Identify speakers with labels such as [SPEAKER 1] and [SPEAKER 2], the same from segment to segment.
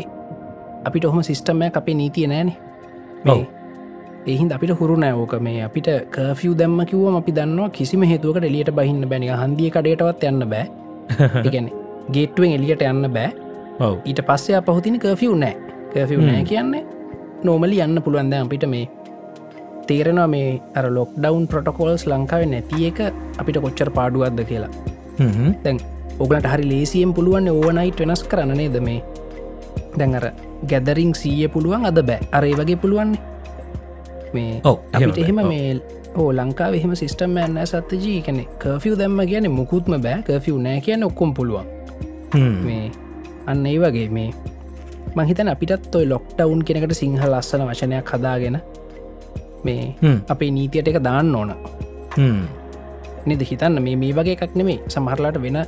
[SPEAKER 1] අපිට ඔහොම සිිස්ටම්මය අපේ නීතිය නෑනේ
[SPEAKER 2] ඔව්.
[SPEAKER 1] මේ එහින් අපිට හුරු නෑෝක මේ අපිට කර්ෆිය් දැම්ම කිවම අපි දන්නවා කිසිම හේතුවකට එලියට බහින්න බැනි හන්දිය කඩයටවත් යන්න බෑ ගැන ගේට්ුවෙන් එලියට යන්න බෑ
[SPEAKER 2] ඔව
[SPEAKER 1] ඊට පස්සේ අපහුතින කර්ෆිය් නෑ කර්ෆිය් නෑ කියන්නේ නෝමලි යන්න පුළුවන්ද අපිට මේ තේරෙනවා මේ අර ලොක් ඩවන් ප්‍රටකෝල්ස් ලංකාවේ නැති එක අපිට කොච්චර පාඩුවක්ද කියලා දැන් ඔගලට හරි ලේසියෙන් පුළුවන් ඕවනයිට වෙනස් කරන්න නේද මේ දැන් අර ගැදරින් සීය පුළුවන් අද බෑ අරේ වගේ පුළුවන් මේ
[SPEAKER 2] ඔව්, එහෙම
[SPEAKER 1] අපිට
[SPEAKER 2] බෑ,
[SPEAKER 1] එහෙම
[SPEAKER 2] ඔව්.
[SPEAKER 1] මේ ඕ ලංකා එහෙම සිිටම් යන්න සත්තජී කන කර්ෆිය් දැම්ම කියන මුකුත්ම බෑ කර්ෆිය් නෑ කියන ඔක්කොම් පුළුවන් මේ අන්න ඒ වගේ මේ මහිතන අපිටත් ඔයි ලොක්ටවුන් කෙනෙකට සිංහල අස්සන වශනයක් හදාගෙන මේ අපේ නීතියට එක දාන්න ඕන නිද හිතන්න මේ මේ වගේ එකක් නෙමේ සමහරලාට වෙන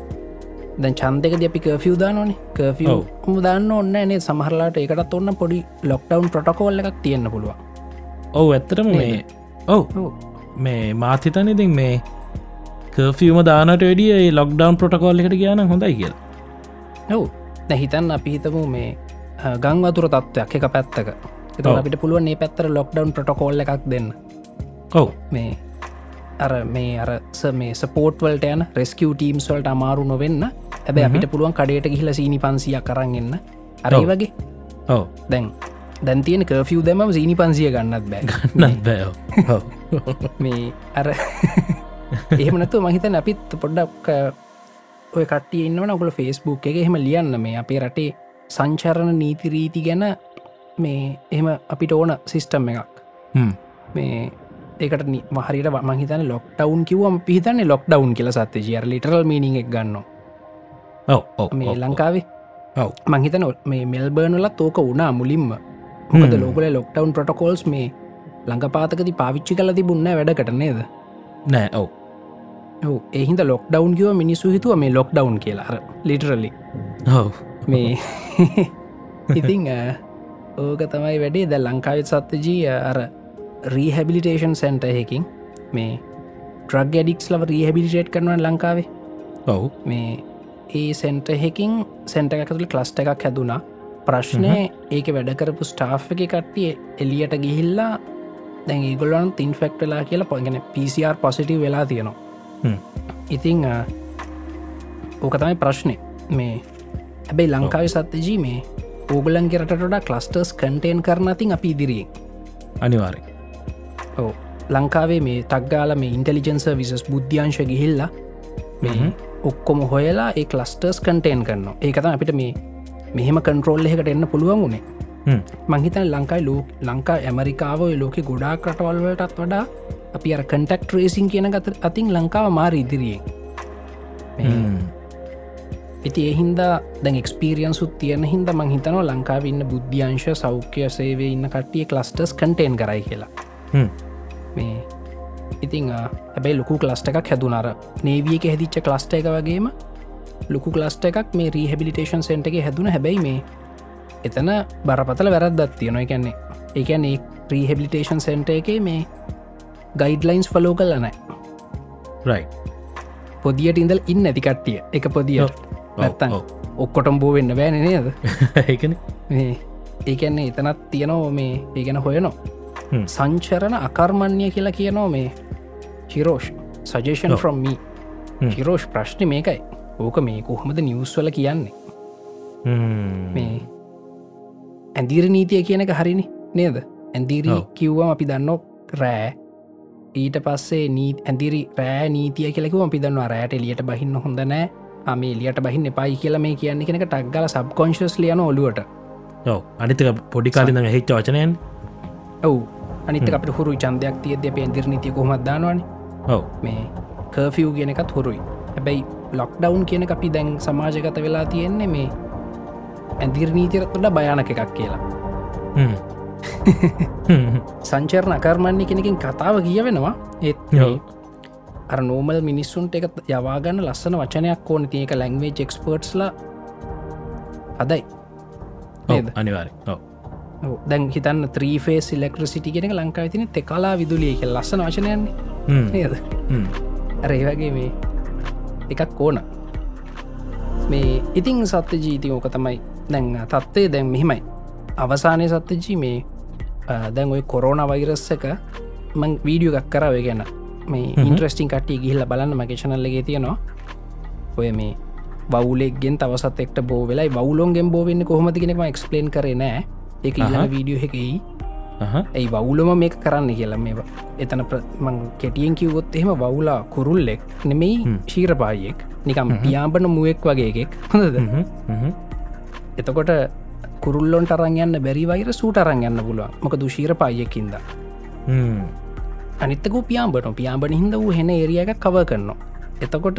[SPEAKER 1] දැන් චන්දකද අපි කර්ෆිය දානනේ කර්ෆිය
[SPEAKER 2] ඔව්.
[SPEAKER 1] මුදන්න ඔන්න නේ සමහරලාට එකටත් ඔන්න පොඩි ලොක්ටවන් ප්‍රටකෝල්ල එකක් තියන්න පුළුවන්
[SPEAKER 2] ඔවු ඇත්තටම මේ ඔව් මේ මාතිතන ඉතින් මේ කර්ෆියම දානට වැඩිය ලොක්ඩවන් පොටකෝල් එකට කියන හොඳයි කියල්
[SPEAKER 1] ඔව් නැහිතන් අපි හිතමු මේ අ, ගං වතුර තත්ත්වයක් එක පැත්තක එත
[SPEAKER 2] ඔව්.
[SPEAKER 1] අපිට පුළුවන් ඒ පැත්තර ලොක්ඩවන් ප්‍රටකෝල්ල එකක් දෙන්න
[SPEAKER 2] ඔව්
[SPEAKER 1] මේ අර මේ අර ස- මේ සපෝට්වලට යන රෙස්කව් ටීම්ස්වල්ට අමාරු නොවෙන්න ඇබ අපිට පුළුවන් කඩයට ගිහිල සීනි පන්සිය කරන්න අරයි
[SPEAKER 2] ඔව්.
[SPEAKER 1] වගේ
[SPEAKER 2] ඔව්
[SPEAKER 1] දැන් දැන්තියන කර්ෆිය් දැම සීනි පන්සිය ගන්නත් බෑ
[SPEAKER 2] නත් බෑෝ
[SPEAKER 1] මේ අර එහමනතු මහිත අපිත් පොඩ්ඩක් ඔය කටය ඉන්නවන ඔකුල ෆෙස්බුක් එක එහෙම ලියන්න මේ අපේ රටේ සංචරණ නීතිරීති ගැන මේ එහෙම අපිට ඕන සිිස්ටම් එකක් මේ ඒකට නි- මහරිට මහිතන ලොක් ටවන් කිවම් පිහිතන්න ලොක් ඩවන් කියල සත්ේ ජියර ලිටරල් මීනි එකක් ගන්න
[SPEAKER 2] ඔව් ඔව්
[SPEAKER 1] මේ ලංකාවේ
[SPEAKER 2] ඔව්.
[SPEAKER 1] මංහිතන ඔ- මේ මෙල්බර්නලත් ඕක වුණා මුලින්ම මොකද
[SPEAKER 2] හ්ම්.
[SPEAKER 1] ලෝකල ලොක්ටවන් ප්‍රටකෝල්ස් මේ ලංඟපාතකති පාවිච්චි කල තිබුන්න වැඩකට නේද
[SPEAKER 2] නෑ ඔව්
[SPEAKER 1] ඔව්, ඒ හින්දා ලොක් ඩවන් කිව මිනිස්සු හිතුව මේ ලොක් ඩවන් කියලා අර ලිටරලි
[SPEAKER 2] ඔව්
[SPEAKER 1] මේ ඉතිං අ, ඕක තමයි වැඩේ ද ලංකාවත් සත්්‍යජී අර රීහැබිලිටේෂන් සැන්ට හකින් මේ ට්‍රග ඩික්ස් ලව රීහැබිලිටේට් කරනව ලංකාවේ
[SPEAKER 2] ඔව්
[SPEAKER 1] මේ ඒ සෙන්ට හෙකින් සැන්ට එකතුළ ක්ලස්ට එකක් හැදුනා ප්‍රශ්නය ඒක වැඩකරපු ස්ටාෆ් එක කට්ටිය එලියට ගිහිල්ලා දැන් ඒගොල්ලන් තින් ෆෙක්ටලා කියලා පගෙන පිසිR පොසිටව වෙලා තියෙනවා
[SPEAKER 2] හ්ම්.
[SPEAKER 1] ඉතිං අ, ඕක තමයි ප්‍රශ්නය මේ හැබැයි ලංකාව සත්්‍යජී මේ ඕගලන්ගේ රටට කලස්ටර්ස් කටේන් කරන තින් අපි ඉදිරියෙන්
[SPEAKER 2] අනිවාරය
[SPEAKER 1] ඕ ලංකාවේ මේ තක්ගාල මේ ඉන්ටලිජන්ස විසස් බුද්ධ්‍යංශ ගිහිල්ලා මේ
[SPEAKER 2] හ්ම්.
[SPEAKER 1] ඔක්කොම හොයලා ඒ ලස්ටර්ස් කටේන් කරන්න ඒකතම අපිට මේ මෙහෙම කන්ට්‍රෝල් එකට එන්න පුළුවන් වුණේ
[SPEAKER 2] හ්ම්.
[SPEAKER 1] මංහිතන ලංකායි ලෝ ලංකා ඇමරිකාව ඔය ලෝකෙ ගොඩා කටවල්වලටත් වඩා අපි අර කටක් ්‍රේසින් කියන ගත අතින් ලංකාව මාර ඉදිරියෙන් මේ
[SPEAKER 2] හ්ම්.
[SPEAKER 1] ඉති එහින්දා දැන් එක්ස්පිරියන්සුත් තියෙන හින්ද මංහිතනව ලංකාව ඉන්න බුද්ධ්‍යංශ සෞඛ්‍ය සේවේ ඉන්න කට්ටිය ලස්ටස් කටේන් කරයි කියලා
[SPEAKER 2] හ්ම්.
[SPEAKER 1] මේ ඉතිං අ, හැබැයි ලොකු කලස්ට එකක් හැදුනර නේවියක හැදිච්ච කලස්ට එක වගේම ලොකු කලස්ට එකක් මේ රීහැබිලිටේන් සෙන්ට එක හැදුන හැබැයි මේ එතන බරපතල වැරද්දත් තියෙනවා එකන්නේ ඒකැන ඒ ප්‍රීහැබිලිටේන් සෙන්ට එක මේ ගයිඩ්ලයින්ස් ෆලෝ කල්ල නෑ
[SPEAKER 2] රයි
[SPEAKER 1] පොදියට ඉඳල් ඉන්න ඇතිකට්ටිය එක පොදිය නැත්තන් ඔක්කොටම් බෝ වෙන්න බෑන නේද
[SPEAKER 2] ඒකන
[SPEAKER 1] මේ ඒකන්නේ එතනත් තියනෝ මේ ඒගැන හොයනෝ
[SPEAKER 2] හ්ම්.
[SPEAKER 1] සංචරණ අකර්මණ්‍ය කියලා කියනෝ මේ චිරෝෂ් සජේෂන්
[SPEAKER 2] ඔව්.
[SPEAKER 1] ෆ්‍රම්
[SPEAKER 2] හ්ම්.
[SPEAKER 1] චිරෝෂ් ප්‍රශ්න මේකයි ඕක මේ කොහොමද නිියස්වල කියන්නේ මේ ඇදිර නීතිය කියන එක හරිනි නේද ඇදිරි
[SPEAKER 2] ඔව්.
[SPEAKER 1] කිව්වම අපි දන්නෝ රෑ ඊට පස්සේ නී ඇදිරි රෑ නීතිය කෙකු අපි දන්නවා රෑට එලියට බහින්න හොඳ නෑ අමේ එලියට බහින්න එපයි කියලා මේ කියන්නේ කෙනෙක ටක්ගල සබ්කොංශස් ලියන ඔලුවට
[SPEAKER 2] ඔව් අනිතක පොඩි කාලිඳ හෙච් වචනයන්
[SPEAKER 1] ඔවු අනිත අපට හුරු චන්දයක් තියද අප ඇදිරි නීතිය කොමත්දානවාන
[SPEAKER 2] ඔව්
[SPEAKER 1] මේ කර්ෆියව් කියන එකත් හොරුයි හැබැයි ලොක් ඩවන් කියන අපි දැන් සමාජගත වෙලා තියෙන්නේ මේ ඇදිරි නීතිරත් වඩ භයානක එකක් කියලා
[SPEAKER 2] හ්ම්. හ්ම්.
[SPEAKER 1] සංචරණ අකර්මණ්‍ය කෙනකින් කතාව කිය වෙනවා ඒත්
[SPEAKER 2] ඔව්.
[SPEAKER 1] අර නෝමල් මිනිස්සුන්ට එක යවාගන්න ලස්සන වචනයක් ඕන තියක ලැංවේ චෙක්ස්පර්ට්ස්ල හදයි
[SPEAKER 2] ඔව්
[SPEAKER 1] නේද?
[SPEAKER 2] අනිවාරය ඔව්
[SPEAKER 1] ඔව්. දැන් හිතන්න ත්‍රීෆේ සිල්ලෙක්ට්‍රසිටි කෙනෙක ලංකාව තින තෙකලා විදුලිය එක ලස්සන වචනයන්නේ
[SPEAKER 2] හ්ම්.
[SPEAKER 1] නේද
[SPEAKER 2] හ්ම්.
[SPEAKER 1] ඇරේ වගේ මේ එකක් ඕන මේ ඉතිං සත්‍ය ජීති ඕක තමයි දැන් තත්ත්වය දැන් මෙහෙමයි අවසානය සත්‍යජී මේ අ, දැන් ඔය කොරෝණ වෛරස්සක මං වීඩියෝ එකක් කරව ගැන මේ
[SPEAKER 2] හ්ම්.
[SPEAKER 1] ඉන්ට්‍රස්ටිං කට්ටිය ගිහිල්ල බලන්න මගේශනල්ලගේ තියෙනවා ඔය මේ බවලෙක්ගෙන් තවසත් එක්ට බෝ වෙලයි බවුලොන්ගෙන් බෝවෙන්න කොහොමතිගෙනම එක්ස්පලේන් කරේ නෑ එක ඉහල
[SPEAKER 2] අහහ.
[SPEAKER 1] වීඩියෝ එකෙයි
[SPEAKER 2] අහ.
[SPEAKER 1] ඇයි වවුලම මේක කරන්න කියලා මේ එතන ප්‍ර- මං කෙටියෙන් කිව්වොත් එහෙම වවුලා කුරුල්ලෙක් නෙමෙයි
[SPEAKER 2] හ්ම්.
[SPEAKER 1] ශීරපායෙක් නිකම්
[SPEAKER 2] හ්ම්.
[SPEAKER 1] පියාඹන මුවෙක් වගේ එකෙක් හොඳද
[SPEAKER 2] හ්ම්. හ්ම්.
[SPEAKER 1] එතකොට කුරුල්ලොන්ට අරන් යන්න බැරි වෛර සූට අරන් යන්න පුළුවන් මොක දුශීරපායෙකින්ද
[SPEAKER 2] හ්ම්.
[SPEAKER 1] අනිත්තක පියාඹට පියාඹන හිද වූ හෙන ඒරිය එක කව කරනවා එතකොට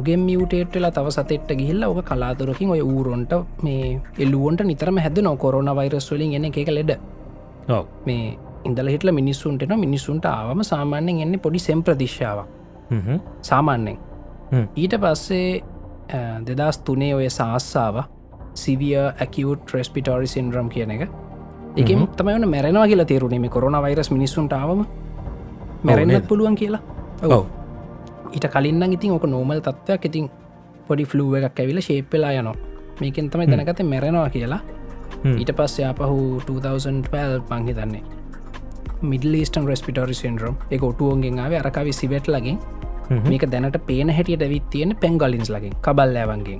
[SPEAKER 1] උගෙන් මියුටේට් වෙලා තව සතෙට්ට ගිහිල්ල ඕක කලාතුරකින් ඔය ඌරොන්ට මේ එල්ලුවන්ට නිතරම හැද නො කොරන වෛරස් වලින් එන එක ලෙඩ
[SPEAKER 2] ඔව්
[SPEAKER 1] මේ ඉඳල හිටල මිනිස්සුන්ටන මිනිස්සුන්ට ආවම සාමාන්‍යෙන් එන්නේ පොඩි සෙම්ප්‍රතිශ්ාවක්
[SPEAKER 2] හ්ම්.
[SPEAKER 1] සාමාන්‍යෙන්
[SPEAKER 2] හ්ම්.
[SPEAKER 1] ඊට පස්සේ දෙදස් තුනේ ඔය සාස්සාාව සිවිය ඇකවට් රෙස්පිටරි සින්ද්‍රම් කියන එක එක තමයි වන මැරෙනවා කියලා තේරුණීම කොරන වෛරස් මිනිස්සුන්ටාවම මැරෙන්න්නත්
[SPEAKER 2] නේද?
[SPEAKER 1] පුළුවන් කියලා
[SPEAKER 2] ඔව
[SPEAKER 1] ඊට කලින්න්න ඉතින් ඕක නෝමල් තත්ත්වයක් ඉතින් පොඩි ෆ්ලුව එකක් ඇවිල ශේප්පෙලා යනවා මේකෙන් තමයි දැනගත මැරෙනවා කියලා
[SPEAKER 2] හ්ම්.
[SPEAKER 1] ඊට පස්සේ අපහු 2012 පංහිතන්නේ මිඩලස්ටන් රෙස්පිටරි සෙන්ඩරම් එක ඔටුවන්ගෙන්ාව අරකාවි සිවට් ලගින්
[SPEAKER 2] හ්ම්.
[SPEAKER 1] මේක දැනට පේන හැටියට ඇවිත් තියෙන පැංගලින්ස් ලගින් කබල් ඇවන්ගේ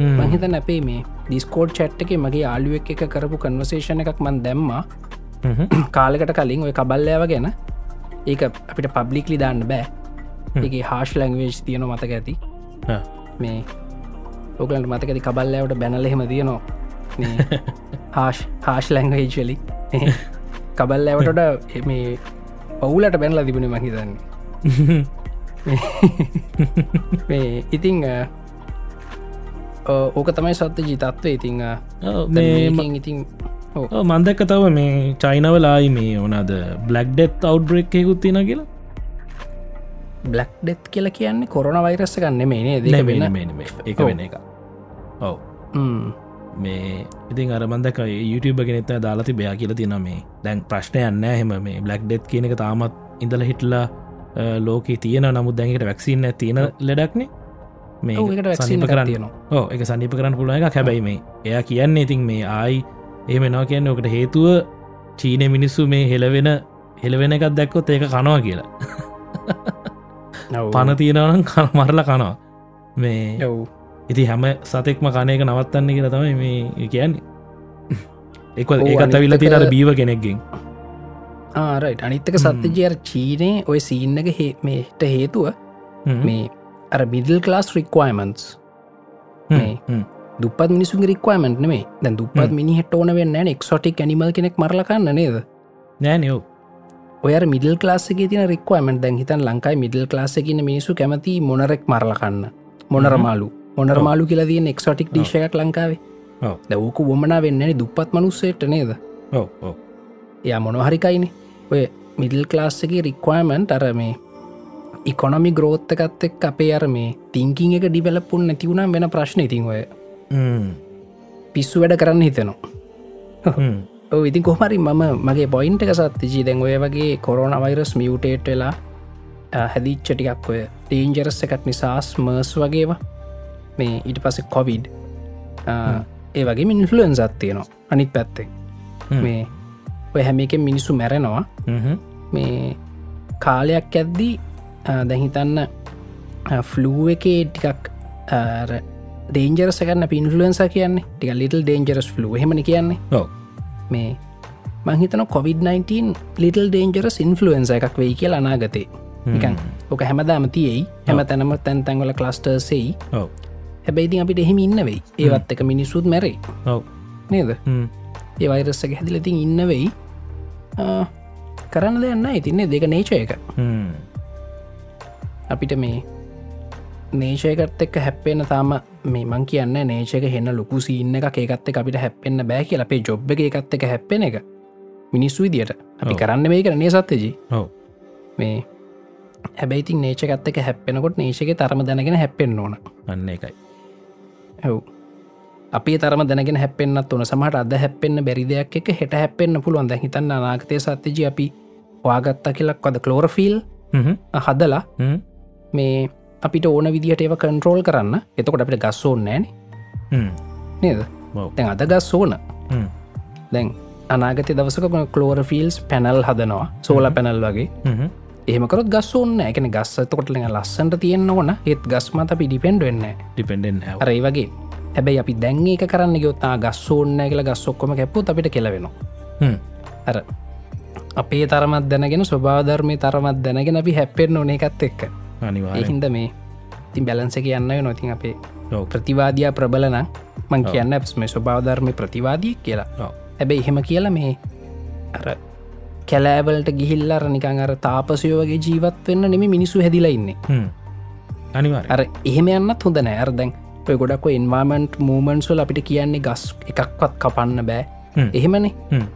[SPEAKER 2] හ්ම්.
[SPEAKER 1] මහිත නැපේ මේ ඩිස්කෝඩ් චට් එක මගේ ආලුවක් එක කරපු කන්වසේෂණ එකක් මන් දැම්මා
[SPEAKER 2] හ්ම්.
[SPEAKER 1] කාලෙකට කලින් ඔය කබල්ලෑව ගැන ඒ අපිට පබ්ලික්ලි දාන්න
[SPEAKER 2] Mm-hmm.
[SPEAKER 1] බෑ ඒ හාර්ෂ් ලංවේජ් තියන මතක ඇති
[SPEAKER 2] ආ.
[SPEAKER 1] මේ ඔගලන්ට මතකති කබල්ලෑවට බැනලහෙම තියනවා හාෂ් හාර්ෂ් ලංවේජ්ලි කබල්ලෑවටට මේ ඔවුලට බැනලා තිබුණ මහිතන්නේ මේ ඉතිං අ, ඕ- ඕක තමයි සත්‍ය ජීතත්ව ඉතිං අ,
[SPEAKER 2] ඔව්, මේ
[SPEAKER 1] දැන්
[SPEAKER 2] ම-
[SPEAKER 1] මේකෙන් ඉතිං ඕ
[SPEAKER 2] ඔව්, මන් දැක්ක තව මේ චයිනවලායි මේ ඕනද බ්ලක් ඩෙත් අවු්බ්‍රෙක් එකකුත් තින කියලා
[SPEAKER 1] බ්ලක් ඩෙත් කියල කියන්නේ කොරන වෛරස්ස ගන්න මේ නේද
[SPEAKER 2] නෑ,
[SPEAKER 1] ඒක
[SPEAKER 2] මේ
[SPEAKER 1] වෙන-
[SPEAKER 2] නෙමෙයි, නෙමෙයි. ඒක
[SPEAKER 1] ඔව්.
[SPEAKER 2] වෙන එක ඔව
[SPEAKER 1] ම්ම්.
[SPEAKER 2] මේ ඉතින් අරබන්දක YouTube ගෙනෙත්ත දාලාති බයා කියල තින මේ දැන් ප්‍රශ්නයන්න හෙම මේ බ්ලක් ඩෙත් කියන එක තාමත් ඉඳල හිටලා ලෝක තියෙන නමුත් දැන්කට වැක්සින්න තියෙන ලෙඩක්නේ මේ
[SPEAKER 1] ඔව්, ඒකට වැක්සින්
[SPEAKER 2] සනීප
[SPEAKER 1] එකක්
[SPEAKER 2] කරන්න
[SPEAKER 1] තියෙනවා.
[SPEAKER 2] ඕ එක සනිප කරන්න පුළුව එක හැබැයි මේ එයා කියන්නේ ඉතින් මේ ආයි ඒ මෙනවා කියන්න ඕකට හේතුව චීනය මිනිස්සු මේ හෙලවෙන හෙළවෙන එකත් දැක්කොත් ඒක කනවා කියලා
[SPEAKER 1] ඔව්.
[SPEAKER 2] පණ තියෙනවනම් කන මරල කනවා මේ
[SPEAKER 1] ඔව්.
[SPEAKER 2] ඉති හැම සතෙක්ම කණයක නවත්තන්න කියලා තමයි මේ කියන්නේ එක
[SPEAKER 1] ඔව්, අනිත්
[SPEAKER 2] ඒකත් අවිල්ල තින අර
[SPEAKER 1] එක-
[SPEAKER 2] බීව කෙනෙක්ගෙන්
[SPEAKER 1] ආරයිට් අනිත්තක
[SPEAKER 2] ම්ම්.
[SPEAKER 1] සත්්‍යජයර චීනය ඔය සීන්නක මේට හේතුව
[SPEAKER 2] හ්ම්.
[SPEAKER 1] මේ අර මිඩල් ලාස් රික්වයිමන්ස්
[SPEAKER 2] හ්ම්.
[SPEAKER 1] මේ
[SPEAKER 2] හ්ම්.
[SPEAKER 1] දුපත් මිනිසු රික්වයිමට මේ දැ දුපත්
[SPEAKER 2] ම්ම්.
[SPEAKER 1] මිනිහට ඕන වෙන්න එක්ෂොටික් ඇනිමල් කෙනෙක් මරලකන්න නේද
[SPEAKER 2] නෑ නියෝ
[SPEAKER 1] ඔය මිඩල් ලාසක තින රික්වයිමට දැන් හිතන් ලංකායි මිඩල් ලාස කියන මිනිසු කැමති මොනරෙක් මරලකන්න මොනරමාලු මොනරමාලු කියලා තියෙන එක්ෂොටික් ඩිශයක් ලංකාවේ
[SPEAKER 2] ඔව්.
[SPEAKER 1] දැවක වොමනා වෙන්නනි දුපත් මනුස්සේට නේද
[SPEAKER 2] ඔව ඔව
[SPEAKER 1] එය මොනොහරිකයින ඔය මිඩල් ලාස්සක රික්වයමන්ට අර මේ ඉකොනොමි ග්‍රෝත්තකත් එක් අපේ අර මේ තිංකින් එක ඩිබලපුන් නැතිවුණම් වෙන ප්‍රශ්න ඉතින් ඔය පිස්සු වැඩ කරන්න හිතනවා ඔ ඉතින් කොහමරි මම මගේ පොයින්ට එක සත්තිජී දැන් ඔය වගේ කොරෝන වෛරස් මියුටේට් වෙලා අ, හැදිච්ච ටිකක් ඔය ටීන්ජරස් එකක් නිසාස් මර්ස් වගේවා මේ ඊට පස කොවිඩ් ඒ වගේ මින්ෆලුවන් සත්තියනවා අනිත් පැත්තෙක්
[SPEAKER 2] හ්ම්.
[SPEAKER 1] මේ ඔය හැම එක මිනිස්සු මැරෙනවා මේ කාලයක් ඇද්දී දැහිතන්න ෆ්ලූ එකේ ටිකක් ඩේන්ජරසකන්න පින්ෆලුවන්ස කියන්නේ ටික ලිටල් ඩේන්ජරස් ්ලූ හෙමන කියන්නේ
[SPEAKER 2] ඔව
[SPEAKER 1] මේ මංහිතන කොවිD-19 ලිටල් ඩේන්ජරස් ඉන්ෆලුවන්ස එකක් වෙයි කියල අනාගතේ නිකන් ඕක හැමදාම තියයි හැම තැනම තැන්තැන්වල කලස්ටර්සෙයි
[SPEAKER 2] ඔව
[SPEAKER 1] හැබැයිති අපිට එහෙම ඉන්නවෙයි ඒවත් එක මිනිස්සුත් මැරේ
[SPEAKER 2] ඔව
[SPEAKER 1] නේද ඒ වෛරස්සක හැදිලතින් ඉන්නවෙයි ආ, කරන්න දෙන්න ඉතින්නේ දෙක නේචය එක අපිට මේ නේෂයකත් එක්ක හැප්පෙන තාම මේ මං කියන්න නේෂක හෙන්න ලොකු සිීන්න එක ඒකත් එක අපිට හැපෙන්න්න බෑ කිය අපේ ජොබ් එක එකත් එක හැප්පෙන එක මිනිස්සු විදියට අපි
[SPEAKER 2] ඔව්.
[SPEAKER 1] කරන්න මේ කරන සත්තජී
[SPEAKER 2] ඔව
[SPEAKER 1] මේ හැබැයිති නේෂකත් එක හැපෙනකොට නේෂක තරම දැනගෙන හැපෙන් ඕන
[SPEAKER 2] අන්න එකයි
[SPEAKER 1] ඇව් අපි තරම දැගෙන හැපෙන්න්නත් වන සමහට අද හැපෙන්න්න බැරි දෙයක් එක හෙට හැපෙන්න්න පුළුවන්ද හිතන්න නාගතය සත්්‍යජී අපි වාගත්තා කියලක් වද කලෝරෆිල්
[SPEAKER 2] හ්ම්.
[SPEAKER 1] හදලා
[SPEAKER 2] හ්ම්.
[SPEAKER 1] මේ අපිට ඕන විදිහට ඒව කන්ට්‍රෝල් කරන්න එතකොට අපිට ගස් ඕන්න නෑන
[SPEAKER 2] හ්ම්.
[SPEAKER 1] නේද
[SPEAKER 2] ඔව්.
[SPEAKER 1] තැන් අද ගස් ඕන
[SPEAKER 2] හ්ම්.
[SPEAKER 1] දැන් අනාගත දවසක කලෝරෆිල්ස් පැනල් හදනවා සෝල පැනල් වගේ
[SPEAKER 2] හ්ම්.
[SPEAKER 1] ඒමකරත් ගස් ඕන්න එකන ගස් තකොට ලස්සට තියෙන්න්න ඕන ඒත් ගස් මත අපි ඩිපෙන්ඩ් වෙන්න
[SPEAKER 2] ඩිපෙන්ඩෙන් හැව
[SPEAKER 1] අරයි වගේ හැබැයි අපි දැන් ඒක කරන්න ගොත්තා ගස් ඕන්න කියලා ගස් ඔක්කොම කැප්පු අපිට කෙලවෙන
[SPEAKER 2] හ්ම්.
[SPEAKER 1] අර අපේ තරමත් දැනගෙන ස්වභාධර්මය තරමත් දැනගෙන අපි හැපෙන් ඕන එකත් එක්ක
[SPEAKER 2] අනිවාරෙන්
[SPEAKER 1] ඒහින්ද මේ ඉතින් බැලන්ස කියන්න නොතින් අපේ
[SPEAKER 2] ඔව
[SPEAKER 1] ප්‍රතිවාදයා ප්‍රබලන මං කියන්න ඇස් මේ ස්වභාධර්මය ප්‍රතිවාදී කියලා
[SPEAKER 2] ඔව
[SPEAKER 1] හැබැයි එහෙම කියලා මේ අර කැලෑවලට ගිහිල්ලර නිකං අර තාපසයෝ වගේ ජීවත් වෙන්න නෙම මිනිසු හැදිලා ඉන්නේ
[SPEAKER 2] හ්ම්. අනිවාර
[SPEAKER 1] අර එහෙම යන්නත් හොඳ නෑ අර දැන් ඔය ගොඩක් ඉන්වාමන්ට් මූමන්ස්වල් අපිට කියන්නේ ගස් එකක්වත් කපන්න බෑ
[SPEAKER 2] හ්ම්.
[SPEAKER 1] එහෙමනේ
[SPEAKER 2] හ්ම්.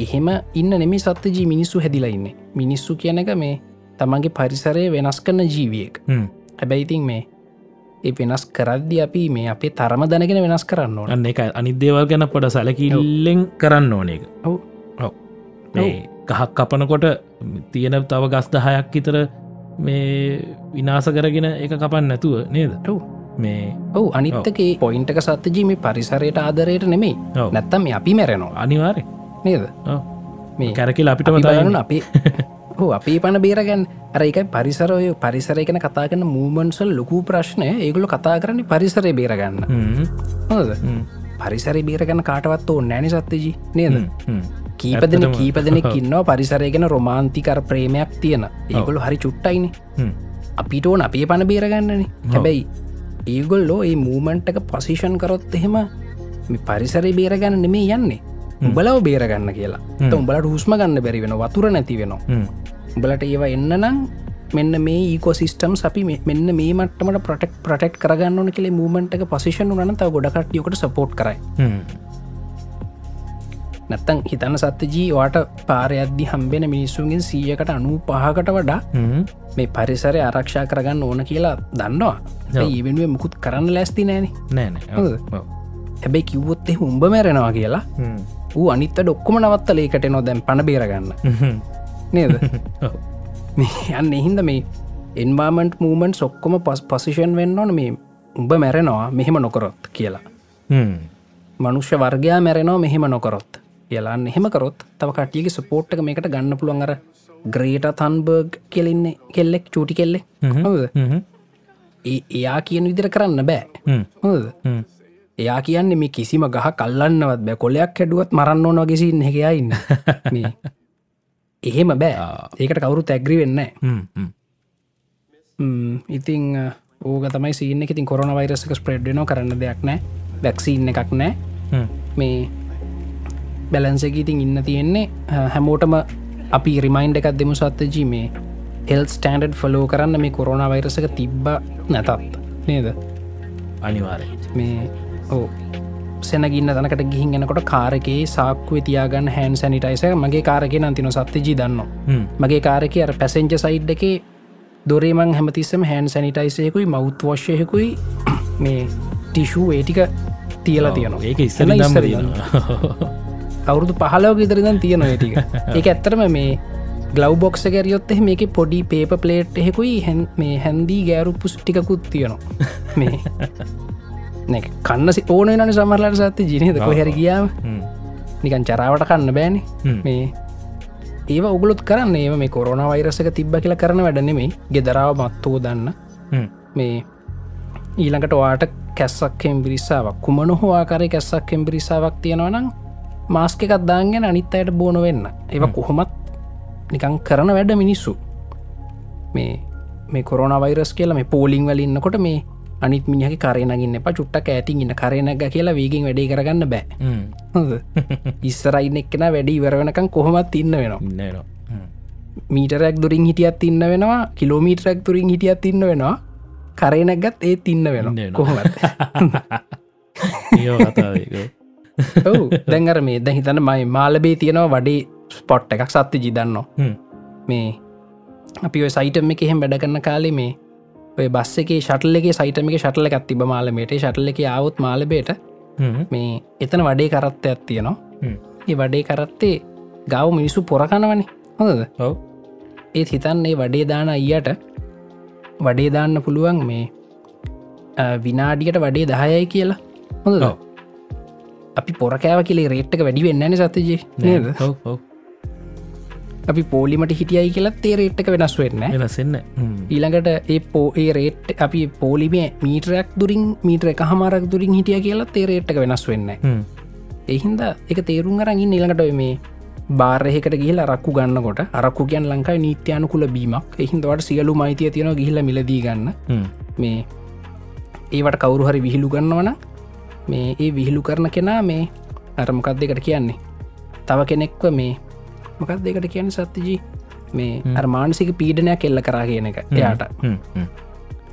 [SPEAKER 1] එහෙම ඉන්න නෙමි සත්්‍යජී මිනිස්සු හැදිලා ඉන්නේ මිනිස්සු කියන එක මේ තමන්ගේ පරිසරය වෙනස් කරන ජීවියෙක්
[SPEAKER 2] හ්ම්.
[SPEAKER 1] හැබැයිතින් මේ ඒ වෙනස් කරද්දි අපි මේ අපේ තරම දැනගෙන වෙනස් කරන්න ඕන
[SPEAKER 2] අන්න එක අනිදේවල් ගැන පොඩ සැලකිල්ලෙන් කරන්න ඕන එක
[SPEAKER 1] ඔව්.
[SPEAKER 2] ඔව්. මේ ගහක් කපනකොට තියෙන තව ගස් දහයක් විතර මේ විනාස කරගෙන ඒ කපන්න නැතුව නේද
[SPEAKER 1] ඔව්.
[SPEAKER 2] මේ
[SPEAKER 1] ඔවු අනිත්තකේ පොයින්ටක සත්තජී මේ පරිසරයට ආදරයට නෙමේ
[SPEAKER 2] ඔව්.
[SPEAKER 1] නැත්තම් මේ අපි මැරෙනවා
[SPEAKER 2] අනිවාරය
[SPEAKER 1] නේද
[SPEAKER 2] ඔව්.
[SPEAKER 1] මේ
[SPEAKER 2] කැරකිල අපිටම
[SPEAKER 1] අපි බලන්න
[SPEAKER 2] තයන්න
[SPEAKER 1] අපි හෝ අපි පණ බේරගන් අර එකයි පරිසරය පරිසරය කන කතා කරන මූමන්සල් ලොකු ප්‍රශ්නය ඒගොලු කතා කරන්නේ පරිසරය බේරගන්න හොද පරිසරය බේරගන්න කාටවත් ඕ නෑනි සත්තජි නේද කීපදන
[SPEAKER 2] ඇත්තටම.
[SPEAKER 1] කීපදනෙක් ඉන්නවා පරිසරයගෙන රොමාන්තිකර ප්‍රේමයක් තියෙන ඒගොලු හරි චුට්ටයින අපිට ඕන අපේ පණ බේරගන්නන හැබැයි ඒගොල්ලෝ ඒ මූමන්ටක පොසිෂන් කරොත් එහෙම මේ පරිසරය බේරගන්න නෙමේ යන්නේ උඹලව බේරගන්න කියලා
[SPEAKER 2] හ්ම්.
[SPEAKER 1] උඹලට හුස්ම ගන්න බැරි වෙන වතුර නැති වෙනවා උඹලට ඒවා එන්න නම් මෙන්න මේ ඒකෝසිිස්ටම් අපි මෙ- මෙන්න මේ මටමට පොටෙක් ප්‍රටෙක්් කරගන්න කෙ මූමට පසිෂන් වනන තව ගොඩකට යොකට සපෝට් කරයි නැත්තං හිතන්න සත්්‍යජී වාට පාරයද්දි හම්බෙන මිනිස්සුන්ගෙන් සීයකට අනු පහකට වඩා මේ පරිසරය ආරක්ෂා කරගන්න ඕන කියලා දන්නවා
[SPEAKER 2] ඔව්.
[SPEAKER 1] ඒ වෙනුවේ මුකුත් කරන්න ලැස්ති නෑන හොඳ.
[SPEAKER 2] නෑනෑ
[SPEAKER 1] හැබැයි කිව්වොත් එ උඹ මැරෙනවා කියලා ඌ අනිත්ත ඩොක්කම නවත්තල ඒකට නො දැන් පණ බේරගන්න නේද මේ යන්න එහින්ද මේ එන්වාමට මූමන්ට සොක්කොම පස් පසිෂන් වෙන්න ඕන මේ උඹ මැරෙනවා මෙහෙම නොකොරොත් කියලා මනුෂ්‍ය වර්ගයා මැරෙනවා මෙහෙම නොකොරොත් කියලාන්න එහෙමකරොත් තව කටියගේ සපෝට්ක මේකට ගන්න පුළුවන් අර ග්‍රේට තන්බර්ග් කෙලෙන්නේ කෙල්ලෙක් චූටි කෙල්ලෙ
[SPEAKER 2] හ්ම්.
[SPEAKER 1] හොද ඒ එයා කියන විදිර කරන්න බෑ හොද එයා කියන්නේ මේ කිසිම ගහ කල්ලන්නවත් බෑ කොලයක් හැඩුවත් මරන්න ඕන ගෙසින් හැකයා ඉන්න මේ. එහෙම බෑ ඒකට කවුරු තැග්‍රි වෙන්න ඉතිං ඕක තමයි සීන ඉතින් කොරන වෛරසක ස්ප්‍රඩ්න කරන්න දෙයක් නෑ වැැක්සින්න එකක් නෑ මේ බැලන්සක ඉතින් ඉන්න තියෙන්නේ අ, හැමෝටම අපි රිමයින්් එකක් දෙමු සත්තජී මේ හෙල් ස්ටන්ඩඩ් ෆලෝ කරන්න මේ කොරෝණ වෛරසක තිබ්බ නැතත් නේද
[SPEAKER 2] අනිවාරය
[SPEAKER 1] මේ ඕ සැනගින්න තනකට ගිහින් එනකොට කාරකයේ සාක්කුව තියාගන්න හැන් සැනිටයිස මගේ කාරකය නන්තින සත්්‍යජී දන්න මගේ කාරක අර පැසෙන්ජ සයිඩ් එක දොරේමං හැමතිස්සම හැන් සැනිටයිසයකුයි මෞත් වශ්‍යයකුයි මේ ටිෂූ ඒටික තියලා තියෙනවා
[SPEAKER 2] ඒක ඉස්සර
[SPEAKER 1] එහෙනම්
[SPEAKER 2] දම්ම
[SPEAKER 1] ඉස්සර
[SPEAKER 2] දීනවා
[SPEAKER 1] අවුරුදු පහලෝක ඉදරිදන් තියෙන ඒටික එක ඇත්තරම මේ ගලව් බොක්ස කැරියොත් එහ මේක පොඩි පේප පලේට් එහෙකුයි හැ මේ හැන්දී ගෑරුපු ටිකුත් තියෙනවා මේ නැ කන්න ඕන න සමරලට සත්ති ජිනද කොහැර ගියාම
[SPEAKER 2] හ්ම්.
[SPEAKER 1] නිකන් චරාවට කන්න බෑන
[SPEAKER 2] හ්ම්.
[SPEAKER 1] මේ ඒ ඔගුලොත් කරන්න ඒ මේ කොරන වෛරසක තිබ්බ කියලා කරන වැඩනෙමේ ගෙදරාව මත්තෝ දන්න
[SPEAKER 2] හ්ම්.
[SPEAKER 1] මේ ඊළඟට වාට කැස්සක් කෙම්බිරිස්සාාවක් කුමන හෝආකාරය කැස්සක් කෙම්බිරිසාාවක් තියෙනවනම් මාස්ක එකත්දාගෙන අනිත් අයට බෝන වෙන්න ඒව කොහොමත් නිකං කරන වැඩ මිනිස්සු මේ මේ කොරන වෛරස් කියලා මේ පෝලිං වලන්නකොට මේ අනිත් මිනිහකි කරයනගන්න එප චුට්ටක් ඇතින් ඉන්න කරයනග කියලා වීගෙන් වැඩේ කරගන්න බෑ
[SPEAKER 2] හ්ම්.
[SPEAKER 1] හොඳ. ඉස්සරයින්න එක්කෙන වැඩි ඉවරවනකම් කොහොමත් ඉන්න වෙනවා
[SPEAKER 2] ඉන්න එනවා. හ්ම්.
[SPEAKER 1] මීටරැක් දුරින් හිටියත් ඉන්න වෙනවා කිලෝමීටරැක් තුරින් හිටියත් ඉන්න වෙනවා කරයනැක්ගත් ඒ තින්න
[SPEAKER 2] ඉන්න
[SPEAKER 1] වෙනවා
[SPEAKER 2] වෙනවා.
[SPEAKER 1] කොහොමත්
[SPEAKER 2] ඒව කතාව ඒක.
[SPEAKER 1] ඔව් දැන්ගර මේ දැ හිතන මයි මාලබේ තියෙනවා වඩේ ස්පොට් එකක් සත්‍ය ජිදන්න
[SPEAKER 2] හ්ම්.
[SPEAKER 1] මේ අපි ඔය සයිටම එක එහෙම වැඩ කරන්න කාලේ මේ ඔය බස් එක ශටල එක සයිටම එක ශටල එකක් තිබ මාලමේට ශටල එක ආවුත් මාලබේට
[SPEAKER 2] හ්ම්.
[SPEAKER 1] මේ එතන වඩේ කරත්තයක් තියෙනවා
[SPEAKER 2] හ්ම්.
[SPEAKER 1] ඒ වඩේ කරත්තේ ගව මිනිස්සු පොරකණවනේ හොඳද
[SPEAKER 2] ඔව්.
[SPEAKER 1] ඒත් හිතන්නේ වඩේ දාන අයියට වඩේ දාන්න පුළුවන් මේ අ, විනාඩියට වඩේ දහයයි කියලා හොඳ
[SPEAKER 2] ඔව්.
[SPEAKER 1] අපි පොරකෑව කියලේ රේට්ක වැඩි වෙන්න න සතජේ
[SPEAKER 2] නෑ.
[SPEAKER 1] නේද
[SPEAKER 2] ඔව්. ඔව්.
[SPEAKER 1] අපි පෝලිමට හිටියයි කියලා තේ රේට්ක වෙනස් වෙන්න
[SPEAKER 2] වෙනස්සෙන්න
[SPEAKER 1] ඊළඟට ඒ පෝ ඒ රේට් අපි පෝලිමේ මීටරයක් දුරින් මීට්‍ර එක හමාරක් දුරින් හිටිය කියලා තේ රේට්ක වෙනස් වෙන්න එහින්ද එක තේරුම් අරගින් නිළඟට ඔය මේ බාරහෙකට ගිහිල රක්කු ගන්නකොට අරක්කු කියන් ලංකායි නීත්‍යයනුකුල බීමක් එහින්දවට සියලු මයිතිය තියෙන ගිහිල මිලදී ගන්න මේ ඒවට කවුරු හරි විහිළු ගන්නවන මේ ඒ විහිළු කරන කෙනා මේ අරමකක් දෙකට කියන්නේ තව කෙනෙක්ව මේ මොකක් දෙකට කියන්න සත්තිජී මේ අර්මානසික පීඩනයක් එල්ල කරා කියන එක එයාට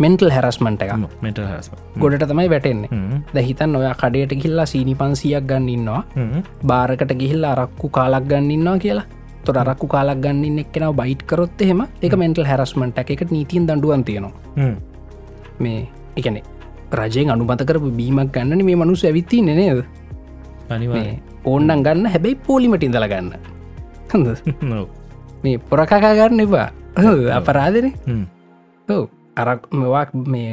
[SPEAKER 1] මෙන්ටල් හැරස්මට එක
[SPEAKER 2] මෙට හස්
[SPEAKER 1] ගොඩට තමයි වැටෙන්නේ දැහිතන් ඔයා කඩයට ගිල්ලා සීනි පන්සියක් ගන්න ඉන්නවා බාරකට ගිහිල්ල අරක්කු කාලක් ගන්නන්නවා කියලා තොර අරක්කු කාලක් ගන්න එක්ෙනව බයිට් කරොත් එහෙම එක මෙන්ටල් හැරස්මට එක නීතින් දඩුවන් තියෙනවා මේ එකනෙ රජයෙන් අනුමත කරපු බීමක් ගන්න මේ මනුස ඇවිත්ති නනේද
[SPEAKER 2] අනිවා
[SPEAKER 1] ඕන්නන් ගන්න හැබැයි පෝලිමට ඉඳල ගන්න හඳ මේ පොරකකා ගන්න එපා හරිද? අපරාධනේ ඔව්. අරක් මෙවාක් මේ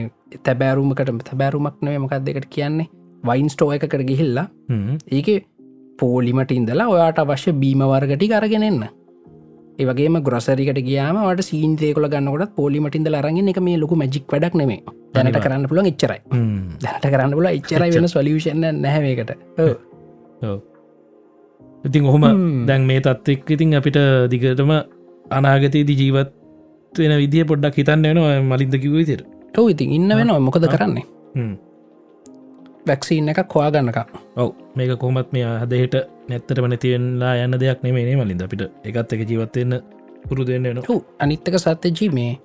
[SPEAKER 1] තැබෑරුමකට තැබෑරුමක් නවේ මොකක් දෙකට කියන්නේ වයින් ස්ටෝ එකකට ගිහිල්ලා ඒක පෝලිමට ඉඳලා ඔයාට අවශ්‍ය බීමවර්ගටි අරගෙනන්න ඒවගේ ගොසරිකට ගයාමට සීන්දයකොල ගන්නකොට පොලිමටින්ද අරගෙන එක මේ ලොකු මැජික් වැඩක් නෙමේ දැනට කරන්න පුළන් එච්චරයි දැනට කරන්න පුල එච්චරයි වෙන සොලිවිෂණ නැහවකට
[SPEAKER 2] ඉතින් ඔහොම
[SPEAKER 1] හ්ම්.
[SPEAKER 2] දැන් මේ තත්ත්ෙක් ඉතින් අපිට දිගටම අනාගතයේදි ජීවත් වෙන විදිහ පොඩ්ඩක් හිතන්න වෙනවා මලින්ද කිව විතර
[SPEAKER 1] ඔව ඉතින් ඉන්න වෙන මොකද කරන්නේ වැක්සිීන්න එකක් හොයා ගන්නක
[SPEAKER 2] ඔව මේක කොමත් මේ හදයට නැත්තට මන තියෙන්ලා යන්න දෙයක් නෙමේ මලින්ද අපිට එකත් එක ජීවත්වයන්න පුරුදු වෙන්න වෙන
[SPEAKER 1] ඔව් අනිත්තක සත්‍යජී මේ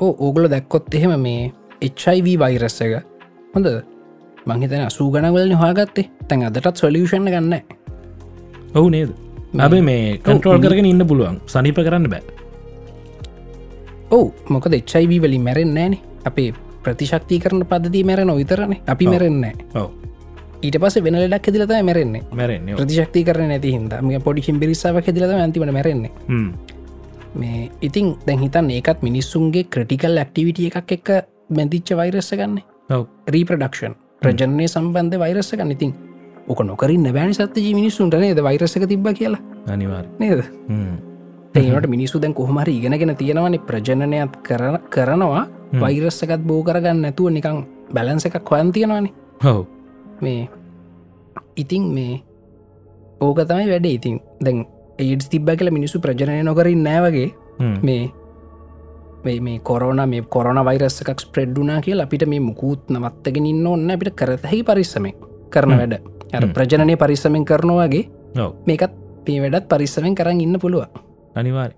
[SPEAKER 1] ඕ ඕගල දැක්කොත් එහෙම මේ එච්චයිව වෛරස්ස එක හොඳ මංහිතන සූගනවලන හාගත්තේ තැන් අදටත් සොලියෂණ ගන්න
[SPEAKER 2] ඔහු නේද නැබේ මේ කන්ට්‍රෝල් කරගෙන ඉන්න පුළුවන් සනිප කරන්න බෑ
[SPEAKER 1] ඔව් මොකද එච්චයිව වලින් මැරෙන් නෑන අපේ ප්‍රතිශක්ති කරන පදදි මැර නොවිතරන අපි මැරෙන්න
[SPEAKER 2] ඔව
[SPEAKER 1] ඊට පස වෙන ලක් ෙදිලත මැරෙන්නේ
[SPEAKER 2] මැරෙන්නේ ඔව්.
[SPEAKER 1] ප්‍රතිශක්ති කරන නැති හිද මේ පොඩි හිම්බිරිස්සාාව ෙදිලත ඇතිවට මැරෙන්නේ
[SPEAKER 2] හ්ම්.
[SPEAKER 1] මේ ඉතින් දැන් හිතන් ඒකත් මිනිස්සුන්ගේ ක්‍රටිකල් ඇක්ටිවිට එකක් එක බැඳිච්ච වෛරස්ස ගන්න
[SPEAKER 2] ඔව්
[SPEAKER 1] රීපඩක්ෂන් ප්‍රජනය සම්බන්ධ වෛරස්සක නිතින් ඕක නොකරින් බෑන සත්්‍ය මිනිස්සුන්ට නේද වෛරසක තිබ කියලා
[SPEAKER 2] අනිවාර්
[SPEAKER 1] නේද ඒට මිනිස්සු දැන් කොහමර ඉගෙනගෙන තියෙනවන ප්‍රජනනයත් කරන කරනවා
[SPEAKER 2] හ්ම්.
[SPEAKER 1] වෛරස්සකත් බෝ කරගන්න ඇතුව නිකං බැලන්ස එකක් හොයන් තියෙනවාන
[SPEAKER 2] හව
[SPEAKER 1] මේ ඉතින් මේ ඕක තමයි වැඩ ඉතින් දැන් ඒඩස් තිබ්බ කියල මිනිස්සු ප්‍රජනය නොකරින් නෑවගේ මේ මේ මේ කොරන මේ කොරන වෛරස්සකක් ස්ප්‍රෙඩ්ඩුනා කියල අපිට මේ මුකූත් නවත්තගෙන ඉන්න ඔන්න අපිට කරතහි පරිස්සමෙන් කරන
[SPEAKER 2] හ්ම්.
[SPEAKER 1] වැඩ ඇර
[SPEAKER 2] හ්ම්.
[SPEAKER 1] ප්‍රජනය පරිස්සමෙන් කරනවාගේ
[SPEAKER 2] ඔව්
[SPEAKER 1] මේකත් මේ වැඩත් පරිස්සමෙන් කරන්න ඉන්න පුළුව
[SPEAKER 2] අනිවාර්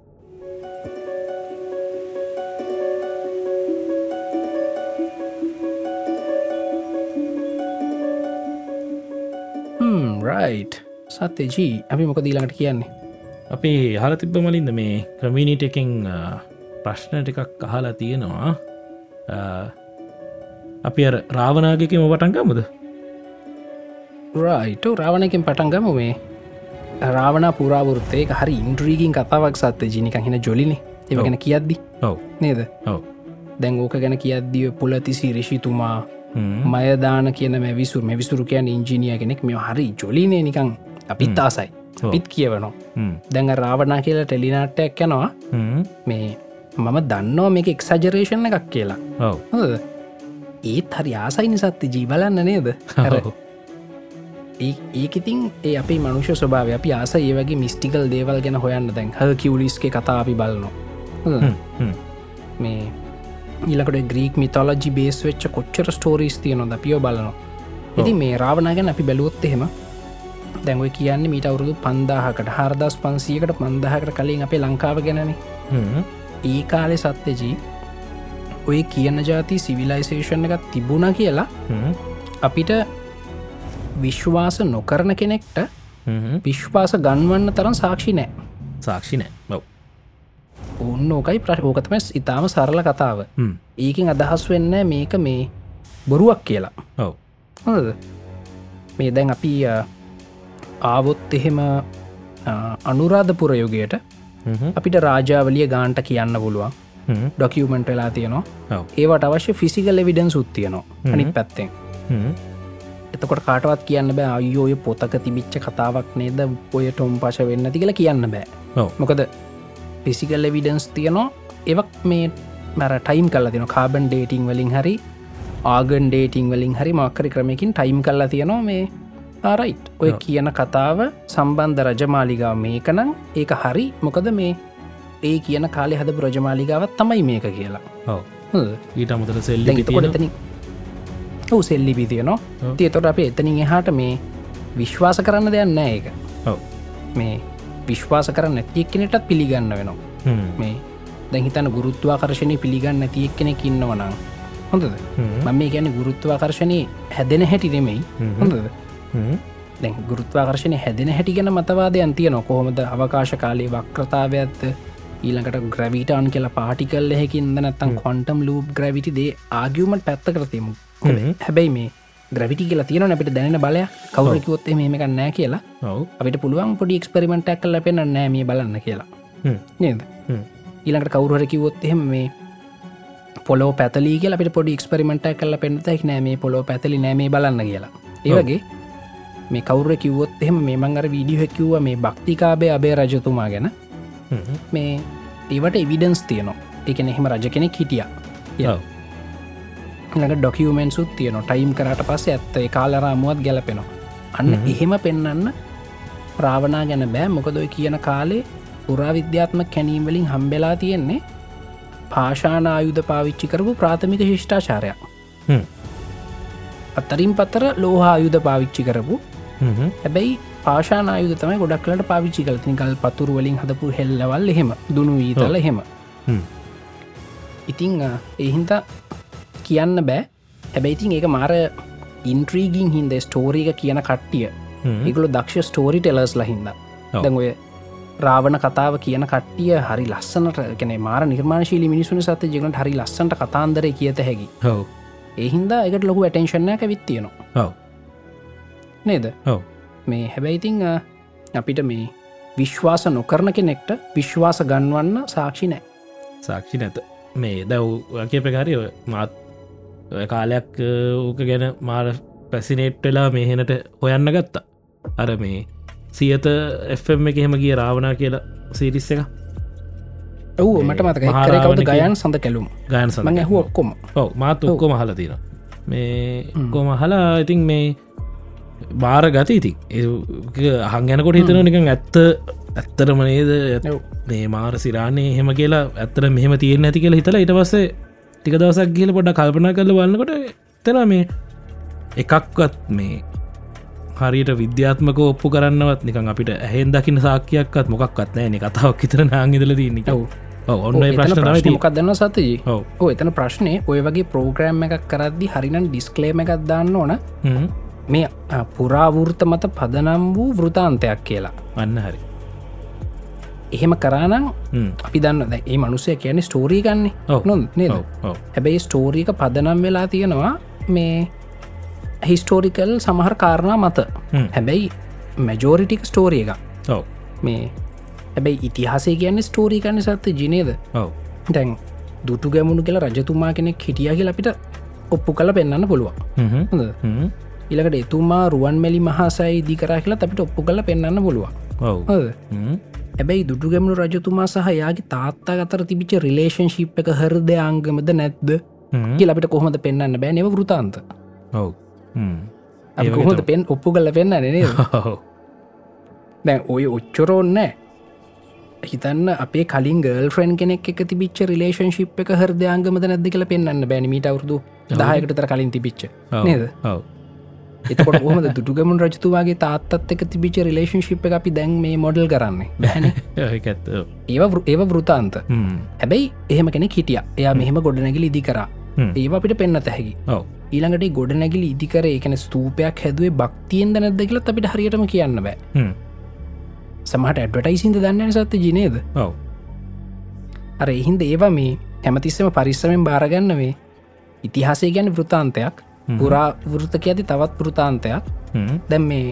[SPEAKER 1] රයි් සත්‍යජී අපි මොක දීලාට කියන්නේ
[SPEAKER 2] අපි හල තිබ්බ මලින්ද මේ ක්‍රමිණිට එකෙන් ප්‍රශ්නට එකක් අහලා තියෙනවා අ, අපි අ රාවනාගකම වටන්ගමුද
[SPEAKER 1] රයිට රාවණයකින් පටන්ගම මේ රාවණ පුරාවෘත්තයක හරි ඉන්ද්‍රීගින් කතාවක් සත්‍ය ජිනික හින ජොලිනි ඒවගෙන කියද්දි
[SPEAKER 2] ඔව්
[SPEAKER 1] නේද
[SPEAKER 2] ඔව්
[SPEAKER 1] දැන් ඕක ගැන කියද්දිව පුලතිසි රිෂිතුමා
[SPEAKER 2] හ්ම්.
[SPEAKER 1] මයදාන කියන විසුර විසුරු කියයන් ඉංජිනිය කෙනෙක් මෙ හරි ජොලිනය නිකං අපිත් ආසයි
[SPEAKER 2] ඔව්.
[SPEAKER 1] අපිත් කියවනවා
[SPEAKER 2] හ්ම්.
[SPEAKER 1] දැඟ රාවනා කියලා ටෙලිනාටයක් යනවා
[SPEAKER 2] හ්ම්.
[SPEAKER 1] මේ මම දන්නවා මේ එක්සජරේෂණ එකක් කියලා
[SPEAKER 2] ඔව්
[SPEAKER 1] හොඳද? ඒත් හරි ආසයි නිසත්ති ජීවලන්න නේද හැර
[SPEAKER 2] ඔව්.
[SPEAKER 1] ඒ- ඒක ඉතින් ඒ අපේ මනුෂ්‍ය ස්වභාව අපි ආස ඒ වගේ මිස්ටිකල් දේවල් ගැන හොයන්න දැන් හ කිවලිස්ගේ කතා අපි බලනවා හොඳ?
[SPEAKER 2] හ්ම්. හ්ම්.
[SPEAKER 1] මේ ඊලකට ග්‍රීක් මිතලජි බේස් වෙච්ච කොච්චර ස්ටෝරිස් තියනො ද පියෝ බලනවා ඉති මේ රාවනාගෙන අපි බැලුවොත් එහෙම දැන්ව කියන්නේ මීට අවුරුදු පන්දාහකට හාරදස් පන්සියකට පන්දහකට කලින් අපේ ලංකාව ගැනන
[SPEAKER 2] හ්ම්.
[SPEAKER 1] ඒ කාලෙ සත්‍යජී ඔය කියන ජාති සිවිලයිසේෂන් එකත් තිබුණ කියලා
[SPEAKER 2] හ්ම්.
[SPEAKER 1] අපිට විශ්වාස නොකරන කෙනෙක්ට
[SPEAKER 2] හ්ම්.
[SPEAKER 1] විශ්වාස ගන්වන්න තරම් සාක්ෂි නෑ
[SPEAKER 2] සාක්ෂි නෑ බව්
[SPEAKER 1] ඔන්න ඕකයි ප්‍රශෝකතම ඉතාම සරල කතාව ඒකින් අදහස් වෙන්න මේක මේ බොරුවක් කියලා
[SPEAKER 2] ඔව්
[SPEAKER 1] හොඳද? මේ දැන් අපි අ, ආවොත් එහෙම අ, අනුරාධපුර යුගයට
[SPEAKER 2] හ්ම්.
[SPEAKER 1] අපිට රාජාවලිය ගාන්ට කියන්න පුළුවන්
[SPEAKER 2] හ්ම්.
[SPEAKER 1] ඩොකියමෙන්ට් වෙලා තියනවා
[SPEAKER 2] ඔව්
[SPEAKER 1] ඒවට අවශ්‍ය ෆිසිකල් එවිඩන් සුත්තියනවා අනිත් පැත්තෙන්
[SPEAKER 2] හ්ම්.
[SPEAKER 1] එතකොට කාටවත් කියන්න බෑ අයෝය පොතක තිබිච්ච කතාවක් නේද ඔය ටොම් පශ වෙන්න තිකල කියන්න බෑ
[SPEAKER 2] ඔව්
[SPEAKER 1] මොකද පිසිකල් එවිඩන්ස් තියනවා එවක් මේ මැර ටයිම් කල්ලා තින කාබන් ඩේටිං වලින් හරි ආගන් ඩේටිං වලින් හරි මක්කරි ක්‍රමයකින් ටයිම් කල්ලා තියනවා මේ ආරයිට් ඔය
[SPEAKER 2] ඔව්.
[SPEAKER 1] කියන කතාව සම්බන්ධ රජමාලිගාව මේකනම් ඒක හරි මොකද මේ ඒ කියන කාලෙ හද රජමාලිගාවත් තමයි මේක කියලා
[SPEAKER 2] ඔව්
[SPEAKER 1] හොඳ?
[SPEAKER 2] ඊට අමුතර සෙල්ලි
[SPEAKER 1] දැන් එතකොට එතනින් ඔව් සෙල්ලිබි තියනවා
[SPEAKER 2] ඔව්.
[SPEAKER 1] තියතොට අප එතනින් එහාට මේ විශ්වාස කරන්න දෙයන්න ඒක
[SPEAKER 2] ඔව්
[SPEAKER 1] මේ විශ්වාස කරන්න ඇතික්කෙනටත් පිළිගන්න වෙනවා
[SPEAKER 2] හ්ම්.
[SPEAKER 1] මේ දැහිතන ගුරුත්වාකර්ශණය පිළිගන්න ඇතියෙක් කෙනෙක් ඉන්නවනං හොඳද
[SPEAKER 2] හ්ම්.
[SPEAKER 1] මම මේ ගැන ගුරුත්වාකර්ශණය හැදෙන හැටි නෙමෙයි
[SPEAKER 2] හ්ම්.
[SPEAKER 1] හොඳද
[SPEAKER 2] හ්ම්.
[SPEAKER 1] දැ ගුරුත්වාකර්ශණය හැදෙන හැටි ගැන මතවාදයන් තියන කොහොමද අවකාශ කාලයේ වක්්‍රතාවයක්ත් ඊළඟට ග්‍රවිටාන් කියලා පාටිකල් එහෙකින්ද නැත්තන් කොන්ටම් ලූප් ග්‍රවිටි දේ ආගියමට පැත්ත කරතිමු හැබැයි මේ ග්‍රවිටි කියලා තියෙන අපිට දැන බලය කවරකිවොත් මේක නෑ කියලා
[SPEAKER 2] ඔව්
[SPEAKER 1] අපිට පුළුවන් පොඩි එක්ස්පරිමෙන්ට් ඇක් කල පෙන නෑ මේ බලන්න කියලා
[SPEAKER 2] හ්ම්.
[SPEAKER 1] නේද
[SPEAKER 2] හ්ම්.
[SPEAKER 1] ඊළඟට කවුරහර කිවොත් එහෙම මේ පොලෝ පැතලී කියලා අපිට පොඩි එක්ස්පරිමෙන්ට් ඇක් කල පෙන්තෙක් නෑ මේ පොලෝ පැතලි නෑ මේ බලන්න කියලා ඒවගේ මේ කවුර කිවොත් එහෙම මේ මංගර වීඩියෝ හැකිව්ව මේ භක්තිකාබේ අබේ රජතුමා ගැන
[SPEAKER 2] හ්ම්.
[SPEAKER 1] මේ ඒවට එවිඩන්ස් තියනවා එකන එහෙම රජ කෙනෙක් හිටිය
[SPEAKER 2] ඔව්.
[SPEAKER 1] ඟ ඩොකියමෙන් සුත් තියන ටයිම් කරට පස්ස ඇත්ත කාලරාමුවත් ගැලපෙනවා අන්න එහෙම පෙන්නන්න ප්‍රාවනා ගැන බෑ මොකදොයි කියන කාලේ පුරාවිද්‍යාත්ම කැනීමවලින් හම්බෙලා තියෙන්නේ පාෂාන ආයුධ පාවිච්චි කරපු ප්‍රාථමික ශිෂ්ඨාචාරයක්
[SPEAKER 2] හ්ම්.
[SPEAKER 1] අත්තරින් පතර ලෝහා ආයුධ පාවිච්චි කරපු
[SPEAKER 2] හ්ම්.
[SPEAKER 1] හැබැයි පාශාන ආයුධ තමයි ගොඩක්ලට පාවිච්චි කලතින ගල් පතුරු වලින් හදපු හෙල්ලවල් එහෙම දුනු ඊතල එහෙම
[SPEAKER 2] හ්ම්.
[SPEAKER 1] ඉතිං එහින්ද කියන්න බෑ හැබැයිතින් ඒක මාර ඉන්ට්‍රීගින් හින්ද ස්ටෝරී එක කියන කට්ටිය
[SPEAKER 2] හ්ම්.
[SPEAKER 1] ඉගුලු දක්ෂ ස්ටෝරි ටෙලස් ලහින්ද දැන් ඔය රාවණ කතාව කියන කට්ටිය හරි ලස්සනට කැන මාර නිර්මාණශීලි මිනිසුන සත ජගට හරි ලස්සට කතාන්දරය කියත හැකි
[SPEAKER 2] ඔව්.
[SPEAKER 1] එහින්දා එකට ලොකු ඇටේශණය ඇවිත්තියෙනවා
[SPEAKER 2] ඔව්.
[SPEAKER 1] නේද
[SPEAKER 2] ඔව්.
[SPEAKER 1] මේ හැබැයිතිං අපිට මේ විශ්වාස නොකරන කෙනෙක්ට විශ්වාස ගන්වන්න සාක්ෂි නෑ
[SPEAKER 2] සාක්ෂි නැත මේ දැව් කියපකාරය මාත් ඔය කාලයක් ඕක ගැන මාර පැසිනේට් වෙලා මෙහෙනට හොයන්න ගත්තා අර මේ සියත එම් එක එහෙම ගිය රාවනා කියලා සීරිස් එක
[SPEAKER 1] ඔව
[SPEAKER 2] මේ
[SPEAKER 1] මට මතක
[SPEAKER 2] මහා
[SPEAKER 1] කරකවද
[SPEAKER 2] රාවණකේ-
[SPEAKER 1] ගයන් සඳ කැලුම්
[SPEAKER 2] ගයන් සඳ
[SPEAKER 1] මං ඇහුව ඔක්කොම
[SPEAKER 2] ඔව මාත් ඔක්කොම හලතින මේ කොම හලා ඉතින් මේ බාර ගත ඉතින් හංගැනකොට හිතන නික ඇත්ත ඇත්තරම නේද ඇත්-
[SPEAKER 1] ඔව්.
[SPEAKER 2] මේ මාර සිරාණය හෙම කියලා ඇත්තර මෙහම තියෙන් ඇති කියලා හිතලා ඉට පස්සේ ටික දවසක් කියල පොඩ කල්පනා කරල වන්නකොට තෙන මේ එකක්වත් මේ හරියට විද්‍යාත්මක ඔප්පු කරන්නවත් නිකන් අපිට ඇහෙන් දකින සාක්කයක්ත් මොකක්වත් නෑ නෙ කතාවක් හිතර නාංගිදල දන්න
[SPEAKER 1] ඔව්.
[SPEAKER 2] ඔන්න ඒ ප්‍රශ්න තමයි තියෙන්නේ.
[SPEAKER 1] මොකක්දන්න සතයේ
[SPEAKER 2] ඔව්
[SPEAKER 1] ඕ එතන ප්‍රශ්නය ඔය වගේ ප්‍රෝග්‍රෑම් එකක් කරද්දි හරිනන් ඩිස්කලේම එකක් දාන්න ඕන
[SPEAKER 2] හ්ම්.
[SPEAKER 1] මේ අ, පුරාවෘත මත පදනම් වූ වෘතාන්තයක් කියලා
[SPEAKER 2] අන්න හරි
[SPEAKER 1] එහෙම කරනම්
[SPEAKER 2] හ්ම්.
[SPEAKER 1] අපි දන්න දැ ඒ මනුසය කියන ස්ටෝරීගන්නේ
[SPEAKER 2] ඔව්.
[SPEAKER 1] නො නේද
[SPEAKER 2] ඔව් ඔව්
[SPEAKER 1] හැබැයි ස්ටෝරීක පදනම් වෙලා තියෙනවා මේ හිස්ටෝරිකල් සමහර කාරණා මත
[SPEAKER 2] හ්ම්.
[SPEAKER 1] හැබැයි මැජෝරිටික ස්ටෝරිය එක
[SPEAKER 2] ඔව්
[SPEAKER 1] මේ හැබැයි ඉතිහාසේ කියන්න ස්ටෝරීකන්න සත්ත ජිනේද
[SPEAKER 2] ඔව්
[SPEAKER 1] දැන් දුටු ගැමුණු කියලා රජතුමා කෙනෙක් හිටිය කියලා අපිට ඔප්පු කල පෙන්න්න පුළුවන්
[SPEAKER 2] හ්ම්.
[SPEAKER 1] හොඳ
[SPEAKER 2] හ්ම්.
[SPEAKER 1] ඉලකට එතුමා රුවන් මැලි මහසයි දිකරා කියලා අපිට ඔප්පු කල පෙන්න්න පුළුවන්
[SPEAKER 2] ඔව්
[SPEAKER 1] හොද
[SPEAKER 2] හ්ම්.
[SPEAKER 1] හැබැයි දුටු ගැමුණු රජතුමා සහ යාගේ තාත්තා අතර තිබිච රිලේෂන් ශිප් එක හරද අංගමද නැද්ද
[SPEAKER 2] හ්ම්.
[SPEAKER 1] කියල අපිට කොහොමද පෙන්න්න බෑ නව ෘතාන්ත
[SPEAKER 2] ඔව් හ්ම්. ඒ වගේ
[SPEAKER 1] කොහොද පෙන් ඔප්පු කල පෙන්න්න නේ
[SPEAKER 2] ඔව්.
[SPEAKER 1] දැන් ඔය ඔච්චරෝන්න හිතන්න අපේ කලින් ගල් ෆ්‍රන් කෙනෙක් එක තිබිච් රිලේෂන් ශිප් එක හරදයාංගමද නැද කියල පෙන්න්න බැනමට අවුරදු දායකටතර කලින් තිබිච්ච
[SPEAKER 2] ඔව්.
[SPEAKER 1] නේද?
[SPEAKER 2] ඔව්
[SPEAKER 1] එතකොට හොමද දුටුගමන් රජතුවාගේ තාත්තත් එක තිබිච රිලේෂන් ශිප් එක අපි දැන් මේ මොඩල් කරන්නේ බැන
[SPEAKER 2] ඒක ඇත්ත ඔව්.
[SPEAKER 1] ඒ ඒ වෘතාන්ත
[SPEAKER 2] හ්ම්.
[SPEAKER 1] හැබැයි එහෙම කෙනෙක් හිටිය එයා මෙහෙම ගොඩනැගිලි ඉදිකර
[SPEAKER 2] හ්ම්.
[SPEAKER 1] ඒ අපිට පෙන්න්න තැහැකි
[SPEAKER 2] ඔව්
[SPEAKER 1] ඊළඟට ගොඩනැගිලි ඉදිකර එකන ස්තූපයක් හැදුවේ භක්තියෙන්ද නැද්ද කියලත් අපිට හරියටම කියන්න බෑ
[SPEAKER 2] හ්ම්.
[SPEAKER 1] සමහට ඇඩටයිසින්ද දන්න සත්ත ජිනේද
[SPEAKER 2] ඔව්
[SPEAKER 1] අර එහින්ද ඒවා මේ හැමතිස්සම පරිස්සමෙන් බාරගන්න වේ ඉතිහාසේ ගැන වෘතාන්තයක් පුරා වෘතක ඇති තවත් වෘතාන්තයක්
[SPEAKER 2] හ්ම්.
[SPEAKER 1] දැම් මේ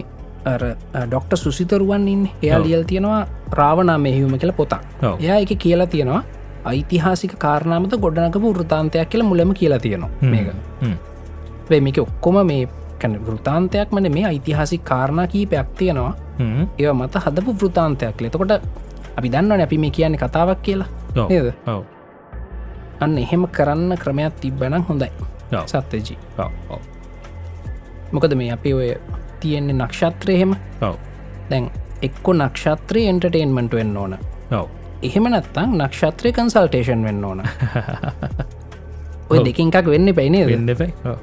[SPEAKER 1] ඩොක්ට සුසිතරුවන්ින් එයා
[SPEAKER 2] ඔව්.
[SPEAKER 1] ලියල් තියෙනවා රාවනා මෙහිවුම කියලා පොතක්
[SPEAKER 2] ඔව්
[SPEAKER 1] එයා එක කියලා තියෙනවා ඓතිහාසික කාරණාමත ගොඩනකපු වෘතාන්තයක් කියලා මුලම කියලා තියෙනවා
[SPEAKER 2] හ්ම්.
[SPEAKER 1] මේක
[SPEAKER 2] හ්ම්.
[SPEAKER 1] මේක ඔක්කොම මේ කැන වෘතාන්තයක් මන මේ ඓතිහාසික කාරණා කීපයක් තියෙනවා
[SPEAKER 2] හ්ම්.
[SPEAKER 1] ඒව මත හදපු වෘතාන්තයක් ලෙතකොට අපි දන්නවන අපි මේ කියන්නේ කතාවක් කියලා
[SPEAKER 2] ඔව්.
[SPEAKER 1] නේද
[SPEAKER 2] ඔව්
[SPEAKER 1] අන්න එහෙම කරන්න ක්‍රමයක් තිබ්බනම් හොඳයි
[SPEAKER 2] ඔව්.
[SPEAKER 1] සත්්‍යජී
[SPEAKER 2] ඔව් ඔව්
[SPEAKER 1] මොකද මේ අපි ඔය තියෙන්නේ නක්ෂත්‍රයහෙම
[SPEAKER 2] ඔව්
[SPEAKER 1] දැන් එක්කො නක්ෂත්‍රී එන්ටර්ටේන්මට වෙන්න ඕන
[SPEAKER 2] ඔව්
[SPEAKER 1] එහෙම නත්තං නක්ෂත්‍රය කන්සල්ටේෂන් වෙන්න ඕන ඔය
[SPEAKER 2] ඔව්.
[SPEAKER 1] දෙකින්කක් වෙන්න පැයිනේ
[SPEAKER 2] වෙන්න එපයි ඔව්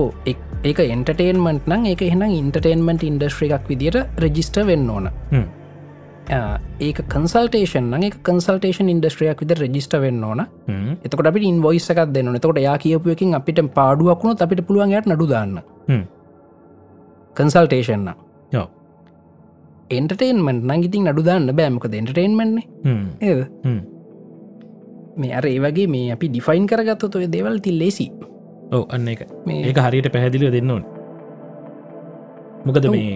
[SPEAKER 1] ඕ එක්- ඒක එන්ටර්ටේන්මට නම් එක එහෙනම් ඉන්ටර්ටේන්මට ඉන්ඩස්ට්‍රි එකක් විදිට රෙජිස්ට වෙන්න ඕන
[SPEAKER 2] හ්ම්.
[SPEAKER 1] ආ, ඒක කන්සල්ටේෂන් නම් එක කන්සල්ටේෂන් ඉන්ඩස්ට්‍රියක් විද රෙජිස්ට වෙන්න ඕන
[SPEAKER 2] හ්ම්.
[SPEAKER 1] එතකට අපි ඉන්වයිස්සකක් දෙන්න එතකොට යා කියපුයකින් අපිට පාඩුවක්ුණු අපිට පුළුවන් යට නඩු දාන්න
[SPEAKER 2] හ්ම්.
[SPEAKER 1] කන්සල්ටේෂන්න
[SPEAKER 2] ඔව්
[SPEAKER 1] එන්ටේන්මට නගිතින් නඩුදාන්න බෑමකද එන්ටේන්මන්නේ
[SPEAKER 2] හ්ම්.
[SPEAKER 1] ඒද
[SPEAKER 2] හ්ම්.
[SPEAKER 1] මේ අර ඒවගේ මේ අපි ඩිෆයින් කරගත්ත ඔය දෙවල් තිල් ලෙසි
[SPEAKER 2] ඔව අන්න එක
[SPEAKER 1] මේ-
[SPEAKER 2] ඒක හරියට පැහැදිලිව දෙන්න ඕන මොකද
[SPEAKER 1] ඔව්.
[SPEAKER 2] මේ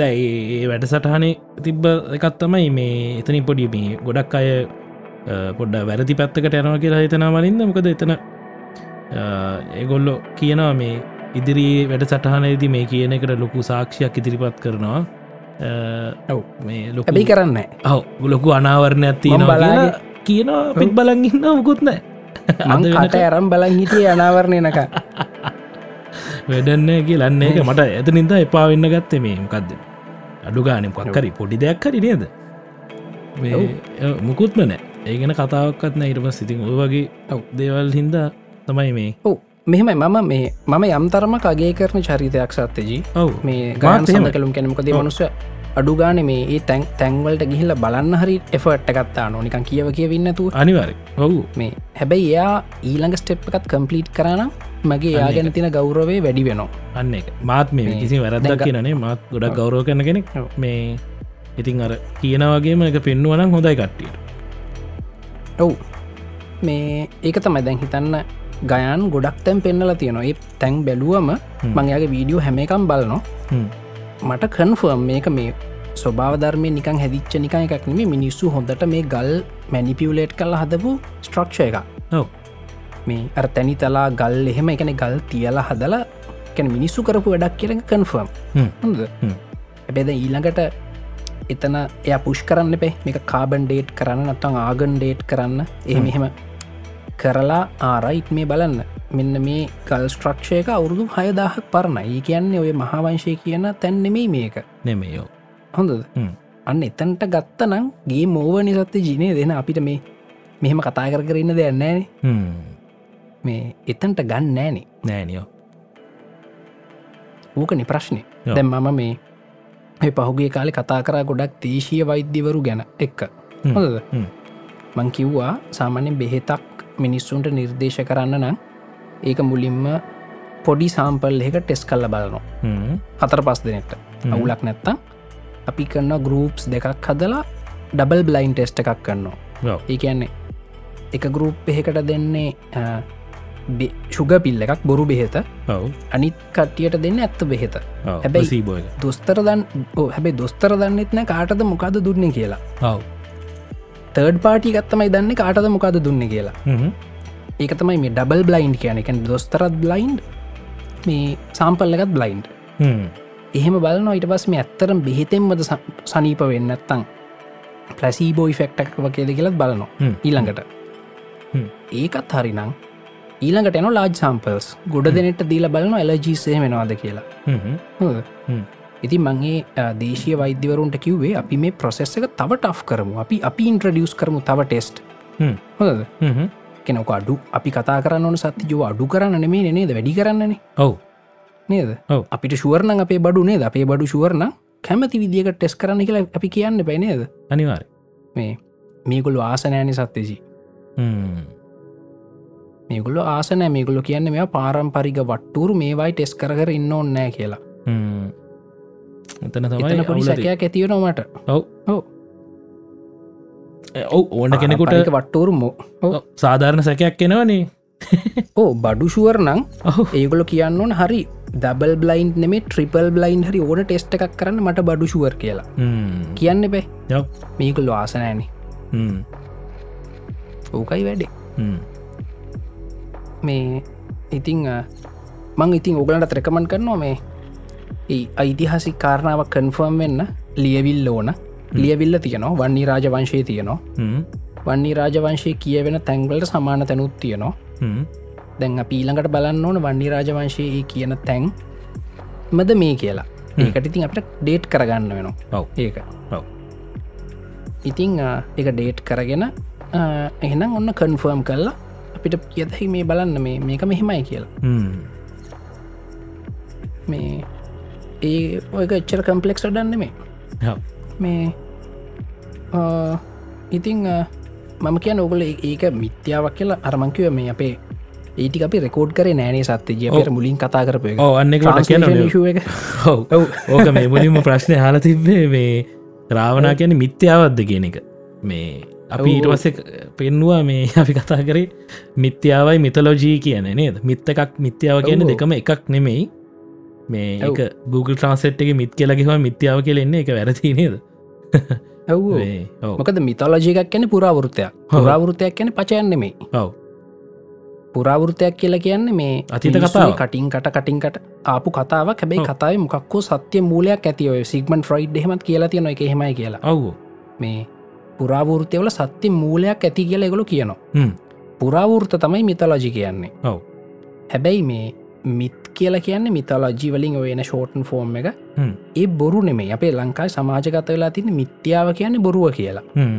[SPEAKER 2] දැයි ඒ වැඩ සටහනේ තිබ්බ එකත් තමයි මේ එතනි පොඩි මේ ගොඩක් අය අ, පොඩ්ඩ වැරදි පැත්තකට යනවා කියලා හිතනා වලින්ද මොකද එතන අ, ඒගොල්ලෝ කියනවා මේ ඉදිරි වැඩ සටහනයේද මේ කියන එකට ලොකු සාක්ෂයක් ඉදිරිපත් කරනවා
[SPEAKER 1] ඔව්.
[SPEAKER 2] ඇව් මේ ලොක
[SPEAKER 1] ඇබි කරන්න
[SPEAKER 2] ඔව ලොකු අනාවරණ ඇත්තිනවා
[SPEAKER 1] බලාගෙන-
[SPEAKER 2] කියනවා පිත් බලගන්න මුකුත් නෑ අද
[SPEAKER 1] මං
[SPEAKER 2] වෙනකම්.
[SPEAKER 1] කට ඇරම් බලන් හිටිය අනාවරණයනක
[SPEAKER 2] වැඩන්න කියලන්න එක මට ඇත නිද එපා වෙන්න ගත්තේ මේ මකක්ද අඩුගානම් පක්කරි පොඩි දෙයක් හරි නේද මේ
[SPEAKER 1] ඔව්.
[SPEAKER 2] ඔව්, මුකුත්ම නෑ ඒගෙන කතාවක්ත් නෑ ඉටම සිතින් ඔය වගේ ඔව්, දේවල් හින්දා තමයි මේ
[SPEAKER 1] ඔව් මෙහෙමයි මම මේ මම යම්තරම කගේ කරන චරිතයක් සත්්‍යජී
[SPEAKER 2] ඔව්
[SPEAKER 1] මේ
[SPEAKER 2] මාත්
[SPEAKER 1] ගාන
[SPEAKER 2] එහෙමයි.
[SPEAKER 1] සඳ කලුම් කැනමකද
[SPEAKER 2] ඔව්.
[SPEAKER 1] මනුස්ස අඩුගාන මේ ඒ තැන් තැන්වලට ගිහිල්ල බලන්න හරි එෆට් ගත්තා නොනිකන් කියව කියවෙන්නතු
[SPEAKER 2] අනිවාරය ඔවු
[SPEAKER 1] මේ හැබැයි එයා ඊළඟ ස්ටෙප් එකත් කම්පලීට් කරනම් මගේ යා
[SPEAKER 2] අන්න
[SPEAKER 1] ගැන තින ගෞරවේ වැඩි වෙනවා
[SPEAKER 2] අන්න එක මාත් මේ
[SPEAKER 1] මේ
[SPEAKER 2] කිසි වැරදක්
[SPEAKER 1] දැන් ග-
[SPEAKER 2] කියනේ මාත් ගොඩක්
[SPEAKER 1] ඔව්.
[SPEAKER 2] ගෞරෝ කරන කෙනෙක්
[SPEAKER 1] ඔව්.
[SPEAKER 2] මේ ඉතින් අර කියනවගේම එක පෙන්නුවනම් හොඳයි කට්ටියට
[SPEAKER 1] ඔව් මේ ඒක තමයි දැන් හිතන්න ගයන් ගොඩක් තැම් පෙන්නලා තියෙනවා ඒ තැන් බැලුවම
[SPEAKER 2] හ්ම්.
[SPEAKER 1] මංයාගේ වීඩියෝ හැම එකම් බලනවා
[SPEAKER 2] හ්ම්.
[SPEAKER 1] මට කන්ෆර්ම් මේක මේ ස්වභාවධර්මය නිකං හැදිච්ච නිකං එකක් නෙමේ මිනිස්සු හොඳට මේ ගල් මැනිපියුලේට් කල හදපු ස්ට්‍රක්ෂ එක
[SPEAKER 2] ඔව්.
[SPEAKER 1] මේ අර තැනි තලා ගල් එහෙම එකන ගල් තියලා හදලා කැන මිනිස්සු කරපු වැඩක් කියර කන්ෆර්ම්
[SPEAKER 2] හ්ම්.
[SPEAKER 1] හොඳ
[SPEAKER 2] හ්ම්.
[SPEAKER 1] ඇබැද ඊළඟට එතන එය පුෂ් කරන්න එපේ මේ කාබන් ඩේට් කරන්න නත්තං ආගන් ඩේට් කරන්න එහෙම එහෙම කරලා ආරයිට් මේ බලන්න මෙන්න මේ කල් ස්ට්‍රක්ෂයක අවුරුදු හයදාහක් පරණ ඒ කියන්නේ ඔය මහාවංශය කියන තැන්නෙමයි මේක
[SPEAKER 2] නෙමේ යෝ
[SPEAKER 1] හොඳද
[SPEAKER 2] හ්ම්.
[SPEAKER 1] අන්න එතන්ට ගත්ත නම් ගේ මෝවනි සත්‍ය ජීනය දෙන අපිට මේ මෙහෙම කතා කර කරන්න දෙන්නෑන මේ එතන්ට ගන්න නෑනේ
[SPEAKER 2] නෑනියෝ
[SPEAKER 1] ඌකනි ප්‍රශ්නය
[SPEAKER 2] ඔව්.
[SPEAKER 1] දැම් මම මේ ඒ පහුගේ කාලි කතා කරා ගොඩක් දේශීය වෛද්‍යවරු ගැන එක්ක
[SPEAKER 2] හ්ම්.
[SPEAKER 1] හොඳද
[SPEAKER 2] හ්ම්.
[SPEAKER 1] මං කිව්වා සාමාන්‍යෙන් බෙහෙතක් මිනිස්සුන්ට නිර්දේශ කරන්න නම් ඒක මුලින්ම පොඩි සාම්පල් එක ටෙස් කල්ල බලනවා
[SPEAKER 2] හ්ම්.
[SPEAKER 1] හතර පස් දෙනෙක්ට
[SPEAKER 2] හ්ම්.
[SPEAKER 1] අවුලක් නැත්තං අපි කරන්න ගරූප්ස් දෙකක් හදලා ඩබල් බ්ලයින් ටෙස්ට එකක්
[SPEAKER 2] ඔව්.
[SPEAKER 1] කරන්නවා ඒ කියන්නේ එක ගරුප් එහෙකට දෙන්නේ අ, බෙ- සුග පිල්ල එකක් බොරු බෙහෙත
[SPEAKER 2] ඔව්
[SPEAKER 1] අනිත් කට්ටියට දෙන්න ඇත්ත බෙහෙත හැබැයි-
[SPEAKER 2] සීබෝය
[SPEAKER 1] දොස්තර දන් ඕ හැබේ දොස්තර දන්නෙත් නෑ කාටද මොකද දුන්න කියලා
[SPEAKER 2] ඔව්
[SPEAKER 1] තර්ඩ් පාටි ගත්තමයි දන්න කාටද මොකද දුන්න කියලා
[SPEAKER 2] හ්ම්.
[SPEAKER 1] ඒක තමයි මේ ඩබල් බ්ලයින්් කියන එක දොස්තරත් බ්ලයින්් මේ සාම්පල්ලකත් බ්ලයින්්
[SPEAKER 2] හ්ම්.
[SPEAKER 1] එහෙම බලන ඊට පස් මේ ඇත්තරම් බෙහිතෙන්මද සනීප වෙන්න ඇත්තං පලැසිබෝයි ෆෙක්ටක් වගේද කියලත් බලනවා
[SPEAKER 2] හ්ම්.
[SPEAKER 1] ඊළඟට
[SPEAKER 2] හ්ම්.
[SPEAKER 1] ඒකත් හරිනම් ඊළඟට එන ලාජ් සම්පල්ස් ගොඩ දෙනෙට දීල බලන එලජීසේ වෙනවාද කියලා
[SPEAKER 2] හ්ම්.
[SPEAKER 1] හොඳ?
[SPEAKER 2] හ්ම්.
[SPEAKER 1] ඉති මගේ දේශය වෛද්‍යවරුන්ට කිව්වේ අපි මේ ප්‍රොසෙස් එක තව ට් කරමු අපි අපි ඉන්ට්‍රඩියස් කරමු තව ටෙස්ට්
[SPEAKER 2] හ්ම්.
[SPEAKER 1] හොද
[SPEAKER 2] හ්ම්.
[SPEAKER 1] කෙනක අඩු අපි කතා කරන්න ඕන සතතිජෝ අඩු කරන්න මේ නේද වැඩි කරන්නන
[SPEAKER 2] ඔව්
[SPEAKER 1] නේද
[SPEAKER 2] ඔව්.
[SPEAKER 1] අපිට ශුවරණ අපේ බඩු නේද අපේ බඩු ශුවරණ කැමති විදිියක ටෙස් කරන්න කියලා අපි කියන්න පැනේද
[SPEAKER 2] අනිවාර්
[SPEAKER 1] මේකුල් ආසනෑනි සත්්‍යසි
[SPEAKER 2] Mm-hmm.
[SPEAKER 1] මේකුල ආසනෑ මේකුල කියන්න මෙ පාරම්පරික වට්ටුරු මේවයි ටෙස් කර ඉන්න ඕන්නෑ කියලා
[SPEAKER 2] Mm-hmm. එතන
[SPEAKER 1] එතන
[SPEAKER 2] තමයි
[SPEAKER 1] පොඩි
[SPEAKER 2] අවුල තියෙන්නේ.
[SPEAKER 1] සැකයක් ඇතිවනොමට
[SPEAKER 2] Eh, ඔව් ඕන කෙනෙකුට
[SPEAKER 1] වට්ටුරු මෝ
[SPEAKER 2] ඔව්, සාධාරණ සැකයක් කෙනවනේ
[SPEAKER 1] ඕ බඩු ශුවරණං
[SPEAKER 2] ඔහු
[SPEAKER 1] ඒගොල කියන්න ඕන හරි දබල් බ්ලයින්් නෙමේ ට්‍රිපල් බ්ලයින් හරි ඕන ටෙස්ට එකක් කරන්න මට බඩු ශුවර් කියලා
[SPEAKER 2] Mm-hmm.
[SPEAKER 1] කියන්න බෑ
[SPEAKER 2] යව්.
[SPEAKER 1] මේකුල්ල ආසනෑන
[SPEAKER 2] Mm-hmm.
[SPEAKER 1] ඕකයි වැඩේ මේ ඉතිං අ, මං ඉතින් ඕගලන්ට ත්‍රකමන් කරනවා මේ ඒ අයිතිහාසි කාරණාව කන්ෆර්ම් වෙන්න ලියවිල් ඕන ලියවිල්ල තියනවා වන්නේ රාජවංශය තියනවා වන්නේ රාජවංශය කියවෙන තැන්වලට සමාන තැනුත් තියනවා
[SPEAKER 2] Mm-hmm.
[SPEAKER 1] දැන් අප ඊළඟට බලන්න ඕන වන්නේ රාජවංශයේ කියන තැන් මද මේ කියලා ඒකට ඉතින් අපට ඩේට් කරගන්න වෙනවා
[SPEAKER 2] ඔව්.
[SPEAKER 1] ඒක
[SPEAKER 2] ඔව්.
[SPEAKER 1] ඉතිං අ, ඒක ඩේට් කරගෙන අ, එහෙනම් ඔන්න කන්ෆර්ම් කරලා අපිට කියදහි මේ බලන්න මේ මේක මෙහෙමයි කියලා
[SPEAKER 2] Mm-hmm.
[SPEAKER 1] මේ ඒ ඔයක එච්චර කම්පලෙක්ස් ඩන්න මේ මේ අ, ඉතිං අ, මම කිය නොගල ඒක මිත්‍යාවක් කියලා අරමංකිව මේ අපේ ඒටි අපි රෙකෝඩ් කරේ නෑනේ සත්්‍යජය පෙර මුලින් කතා කරපය
[SPEAKER 2] ඕ Oh, අන්න කට කියන ඔව්
[SPEAKER 1] ඔව්.
[SPEAKER 2] ඕක මේ මුලින්ම ප්‍රශ්නය හල තිබ්බේ මේ රාවනා කියන මිත්‍යාවද්ද කියන එක මේ අපි ඉටවස පෙන්වා මේ අපි කතා කරේ මිත්‍යාවයි මිතලෝජී කියන නේද මිත් එකක් මිත්‍යාව කියන
[SPEAKER 1] ඔව්.
[SPEAKER 2] දෙකම එකක් නෙමෙයි මේ
[SPEAKER 1] ඔව්.
[SPEAKER 2] එක Google ට්‍රන්සෙට් එක මිත් කියලගෙව මිත්‍යාව කියලෙන්නේ එක වැරදි නේද
[SPEAKER 1] ඇව්
[SPEAKER 2] මේ, ඔව්
[SPEAKER 1] මොකද මිතලජයකක් කියන පුරාවෘතයක් පුරාවෘතයක් කියන පචයන්නෙමේ
[SPEAKER 2] ඔව්
[SPEAKER 1] පුරාවෘතයක් කියලා කියන්නේ මේ
[SPEAKER 2] අතීත
[SPEAKER 1] මිනිස්සුගේ
[SPEAKER 2] කතාවක්.
[SPEAKER 1] කටින් කට කටින්කට ආපු කතාවක් හැබැයි
[SPEAKER 2] ඔව්.
[SPEAKER 1] කතාව මොක්කෝ සත්‍ය මූලයක් ඇති ඔය සිගමන් ෆ්‍රයිඩ් එහෙමත් කියලා තියෙන එක එහෙමයි කියලා
[SPEAKER 2] ඔව්
[SPEAKER 1] මේ පුරාවෘතයවල සත්‍ය මූලයක් ඇති කියලා එකගොලු කියනවා
[SPEAKER 2] හ්ම්.
[SPEAKER 1] පුරාවෘත තමයි මිතලජි කියන්නේ
[SPEAKER 2] ඔව්.
[SPEAKER 1] හැබැයි මේ මිත් කියලා කියන්නේ මිතලජී වලින් ඔයන ෂෝටන් ෆෝර්ම් එක
[SPEAKER 2] හ්ම්.
[SPEAKER 1] ඒ බොරු නෙමේ අපේ ලංකායි සමාජගත වෙලා තින මිත්‍යාව කියන්නේ බොරුව කියලා
[SPEAKER 2] හ්ම්.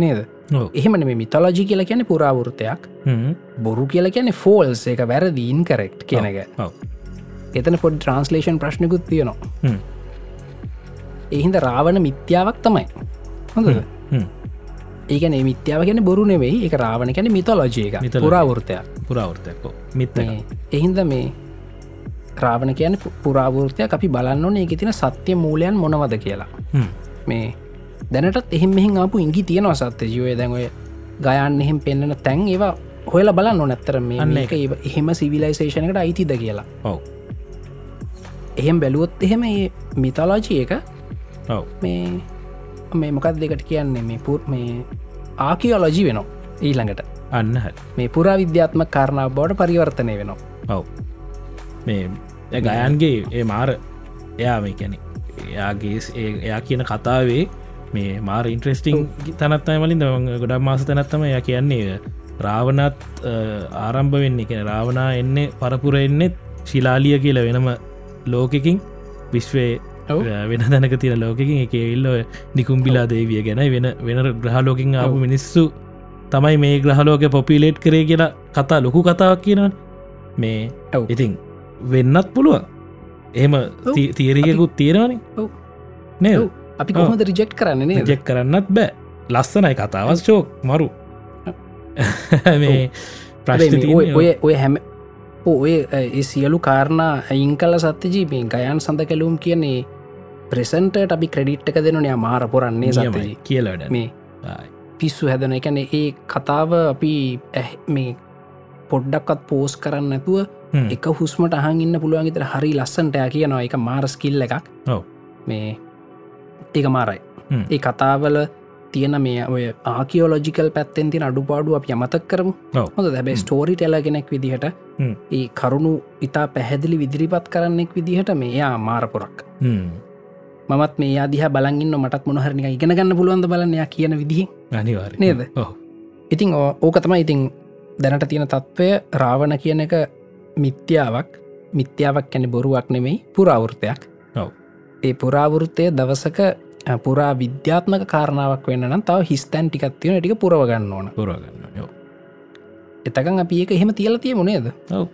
[SPEAKER 1] නේද
[SPEAKER 2] ඔව්.
[SPEAKER 1] එහෙම මේ මිතලජි කියලා කියන්නේ පුරාවෘතයක්
[SPEAKER 2] හ්ම්.
[SPEAKER 1] බොරු කියල කියන ෆෝල්ස් එක වැරදිීන් කරෙක්් කියන එක
[SPEAKER 2] ඔව්.
[SPEAKER 1] එතන පොඩ් ට්‍රන්ස්ලේෂන් ප්‍රශ්නකුත් තියෙනවා
[SPEAKER 2] හ්ම්.
[SPEAKER 1] එහින්ද රාවණ මිත්‍යාවක් තමයි හොඳ
[SPEAKER 2] හ්ම්.
[SPEAKER 1] ඒකන මිත්‍යාව කියෙන බොරු නෙවෙයි එක රාවණ කැන මිතලෝජය එක
[SPEAKER 2] Mythology.
[SPEAKER 1] පුරාවෘතයක්
[SPEAKER 2] පුරාවෘතයක්කෝ මිත් එක.
[SPEAKER 1] මේ එහින්ද මේ රාවණ කියන පුරාවෘතයක් අපි බලන්න ඕන එක තින සත්‍ය මූලයන් මොනවද කියලා
[SPEAKER 2] හ්ම්.
[SPEAKER 1] මේ දැනටත් එහෙම මෙහි ආපු ඉංගි තියෙනවා සත්‍ය ජීවය දැන්ඔය ගයන්න එහෙම පෙන්න්නන තැන් ඒවා හොල බලන්න නොනැත්තර මේ
[SPEAKER 2] අන්න
[SPEAKER 1] මේක ඒ එහෙම සිවිලයිසේෂනකට අයිතිද කියලා
[SPEAKER 2] ඔව්.
[SPEAKER 1] එහෙම බැලුවොත් එහෙම ඒ මිතලාජී එක
[SPEAKER 2] ඔව්.
[SPEAKER 1] මේ මේ මොකක් දෙකට කියන්නේ මේ පුර මේ ආකියෝලජී වෙනවා ඊළඟට
[SPEAKER 2] අන්න හරි
[SPEAKER 1] මේ පුරා විද්‍යාත්ම කාරණාව බවට පරිවර්තනය වෙනවා
[SPEAKER 2] ඔව් මේ ඒ ගයන්ගේ ඒ මාර එයා මේ කැනෙ එයාගේ ස්- ඒ- එයා කියන කතාවේ මේ මාර ඉන්ට්‍රෙස්ටිං තනත්තයි වලින් දව ගොඩක් මාස තැනත්තම එය කියන්නේ රාවනත් අ, ආරම්භ වෙන්නේ කියෙන රාවනා එන්න පරපුර එන්නෙත් ශිලාලිය කියල වෙනම ලෝකකින් විශ්වය
[SPEAKER 1] ඔව්.
[SPEAKER 2] වෙන දැනක තින ලෝකකින් එක එල්ල නිකුම්බිලා දේවිය ගැන වෙන වෙන ග්‍රහලෝකින් ආපු මිනිස්සු තමයි මේ ග්‍රහලෝක පොපිලේට් කරේ කියලා කතා ලොකු කතාවක් කියනවා මේ
[SPEAKER 1] ඔව්.
[SPEAKER 2] ඉතින් වෙන්නත් පුළුවන් එහෙම තී- තීරයකුත් තියෙනවානේ
[SPEAKER 1] ඔව්.
[SPEAKER 2] නේද
[SPEAKER 1] ඔව්. අපි
[SPEAKER 2] ඔව්.
[SPEAKER 1] කොහොමද රිජෙක්් කරන්න නේද
[SPEAKER 2] ජෙක් කරන්නත් බෑ ලස්සනයි කතාවත් ශෝක් මරු මේ ප්‍රශ්න
[SPEAKER 1] හැබැයි මේ ඔය- ඔය ඔය හැම ඔ- ඔය අ, ඒ සියලු කාරණා අයින් කල සත්‍යජීපෙන් ගයන් සඳ කැලුම් කියන්නේ ප්‍රසන්ට අපි ක්‍රඩිට් එක දෙනනය මාර පොරන්නේ සතජී
[SPEAKER 2] කියලට
[SPEAKER 1] මේ පිස්සු හැදන එකැන ඒ කතාව අපි ඇහ- මේ පොඩ්ඩක්වත් පෝස් කරන්න නැතුව
[SPEAKER 2] හ්ම්.
[SPEAKER 1] එක හුස්මට අහන් ඉන්න පුළුවන්ගේතර හරි ලස්සන්ටය කියනවා එක මාරස්කිල්ල එකක්
[SPEAKER 2] ඔව්.
[SPEAKER 1] මේ ඒක මාරයි
[SPEAKER 2] හ්ම්.
[SPEAKER 1] ඒ කතාවල තියන මේ ඔය ආකියෝලෝජිකල් පැත්තෙන් තින අඩුපාඩු අප යමතක් කරමු
[SPEAKER 2] ඔව්.
[SPEAKER 1] හොඳ දැබැයි ස්ටෝරි ටෙලගෙනෙක් විදිහට
[SPEAKER 2] හ්ම්.
[SPEAKER 1] ඒ කරුණු ඉතා පැහැදිලි විදිරිපත් කරන්නෙක් විදිහට මේයා මාරපොරක් මත් මේ අදිහ බලගන්න මටත් මොහරනික ඉගෙනගන්න පුළුවන්ද බලන්නයා කියන විදිහ
[SPEAKER 2] අනිවාර
[SPEAKER 1] නේද? ඉතිං ඕ- ඕක තමයි ඉතිං දැනට තියෙන තත්ත්වය රාවණ කියන එක මිත්‍යාවක් මිත්‍යාවක් කැන බොරුවක් නෙමෙයි පුරාවෘතයක්
[SPEAKER 2] ඔව්.
[SPEAKER 1] ඒ පුරාවෘත්තය දවසක අ, පුරා විද්‍යාත්මක කාරණාවක් වෙන්න නම් තව හිස්තැන් ටිකත්තියන ටික පුරවගන්න ඕන
[SPEAKER 2] පුරගන්න
[SPEAKER 1] එතකන් අපි ඒක එහෙම තියල තියමු නේද
[SPEAKER 2] ඔව්.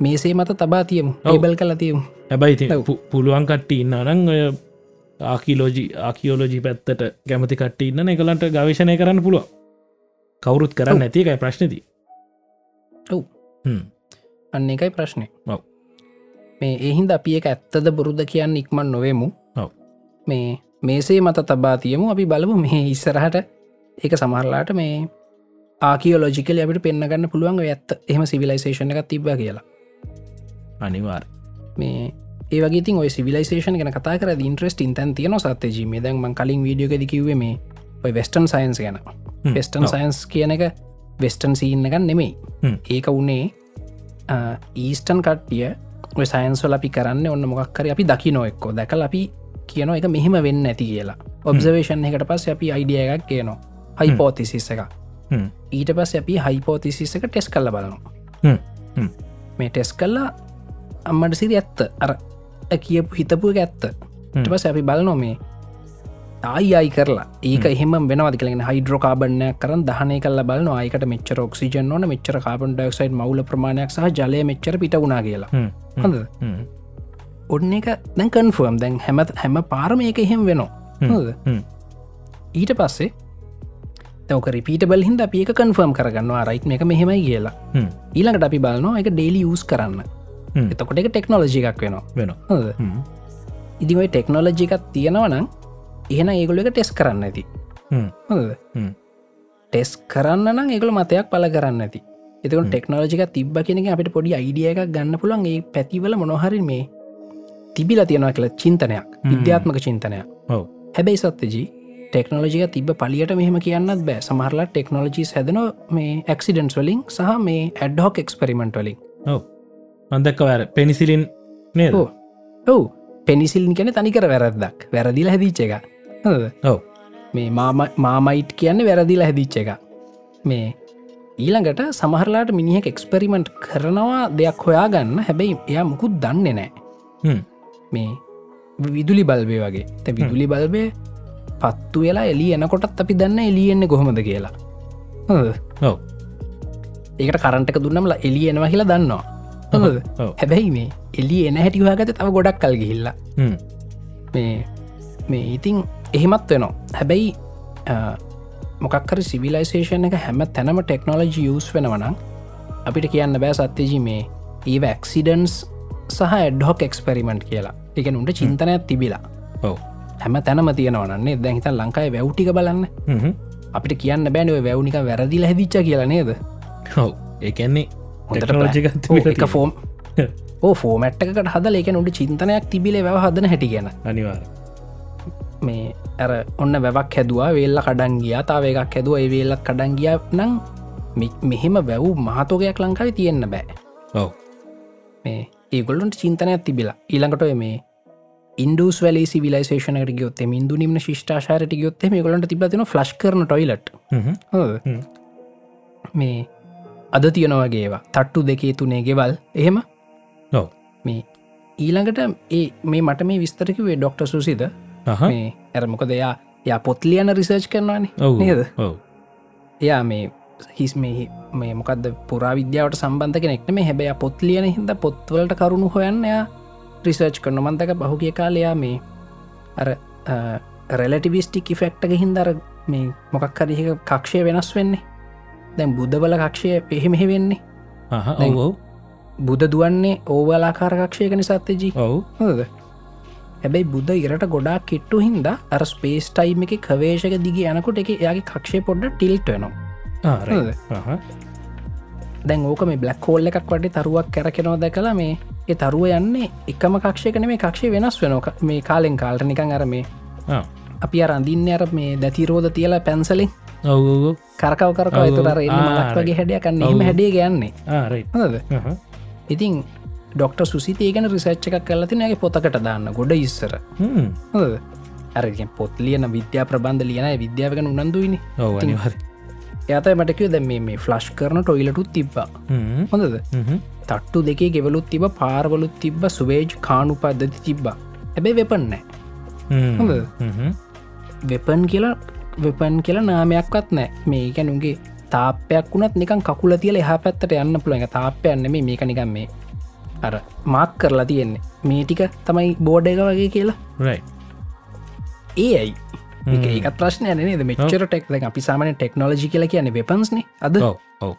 [SPEAKER 1] මේසේ මත තබා තියමු
[SPEAKER 2] ඔව්.
[SPEAKER 1] ඒබල් කල තියමු
[SPEAKER 2] හැබයි ඉතින්
[SPEAKER 1] ඔව්.
[SPEAKER 2] පු- පුළුවන් කට්ටි ඉන්න අනං ඔය ආකිලෝජි ආකියෝලෝජි පැත්තට කැමති කට්ටි ඉන්න එකලන්ට ගවේශණය කරන්න පුළුව කවුරුත් කරන්න
[SPEAKER 1] ඔව්.
[SPEAKER 2] ඇතිකයි ප්‍රශ්නති
[SPEAKER 1] ඔව්. අන්න එකයි ප්‍රශ්නය
[SPEAKER 2] ඔව්.
[SPEAKER 1] මේ එහින්ද අපි එක ඇත්තද බුරුද කියන්න ඉක්මන් නොවමු
[SPEAKER 2] ඔව්.
[SPEAKER 1] මේ මේසේ මත තබා තියමු අපි බලමු මේ ඉස්සරහට ඒක සමහරලාට මේ ආකියෝලෝජිකල අපිට පෙන්න්නගන්න පුළුවන් ඔය ඇත්ත එහම සිවිලයිසේෂන එක තිබ කියලා
[SPEAKER 2] අනිවාර්
[SPEAKER 1] මේ ඒවගේ ඔය සිවිලේෂන ගැන කතා කර ඉන්ට්‍රෙස්ට ඉන්තන් තියෙන සත්තජීම දැන්ම කලින් වීඩියෝ දිකිවේ මේ ඔය වෙස්ටන් සයින්ස් ගැන වෙස්ටන් සයින්ස් කියන එක වෙස්ටන් සීන්න එකන් නෙමෙයි
[SPEAKER 2] හ්ම්.
[SPEAKER 1] ඒක උනේ ඊස්ටන් කට්ටිය ඔය සයින්ස්වල අපි කරන්න ඔන්න මොක්කර අපි දකි නොෙක්කෝ දැකල අපි කියන එක මෙහෙම වෙන්න ඇති කියලා ඔබ්සවේෂන් එකට පස් අපි අයිඩිය එකක් කියනවා හයිපෝතිසිස් එක
[SPEAKER 2] හ්ම්.
[SPEAKER 1] ඊට පස් අපි හයිපෝතිසිස් එක ටෙස් කල්ල බලනවා
[SPEAKER 2] හ්ම්. හ්ම්.
[SPEAKER 1] මේ ටෙස් කල්ලා අම්මට සිරි ඇත්ත අර ඇ කියපු හිතපු එක ඇත්ත ට පස අපි බලනො මේ ආයි අයි කරලා ඒක එහෙම වෙනවද කලෙන හයිඩ්‍රෝකාබනය කරන් දහනය කල බලන අයකට මෙච්චර ක්සිජන් ඕන මෙච්චර කාබන් ඩක්සයිඩ් මවල ප්‍රමාණයක් සහ ජලය මෙච්චර පිට වුණා කියලා හඳ ඔන්න එක දැන් කන්ෆර්ම් දැන් හැමත් හැම පාරම ඒක එහෙම වෙනවා හොඳද?
[SPEAKER 2] හ්ම්.
[SPEAKER 1] ඊට පස්සේ තැක රිපීට බලහින්ද අපඒක කන්ෆර්ම් කරගන්නවා රයිට් එක මෙහෙමයි කියලා
[SPEAKER 2] හ්ම්.
[SPEAKER 1] ඊළඟට අපි බලනවා එක ඩේලි යස් කරන්න
[SPEAKER 2] හ්ම්.
[SPEAKER 1] එතකොට එක ටෙක්නෝලජි එකක් වෙනවා
[SPEAKER 2] වෙන
[SPEAKER 1] හොඳද? ඉදිමයි ටෙක්නෝලජි එකක් තියෙනවනම් එහෙන ඒගොල එක ටෙස් කරන්න ඇති
[SPEAKER 2] හ්ම්,
[SPEAKER 1] හොඳද
[SPEAKER 2] හ්ම්.
[SPEAKER 1] ටෙස් කරන්න නම් එකල මතයක් පල කරන්න ඇති එතක ටෙක්නෝජික තිබ්බ කෙනෙක අපිට පොඩි අයිඩිය එකක් ගන්න පුළන් ඒ පැතිවල මොනොහරි මේ තිබිල තියෙනවා කියලා චින්තනයක්
[SPEAKER 2] හ්ම්.
[SPEAKER 1] විද්‍යාත්මක චින්තනයක්
[SPEAKER 2] ඔව්.
[SPEAKER 1] හැබැයි සත්තජී ටෙක්නෝජික තිබ පලියට මෙහම කියන්නත් බෑ සමහරලා ටෙක්නෝජී හැදන මේ ඇක්සිඩන්ස් වලින් සහ මේ ඇඩ්හොක් එක්ස්පෙරිමෙන්ට් වලින්
[SPEAKER 2] ඔව් මන්දක්ක වැර පෙනිසිලින් නේද
[SPEAKER 1] ඔව්. ඔවු පෙනිසිල්න් කැන තනිකර වැරද්දක් වැරදිල හැදිච්ච එක හොඳද?
[SPEAKER 2] ඔව්
[SPEAKER 1] මේ මාම- මාමයිට් කියන්න වැරදිලා හැදිච්ච එක මේ ඊළඟට සමහරලාට මිනිහෙක් එක්ස්පෙරිමෙන්ට් කරනවා දෙයක් හොයා ගන්න හැබැයි එයා මුකුත් දන්නේ නෑ
[SPEAKER 2] හ්ම්,
[SPEAKER 1] මේ විදුලි බල්බය වගේ තැ විදුලි බල්බය පත්තු වෙලා එලි එනකොටත් අපි දන්න එලියෙන්නේ කොහොමද කියලා හොඳද?
[SPEAKER 2] ඔව්
[SPEAKER 1] ඒකට කරන්ටක දුන්නම්ලා එලි එනවා කියලා දන්නවා හොඳද?
[SPEAKER 2] ඔව්.
[SPEAKER 1] හැබැයි මේ එලි එන හැටිවාගත තව ගොඩක් කල් ගිහිල්ලා
[SPEAKER 2] හ්ම්,
[SPEAKER 1] මේ මේ ඉතින් එහෙමත් වෙනවා හැබැයි මොකක්කර සිවිලයිසේෂන් එක හැම තැනම ටෙක්නෝලජි යස් වෙනවනම් අපිට කියන්න බෑ සත්‍යජී මේ ඒ වැක්සිඩන්ස් සහ එඩ්හොක් එක්ස්පෙරිමෙන්ට් කියලා එක උන්ට චින්තනයක් තිබිලා
[SPEAKER 2] ඔව්
[SPEAKER 1] හැම තැනම තියෙනවන්නේ දැහිත ලංකායි වැව්ටික බලන්න
[SPEAKER 2] හ්ම්, හ්ම්.
[SPEAKER 1] අපිට කියන්න බෑනව වැව්නික වැරදිල හැදිච්ච කියලා නේද
[SPEAKER 2] ඔව් ඒකන්නේ
[SPEAKER 1] හොඳට
[SPEAKER 2] ටෙක්නෝජික
[SPEAKER 1] plan. ඔව්, එක ෆෝම් ඕ ෆෝමට්කට හදල එක උට චින්තනයක් තිබිලේ වැව හදන හැටි ගැන
[SPEAKER 2] අනිවාර
[SPEAKER 1] මේ ඇර ඔන්න වැවක් හැදවා වෙල්ල කඩන් ගියා තාව එකක් හැදුව ඒ වෙල්ලත් කඩන් ගිය නම් මෙ- මෙහෙම වැැව් මහතෝකයක් ලංකාව තියෙන්න්න බෑ
[SPEAKER 2] ඔව්
[SPEAKER 1] මේ ඒගොල්ලන්ට චින්තනයක් තිබිලා ඊළඟට ඔය මේ ඉන්ඩස් වල සිවිලේෂනට ගොත් මින්දු නිම ශිෂ්ාරයට ගොත් මේ ගොලට තිබතින ෆ්ලස් කරන ටොයිලට
[SPEAKER 2] හ්ම්, හ්ම්. හ්ම්.
[SPEAKER 1] මේ අද තියෙනවගේවා තට්ටු දෙකේ තුනේ ගෙවල් එහෙම
[SPEAKER 2] ඔව්
[SPEAKER 1] මේ ඊළඟට ඒ මේ මට මේ විස්තරකිවේ ඩොක්ට සුසිද
[SPEAKER 2] අහා.
[SPEAKER 1] මේ ඇරමොක දෙයා ය පොත්ලියන රිසර්ච් කරනවානේ
[SPEAKER 2] ඔව්
[SPEAKER 1] නේද
[SPEAKER 2] ඔව්
[SPEAKER 1] එයා මේ හිස් මේ මේ මොකක්ද පුරාවිද්‍යාවට සම්බන්ධ කෙනෙක්න මේ හැබැ පොත් ලියන හිද පොත්වලට කරුණු හොයන්න එයා රිසර්ච් කරන මන්තක බහුගිය කාලයා මේ අර රෙලටිවිස්ටික් ෆෙක්ටක හින්දර මේ මොකක් හරික කක්ෂය වෙනස් වෙන්නේ දැන් බුද්ධවල කක්ෂය පෙහෙමෙහි වෙන්නේ
[SPEAKER 2] අහ
[SPEAKER 1] දැන්-
[SPEAKER 2] ඔව් ඔව්
[SPEAKER 1] බුද දුවන්නේ ඕවලාකාරකක්ෂයකන සත්්‍යජී
[SPEAKER 2] ඔව්
[SPEAKER 1] හොද හැබැයි බුද්ධ ඉරට ගොඩා කිට්ටු හින්ද අර ස්පේස් ටයිම් එක කවේශක දිග යනකොට එක එයාගේ කක්ෂය පොඩ්ඩ ටිල්ට් වෙනවා
[SPEAKER 2] ආ, right.
[SPEAKER 1] හොඳද?
[SPEAKER 2] අහ.
[SPEAKER 1] දැන් ඕක මේ බ්ලක් හෝල් එකක් වටේ තරුවක් කැරකෙනවා දැකලා මේ ඒ තරුව යන්නේ එකම කක්ෂයකන මේ කක්ෂය වෙනස් වෙන මේ කාලෙන් කාල්ට නිකං අර මේ
[SPEAKER 2] ආ.
[SPEAKER 1] අපි අරඳින්න අර මේ දැතිරෝධ තියලා පැන්සලින්
[SPEAKER 2] ඔව් ඔව් ඔව්
[SPEAKER 1] කරකව කරකව
[SPEAKER 2] ඔව්.
[SPEAKER 1] තුර එන්න
[SPEAKER 2] ආ,
[SPEAKER 1] මලක් වගේ
[SPEAKER 2] right.
[SPEAKER 1] හැඩියකන්න එහම
[SPEAKER 2] ඔව්.
[SPEAKER 1] හැඩේ ගන්නේ
[SPEAKER 2] ආ, right.
[SPEAKER 1] හොද
[SPEAKER 2] අහ.
[SPEAKER 1] ඉතින් ඩොක්ට සුසිතේගෙන රිසච්ච එකක් කලති නගේ පොතකට දාන්න ගොඩ ඉස්සර
[SPEAKER 2] හ්ම්.
[SPEAKER 1] හොද අරගෙන් පොත් ලියන විද්‍යා ප්‍රබන්ධ ලියන විද්‍යාවකන උනන්දුවනි
[SPEAKER 2] ඔව් අනිවාර
[SPEAKER 1] යත මටකව දැ මේ ෆ්ලස්් කරන ටොයිලටුත් තිබ්බා හොඳද තට්ටු දෙකේ ගෙවලුත් තිබ පාර්වලුත් තිබ්බ සුවේජ් කානු පද්ධති තිබ්බා ඇබැයි වෙපන්නෑ හොඳද? වෙපන් කියලා වෙපන් කියලා නාමයක්වත් නෑ මේකැනුගේ තාපයක් වුණත් නිකන් කකුල තියල එහ පැත්තට යන්න පුළුවන් එක තාපයන්න මේ මේක නිකම් මේ අර මාක් කරලා තියෙන්නේ මේ ටික තමයි බෝඩ එක වගේ කියලා
[SPEAKER 2] රයි
[SPEAKER 1] ඒ ඇයි ඒක- ඒක ප්‍රශ්නය නේද මෙච්චර ටෙක් දැන් අපි සාමන ටෙක්නෝජි කියලා කියන්නේ වෙපන්ස්න අද
[SPEAKER 2] ඔව් ඔව්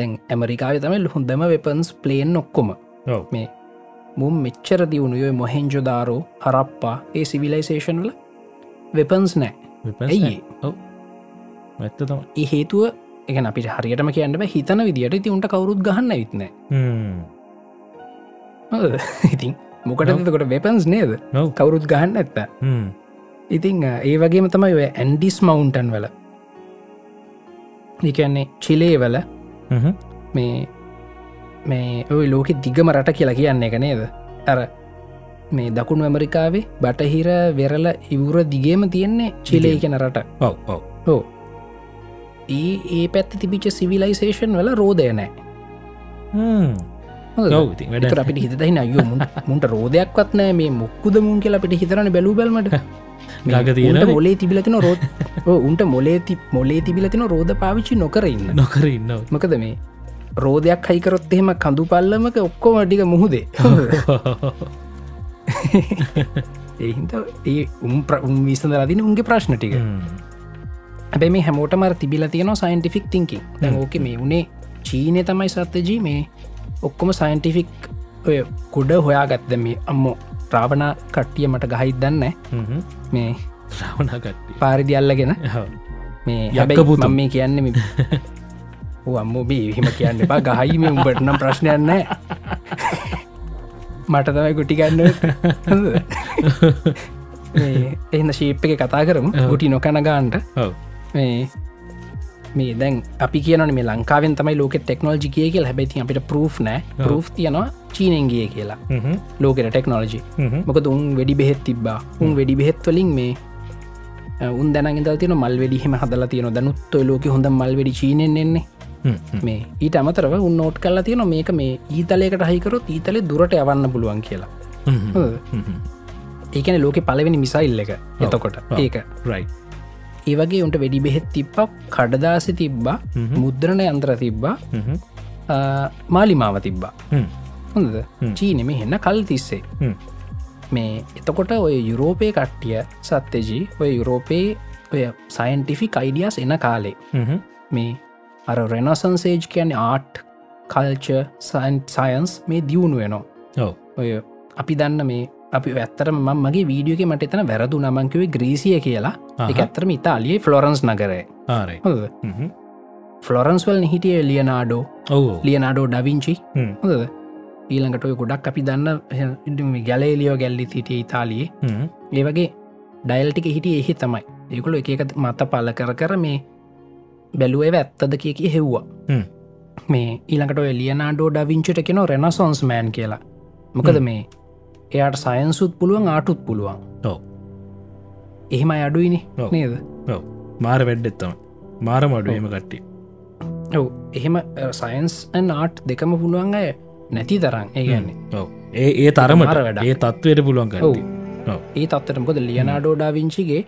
[SPEAKER 1] දැන් ඇමරිකාව තමයි හොඳම වෙපන්ස් ප්ලේන් ඔක්කොම
[SPEAKER 2] ඔව්
[SPEAKER 1] මේ මුම් මෙච්චර දියුණුයෝ මොහෙන්ජොදාරෝ හරප්පා ඒ සිවිලයිසේෂන් වල වෙපන්ස් නෑ
[SPEAKER 2] විපස්සනා.
[SPEAKER 1] ඇයි ඒ?
[SPEAKER 2] ඔව් ඇත්ත තම
[SPEAKER 1] ඒ හේතුව එක අපිට හරියටම කියන්නට හිතන විදිට ඉති උන්ට කවරුත් ගහන්න විත්නෑ ඉතින් මොකටකොට වෙපන්ස් නේද
[SPEAKER 2] ඔව්
[SPEAKER 1] කවරුත් ගහන්න ඇත්ත
[SPEAKER 2] හ්ම්.
[SPEAKER 1] ඉතිං ඒ වගේම තමයි ඔය ඇන්ඩිස් මවුන්ටන් වල ඒන්නේ චිලේ වල
[SPEAKER 2] හ්ම්.
[SPEAKER 1] මේ මේ ඔය ලෝකෙ දිගම රට කියලා කියන්න එක නේද ඇර මේ දකුණු ඇමරිකාවේ බටහිර වෙරල ඉවුර දිගේම තියෙන්නේ චිලේ කෙන රට
[SPEAKER 2] ඔව් ඔව්
[SPEAKER 1] හෝ ඒ ඒ පැත්ති තිබිච සිවිලයිසේෂන් වල රෝධය නෑ
[SPEAKER 2] හ්ම්.
[SPEAKER 1] හොඳද?
[SPEAKER 2] ඔව් ඉතින් වැඩ
[SPEAKER 1] ඒතර අපිට හිතයි අයෝ මුන්ට රෝධයක්වත් නෑ මේ මුක්කුද මුන් කියලා අපිට හිතරන බැලූ බැල්මට මේ
[SPEAKER 2] ළඟ තියෙනනේ.
[SPEAKER 1] උන්ට මොලේ තිබිලතින රෝධ උන්ට මොලේ ති- මොලේ තිබිලතින රෝධ පාවිච්චි නොකරඉන්න
[SPEAKER 2] නොකර ඉන්නව
[SPEAKER 1] මොකද මේ රෝධයක් හයිකරොත් එහෙම කඳු පල්ලමක ඔක්කෝ මටික මුහුදේ එහින්ද ඒ උම් ප්‍ර- උන් විසඳ රදින උන්ගේ ප්‍රශ්න ටික ඇැබැ මේ හැමෝට මර තිබිල තියෙන සයින්ටිෆික් තිංකින් දැන් ඕක මේ උනේ චීනය තමයි සත්‍යජී මේ ඔක්කොම සයින්ටිෆික් ඔය කුඩ හොයාගත්ද මේ අම්මෝ ප්‍රාවණ කට්ටිය මට ගහිත් දන්න මේ
[SPEAKER 2] ශ්‍රාවනා කට්ටිය
[SPEAKER 1] පාරිදි අල්ලගෙන මේ
[SPEAKER 2] යක්ක
[SPEAKER 1] හැබැයි
[SPEAKER 2] පුතුන්.
[SPEAKER 1] මම මේ කියන්නේ මේ- ඌ අම්මෝ බේ එහෙම කියන්න එපා ගහයි මේ උඹට නම් ප්‍රශ්නයන්න මට තමයි ගුටිගන්න එන්න ශීප් එක කතා කරම
[SPEAKER 2] ඔව්.
[SPEAKER 1] ගුටි නොකැන ගාන්ට
[SPEAKER 2] ඔව
[SPEAKER 1] මේ මේ දැන් අපි කියන මේ ලංකාවෙන් තමයි ලෝක ටෙක්නෝජි කිය කියල හැබැති අපිට ප්‍රූ් නෑ ප්‍රූ් තියනවා චීනෙන්ගිය කියලා ලෝකෙට ටෙක්නෝජි මොකද උන් වැඩි බෙහෙත් තිබ්බා උන් වැඩි බෙහෙත්වලින් මේ අ, උන් දැනග තින මල් වැඩිහම හදලා තියෙන දැනුත් ඔය ලෝක හොඳ මල් වැඩි චීනෙන් එන්නේ මේ ඊට අමතරව උන් නෝට් කල්ලා තියෙන මේක මේ ඊතලයකට හහිකරොත් ඊතලේ දුරට යවන්න පුළුවන් කියලා හ්ම්. ඒකන ලෝක පලවෙනි මිසයිල් එක එතකොට ඒක
[SPEAKER 2] රයි
[SPEAKER 1] ඒවගේ උන්ට වැඩි බෙහෙත් තිබ්බා කඩදාසි තිබ්බා මුද්‍රණ යන්ත්‍ර තිබ්බා අ, මාලිමාව තිබ්බා හොඳද චීනෙම හෙන්න කල් තිස්සේ මේ එතකොට ඔය යුරෝපය කට්ටිය සත්‍යජී ඔය යුරෝපයේ ඔය සයින්ටිෆික් අයිඩියස් එන කාලේ මේ අර රෙනසන්සේජ් කියන ආට් කල්ච සයින්් සයින්ස් මේ දියුණු වෙනවා
[SPEAKER 2] ඔව
[SPEAKER 1] ඔය අපි දන්න මේ අපි ඇත්තරම මං මගේ වීඩියෝක මට එතන වැරදු නමංකිවේ ග්‍රීසිය කියලා එක
[SPEAKER 2] අහහ.
[SPEAKER 1] ඇත්තරම ඉතාලියේ ෆලොරන්ස් නගරය
[SPEAKER 2] ආරයි
[SPEAKER 1] හොඳ ෆලොරන්ස්වල් හිටිය ලියනාඩෝ
[SPEAKER 2] ඔවෝ
[SPEAKER 1] ලියනාඩෝ ඩවිංචි
[SPEAKER 2] හ්ම්.
[SPEAKER 1] හොඳ ඊළඟට ඔය ගොඩක් අපි දන්න ඉඩම ගැලේලියෝ ගැල්ලි හිටිය ඉතාලියේ
[SPEAKER 2] හ්ම්.
[SPEAKER 1] ඒ වගේ ඩයිල්ටික හිටිය එහි තමයි ඒකුල එක එක මත පල කර කර මේ බැලුවේ ඇත්තද කිය කිය හෙව්වා
[SPEAKER 2] හ්ම්.
[SPEAKER 1] මේ ඊළඟට ඔය ලියනාඩෝ ඩවිංචට කෙන රෙනසොන්ස් මෑන් කියලා මොකද මේ එයාට සයන්සුත් පුළුවන් ආටුත් පුළුවන්
[SPEAKER 2] ඔව්.
[SPEAKER 1] එහෙම අඩුයිනි
[SPEAKER 2] ඔව්.
[SPEAKER 1] නේද
[SPEAKER 2] ඔව්. මාර වැඩ්ඩෙත්තම මාර මඩුවම කට්ටි
[SPEAKER 1] ඔව එහෙම සයින්ස් ආට් දෙකම පුළුවන් අය නැති තරම් ඒ කියන්නේ
[SPEAKER 2] ඔව ඒ ඒ තරමට
[SPEAKER 1] මාර වැඩක්.
[SPEAKER 2] ඒ තත්වයට පුළුවන් කට්ටි ඔව්.
[SPEAKER 1] ඒ තත්තට මොද ලියනාඩෝඩා විංචිගේ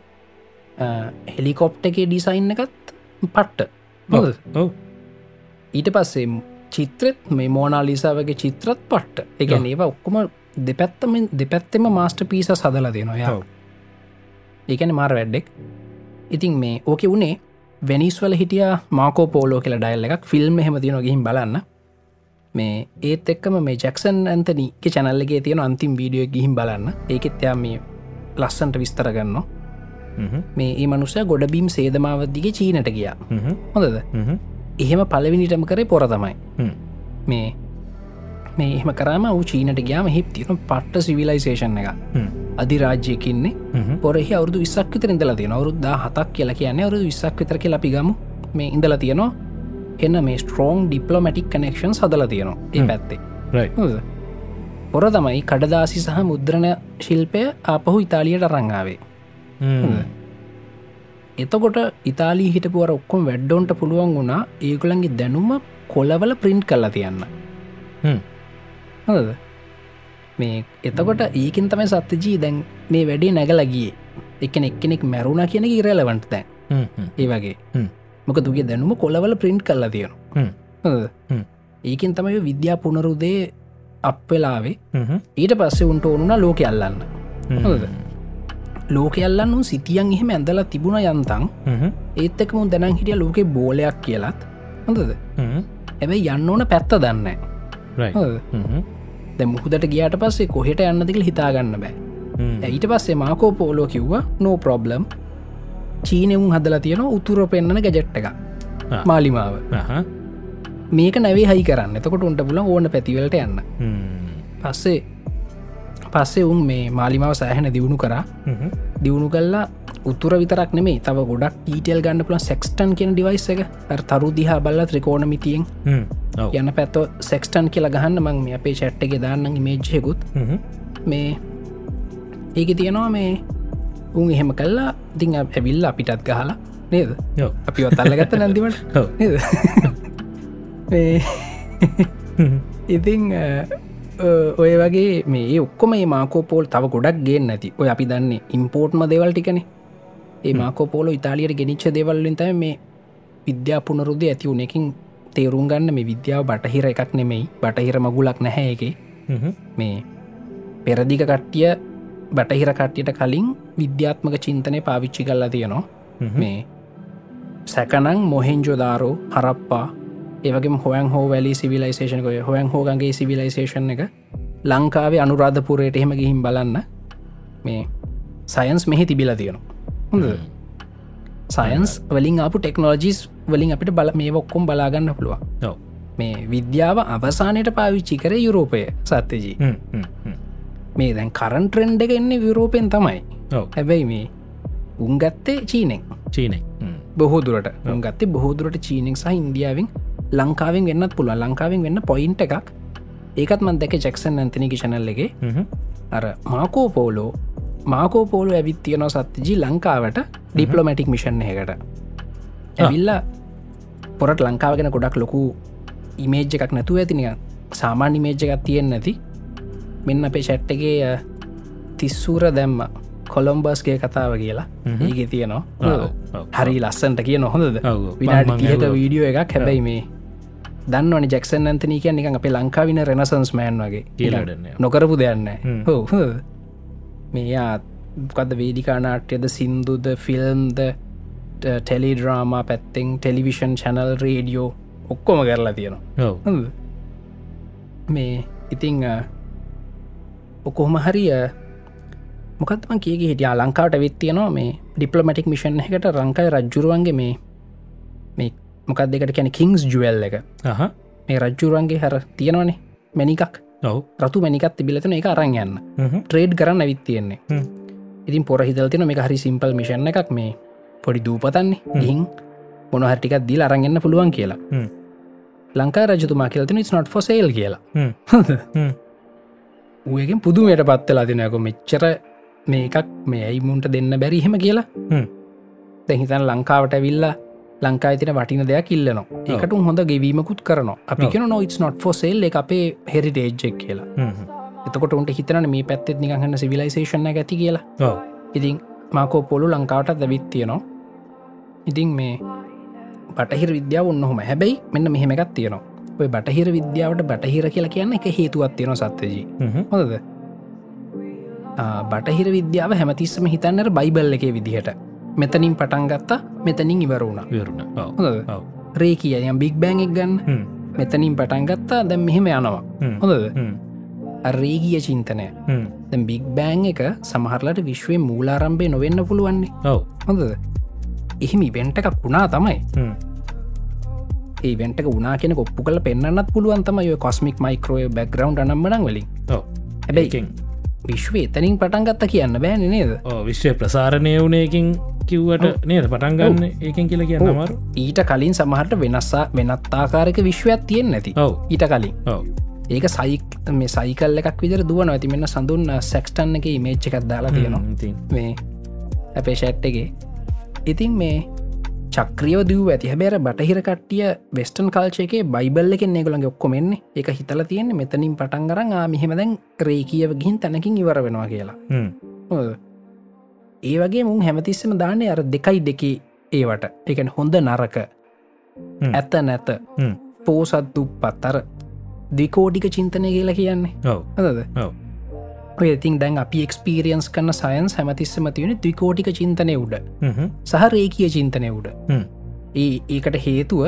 [SPEAKER 1] හෙලිකොප්ට එකේ ඩිසයින් එකත් පට්ට මොකද?
[SPEAKER 2] ඔව
[SPEAKER 1] ඊට පස්සේ චිත්‍රත් මේ මෝනාලිසාාවගේ චිත්‍රත් පට්ට එකැන ඒවා ඔක්කොම දෙපැත්තම දෙපැත්තෙම මාස්ට පිස සදල දෙනවා
[SPEAKER 2] ඔව්.
[SPEAKER 1] ඒකන මාර වැඩ්ඩෙක් ඉතින් මේ ඕක වුණේ වෙනිස්වල හිටිය මාකෝ පෝලෝ කියලා ඩයිල් එකක් ෆිල්ම් හෙමතින ගහිම් බලන්න මේ ඒත් එක්කම මේ ජැක්සන් ඇන්තනීක චැනල්ලගේ තියෙන අන්තිම් වීඩියෝ ගිහිම් බලන්න ඒකෙත්තයා මේ ලස්සන්ට විස්තරගන්න
[SPEAKER 2] හ්ම්.
[SPEAKER 1] මේ ඒ මනුස්සය ගොඩබීම් සේදමාවදදිගේ චීනට ගියා
[SPEAKER 2] හ්ම්.
[SPEAKER 1] හොඳද
[SPEAKER 2] හ්ම්.
[SPEAKER 1] එහෙම පලවිනිටම කරේ පොර තමයි
[SPEAKER 2] හ්ම්.
[SPEAKER 1] මේ මේ එහම කරම වූ චීනට ගයාම හිප් තියන පට්ට සිවිලයිසේෂන් එක
[SPEAKER 2] හ්ම්.
[SPEAKER 1] අධිරාජ්‍යයකින්නේ
[SPEAKER 2] හ්ම්.
[SPEAKER 1] පොරෙහි අවුදු විස්සක් විතර ඉඳලා තියෙන අවරුද්ද හතක් කියලා කියන්නේ අවරුදු විස්සක් විතරක ලපිගම මේ ඉඳලා තියෙනවා එන්න මේ ස්ට්‍රෝන් ඩිප්ලොමටික් කනෙක්ෂන් සදල තියෙනවා ඒ
[SPEAKER 2] හ්ම්.
[SPEAKER 1] පැත්තේ
[SPEAKER 2] රයි
[SPEAKER 1] හොඳද? පොර තමයි කඩදාසි සහ මුද්‍රණ ශිල්පය ආපහු ඉතාලියට රංගාවේ
[SPEAKER 2] හ්ම්.
[SPEAKER 1] එතකොට ඉතාලී හිටපුුවර ඔක්කොම් වැඩ්ඩෝන්ට පුළුවන් වුණා ඒකුළන්ගේ දැනුම කොලවල ප්‍රින්ට් කල්ලා තියන්න
[SPEAKER 2] හ්ම්.
[SPEAKER 1] හොඳද? මේ එතකොට ඒකින් තමයි සත්‍යජී දැන් මේ වැඩේ නැගලගිය එකන එක්කෙනෙක් මැරුණ කියන ඉරලවන්ට දැන්
[SPEAKER 2] හ්ම්. හ්ම්.
[SPEAKER 1] ඒ වගේ
[SPEAKER 2] හ්ම්.
[SPEAKER 1] මොක දුගේ දැනුම කොලවල ප්‍රින්ට් කල්ලා
[SPEAKER 2] හ්ම්.
[SPEAKER 1] තියනු
[SPEAKER 2] හ්ම්.
[SPEAKER 1] ඒකින් තමයි විද්‍යා පුනරුදේ අප්වෙලාවේ
[SPEAKER 2] හ්ම්.
[SPEAKER 1] ඊට පස්සේ උන්ට ඕනුනා ලෝක අල්ලන්න
[SPEAKER 2] හ්ම්.
[SPEAKER 1] හොඳද? ලෝක අල්ලන්න උන් සිතියන් එහෙම ඇඳලා තිබුණ යන්තන්
[SPEAKER 2] හ්ම්.
[SPEAKER 1] ඒත් එකම උන් දැනන් හිටිය ලෝකේ බෝලයක් කියලත් හොඳද
[SPEAKER 2] හ්ම්.
[SPEAKER 1] ඇැබයි යන්න ඕන පැත්ත දන්න
[SPEAKER 2] රයි හ්ම්.
[SPEAKER 1] දැ මුහදට ගියාට පස්සේ කොහෙට යන්නදික හිතාගන්න බෑ
[SPEAKER 2] හ්ම්.
[SPEAKER 1] ඇයිට පස්සේ මාකෝ පෝලෝ කිව්වා නෝ ප්‍රොබ්ලම් චීනවුන් හදලා තියෙන උතුර පෙන්න්නන ගැජට් එක මාලිමාව
[SPEAKER 2] අහා.
[SPEAKER 1] මේක නැවේ හයි කරන්න එතකොට උන්ට පුල ඕන පැතිවලට යන්න
[SPEAKER 2] හ්ම්.
[SPEAKER 1] පස්සේ පස්සේ උන් මේ මාලිමාව සෑහැන දියුණු කරා
[SPEAKER 2] හ්ම්.
[SPEAKER 1] දියුණු කල්ලා උතුර විතරක් නෙමේ තව ගොඩක් ටීටල් ගන්න පුලන් සෙක්ස්ටන් කියෙන ඩිවයිස එක අර තරු දිහා බල්ල ත්‍රිකෝණමිතියෙන්
[SPEAKER 2] හ්ම්. ඔව්.
[SPEAKER 1] යන පැත්ත සෙක්ස්ටන් කියලා ගහන්න මං මේ අපේ චැට්ට එක දාන්න මේජ්යකුත්
[SPEAKER 2] හ්ම්.
[SPEAKER 1] මේ ඒක තියෙනවා මේ උන් එහෙම කල්ලා දිං ඇවිල්ල අපිටත් ගහලා නේද
[SPEAKER 2] ඔව්.
[SPEAKER 1] අපි අතල්ලගත්ත නැතිවට
[SPEAKER 2] ඔව්.
[SPEAKER 1] නේද මේ
[SPEAKER 2] හ්ම්.
[SPEAKER 1] ඉතිං ඔය වගේ මේ ඔක්කොම මේ මාකෝපෝල් තව ගොඩක් ගේ නැති ඔය අපි දන්නේ ඉම්පෝර්ට්ම දෙවල් ටිකනේ ඒ මාකෝපෝල ඉතාලියට ගෙනනිච්ච දෙවල්ලින් තම මේ විද්‍යාපුනරුද්ධ ඇති වුණකින් තේරුම් ගන්න මේ විද්‍යාව බටහිර එකක් නෙමෙයි බටහිර මගුලක් නැහැ එක
[SPEAKER 2] හ්ම්.
[SPEAKER 1] මේ පෙරදික කට්ටිය බටහිර කට්ටියට කලින් විද්‍යාත්මක චින්තනය පාවිච්චි කල්ලා තියනවා
[SPEAKER 2] හ්ම්.
[SPEAKER 1] මේ සැකනං මොහෙන්ජෝදාරෝ හරප්පා ඒවගේ හොයන් හෝ වැලි සිවිලයිසේෂනකොය හොයන් හෝගන්ගේ සිවිලයිසේෂන් එක ලංකාවේ අනුරාධපුරයට එහෙම ගිහිම් බලන්න මේ සයන්ස් මෙහි තිබිලා තියෙනවා හොඳ සයින්ස් වලින් අපපු ටෙක්නෝජිස් වලින් අපිට බල මේ ඔක්කොම් බලාගන්න පුළුවන්
[SPEAKER 2] ඔව්.
[SPEAKER 1] මේ විද්‍යාව අවසානයට පාවිච්චි කර යුරෝපය සත්‍යජී
[SPEAKER 2] හ්ම්, හ්ම්, හ්ම්.
[SPEAKER 1] මේ දැන් කරන් ට්‍රෙන්ඩ් එක එන්නේ යුරෝපෙන් තමයි
[SPEAKER 2] ඔව්
[SPEAKER 1] හැබැයි මේ උන්ගත්තේ චීනෙක්
[SPEAKER 2] චීනෙ
[SPEAKER 1] බොහෝ දුරට උන්ගත්තේ බොහෝදුරට චීනෙක් සහ ඉන්දියාවෙන් ලංකාවෙන් වෙන්නත් පුළුව ලංකාවෙන් වෙන්න පොයින්ට එකක් ඒකත් මන්දක ජෙක්සන් ඇන්තනිකි චනල්ලගේ අර මාකෝපෝලෝ මාකෝපෝලෝ ඇවිත් තියනො සත්තිජී ලංකාවට ඩිපලොමැටික් මිෂන් එකට ඇවිල්ලා පොරට ලංකාවගෙන ගොඩක් ලොකු ඉමේජ් එකක් නැතුව ඇතිනය සාමාන්‍ය ඉමේජ් එකක් තියෙන් නැති මෙන්න අපේ ෂැට්ටගේ තිස්සූර දැම්ම කොළොම්බස්ගේ කතාව කියලා
[SPEAKER 2] හ්ම්.
[SPEAKER 1] ඒගේ තියනවා හරි ලස්සන්ට කිය නොහොඳද විනාට කියත වීඩියෝ එකක් හැබැයි මේ දන්නවන ජෙක්සන් ඇතනී කිය නික අපේ ලංකාවින රෙනසන්ස් මෑන් වගේ
[SPEAKER 2] කියලාටන්න
[SPEAKER 1] නොකරපු දෙයන්න
[SPEAKER 2] හ්ම්.
[SPEAKER 1] හෝ මේයා කද වේදිකානාට්‍යයද සින්දුද ෆිල්ම්ද ටෙලිඩ්‍රාමා පැත්තෙන් ටෙලිවිෂන් චැනල් රේඩියෝ ඔක්කොම කරලා තියෙනවා
[SPEAKER 2] ඔව්
[SPEAKER 1] හොඳද? මේ ඉතිං ඔකොහොම හරිය මොකත්ම කිය හිටියා ලංකාට විත්තියනවා මේ ඩිපලමටික් මිෂන් එකට රංකායි රජ්ජුරුවන්ගේ මේ මේ මොකක් දෙකට කැන කිංස් ජුවල් එක
[SPEAKER 2] අහ
[SPEAKER 1] මේ රජ්ජුරුවන්ගේ හැර තියෙනවනේ මැනිකක්
[SPEAKER 2] ඔව්
[SPEAKER 1] රතු මැනිකත් තිබිලතන එක අරං යන්න
[SPEAKER 2] හ්ම්,
[SPEAKER 1] ට්‍රේඩ් කරන්න ඇවිත් තියෙන්නේ
[SPEAKER 2] හ්ම්.
[SPEAKER 1] ඉතින් පොර හිදල්තින මේ හරි සිම්පල් මිෂණ එකක් මේ පොඩි දූපතන්නේ ගිහින් මොන හටිකක් දිල් අරගන්න පුළුවන් කියලා
[SPEAKER 2] හ්ම්.
[SPEAKER 1] ලංකා රජතුමා කියලතින ස්නොට් ෆොසේල් කියලා
[SPEAKER 2] හ්ම්. හ්ම්.
[SPEAKER 1] ඌයකින් පුදුමයට පත්වෙලා තිනයක මෙච්චර මේ එකක් මේ ඇයි මුන්ට දෙන්න බැරිහෙම කියලා
[SPEAKER 2] හ්ම්.
[SPEAKER 1] තැහිතන් ලංකාවට විල්ලා ලංකා තින වටින දෙයක් ඉල්ලනවා ඒකට උන් හොඳ ගෙවීමකුත් කරනවා අපි
[SPEAKER 2] ඔව්.
[SPEAKER 1] කෙන නොයිස් නොට් ෆොසේල් එක අපේ හෙරිටේජ්ජෙක් කියලා
[SPEAKER 2] හ්ම්, හ්ම්.
[SPEAKER 1] එතකොට උන්ට හිතන මේ පැත්තෙත් නිගහන්න සිවිලයිසේෂණ ඇති කියලා
[SPEAKER 2] ඔව්
[SPEAKER 1] ඉතින් මාකෝ පොලු ලංකාවට දැවිත් තියෙනවා ඉතින් මේ බටහිර විද්‍යාව ඔන්නොහොම හැබැයි මෙන්න මෙහෙම එකක් තියෙනවා ඔය බටහිර විද්‍යාවට බටහිර කියලා කියන්න එක හේතුවත් තියෙන සත්්‍යජී
[SPEAKER 2] හ්ම්, හ්ම්.
[SPEAKER 1] හොඳද ආ, බටහිර විද්‍යාව හැමතිස්සම හිතන්නට බයිබල් එකේ විදිහට මෙතනින් පටන් ගත්තා මෙතනින් ඉවරුණ
[SPEAKER 2] විවරුණ ඔව්
[SPEAKER 1] හොඳද
[SPEAKER 2] ඔව්
[SPEAKER 1] රේ කියයම් බික් බෑන් එක් ගන්න
[SPEAKER 2] හ්ම්,
[SPEAKER 1] මෙතනින් පටන් ගත්තා දැම් මෙහෙම යනවා
[SPEAKER 2] හ්ම්,
[SPEAKER 1] හොඳද
[SPEAKER 2] හ්ම්,
[SPEAKER 1] රේගිය චින්තනය
[SPEAKER 2] හ්ම්.
[SPEAKER 1] දැ බික් බෑන් එක සමහරලට විශ්වය මූලාරම්භය නොවෙන්න පුළුවන්නේ
[SPEAKER 2] ඔව්
[SPEAKER 1] හොඳද එහෙම ඉවෙන්ට එකක් වුණා තමයි
[SPEAKER 2] හ්ම්,
[SPEAKER 1] ඒ වෙන්ට වනා කියෙන කොප්පු කල පෙන්න්නත් පුළුවන් තමයි ඔය කොස්මික් මයිකරෝය බැග්‍රවන්් අනම්මනං වලින්
[SPEAKER 2] ඔව්
[SPEAKER 1] හැබැයි
[SPEAKER 2] ඒකෙන්
[SPEAKER 1] විශ්ව එතනින් පටන් ගත්ත කියන්න බෑන නේද
[SPEAKER 2] ඔව්, විශ්වය ප්‍රසාරණය වුණයකින් කිව්වට නේද පටන් ගන්න ඒකෙන් කියලා කියන්න
[SPEAKER 1] ඔව්.
[SPEAKER 2] අමාරු
[SPEAKER 1] ඊට කලින් සමහට වෙනස්සා වෙනත් ආකාරක විශ්වයක් තියෙන් නැති
[SPEAKER 2] ඔව්
[SPEAKER 1] ඊට කලින්
[SPEAKER 2] ඔව්
[SPEAKER 1] ඒක සයික් මේ සයිකල් එකක් විදර දුව නොඇති මෙන්න සඳුන් uh, සැක්ස්ටන් එක මේච්ච එකක් දාලා තියෙනවා
[SPEAKER 2] හ්ම්, ඉතින්
[SPEAKER 1] මේ අපේ ෂැට්ටගේ ඉතින් මේ චක්‍රියව දව ඇති හැබැර බටහිර කට්ටිය වෙස්ටන් කාල්චයක බයිබල්ල එකෙන් ඒගොළඟ ඔක්කොමෙන්නේ එක හිතල තියෙන මෙතනින් පටන් ගරන් ආමිහෙමදැන් රේ කියව ගිහින් තැනකින් ඉවර වෙනවා කියලා
[SPEAKER 2] හ්ම්,
[SPEAKER 1] හොඳද? ඒ වගේ මුන් හැමතිස්සම දාන්නේ අර දෙකයි දෙකේ ඒවට එකන හොඳ නරක
[SPEAKER 2] හ්ම්.
[SPEAKER 1] ඇත නැත
[SPEAKER 2] හ්ම්.
[SPEAKER 1] පෝසත් දුප්පත් අර දෙකෝඩික චින්තනය කියලා කියන්නේ
[SPEAKER 2] ඔව්
[SPEAKER 1] හද
[SPEAKER 2] ඔව්.
[SPEAKER 1] ඔය ඉතින් දැන් අපි එක්ස්පිරියන්ස් කන්න සයන්ස් හැමතිස්සම තියුණ ත්‍රිකෝටික චින්තනය උඩ
[SPEAKER 2] හ්ම්, හ්ම්.
[SPEAKER 1] සහ රේකිය චින්තනය උඩ
[SPEAKER 2] හ්ම්.
[SPEAKER 1] ඒ ඒකට හේතුව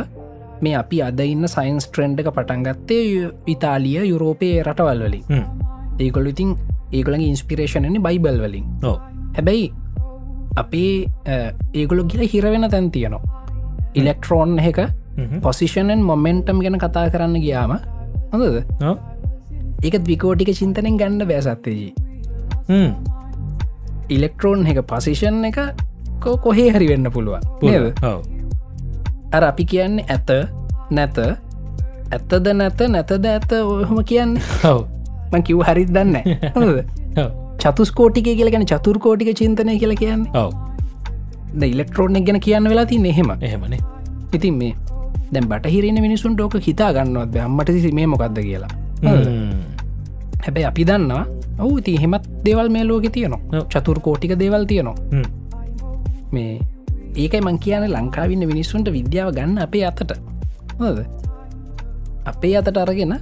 [SPEAKER 1] මේ අපි අද ඉන්න සයින්ස් ට්‍රෙන්ඩ් එක පටන්ගත්තේ යු- ඉතාලිය යුරෝපය රටවල් වලින්
[SPEAKER 2] හ්ම්.
[SPEAKER 1] ඒකොල් ඉතින් ඒගොළඟ ඉන්ස්පිරේෂණන බයිබල් වලින්
[SPEAKER 2] ඔව්
[SPEAKER 1] හැබැයි අපේ ඒගොලො ගිල හිරවෙන තැන් තියනවා ඉලෙක්ට්‍රෝන් එක
[SPEAKER 2] හ්ම්, හ්ම්.
[SPEAKER 1] පොසිෂණන් මොමෙන්ටම් ගැන කතා කරන්න ගියාම හොඳද
[SPEAKER 2] ඔව්.
[SPEAKER 1] ඒක ද්විකෝටික චින්තනෙන් ගන්න බෑසත්තේජී
[SPEAKER 2] හ්ම්.
[SPEAKER 1] ඉලෙක්ට්‍රෝන් එක පසිෂන් එක කෝ කොහේ හරි වෙන්න පුළුවන්
[SPEAKER 2] පුළුවන්.
[SPEAKER 1] නේද?
[SPEAKER 2] ඔව්
[SPEAKER 1] අර අපි කියන්නේ ඇත නැත ඇත්තද නැත නැතද ඇත ඔහොම කියන්න
[SPEAKER 2] ඔව්
[SPEAKER 1] ම කිව් හරිත් දන්න
[SPEAKER 2] ඔව්
[SPEAKER 1] චතුස්කෝටික කියලගෙන චතුර්කෝටික චින්තනය කියලා කියන්න
[SPEAKER 2] ඔව්
[SPEAKER 1] ද ඉලෙක්ට්‍රෝන් එක ගැන කියන්න වෙලා තින් එහෙම
[SPEAKER 2] එහෙමනේ
[SPEAKER 1] ඉතින් මේ දැම් බටහිරෙන මිනිසුන් ටෝක හිතා ගන්නවත් අම්මට සි මේ මොකක්ද කියලා හොඳද?
[SPEAKER 2] හ්ම්.
[SPEAKER 1] හැබැයි අපි දන්නවා ඔවු ති හෙමත් දෙවල් මේ ලෝක තියනවා
[SPEAKER 2] ඔව්.
[SPEAKER 1] චතුර්කෝටික දේවල් තියනවා
[SPEAKER 2] හ්ම්.
[SPEAKER 1] මේ ඒකයි මං කියන ලංකාවින්න මිනිස්සුන්ට විද්‍යාව ගන්න අපේ අතට හොද අපේ අතට අරගෙන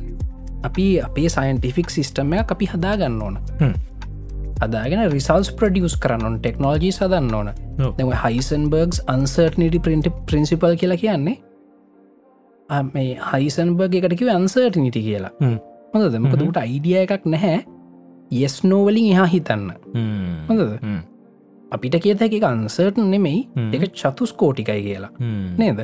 [SPEAKER 1] අපි අපේ සයින්ටිෆික් සිිස්ටමයක් අපි හදාගන්න ඕන
[SPEAKER 2] හ්ම්.
[SPEAKER 1] අදාගෙන රිසල්ස් ප්‍රඩියස් කරන්නන් ටෙක්නෝජී සදන්න ඕන
[SPEAKER 2] ඔව්.
[SPEAKER 1] දැව හයිසන්බර්ගස් අන්සර්ටනිටි පින්ට ප්‍රින්සිපල් කියලා කියන්නේ ආ, මේ හයිසන්බර්ග එකටකිව අන්සර්ටනිටි කියලා
[SPEAKER 2] හ්ම්.
[SPEAKER 1] හොඳද
[SPEAKER 2] හ්ම්.
[SPEAKER 1] මක ට අයිඩිය එකක් නැහැ යෙස් නෝවලින් එහා හිතන්න
[SPEAKER 2] හ්ම්.
[SPEAKER 1] හොඳද?
[SPEAKER 2] හ්ම්.
[SPEAKER 1] අපිට කියත හැකි අන්සර්ට නෙමෙයි එක චතුස් කෝටිකයි කියලා නේද?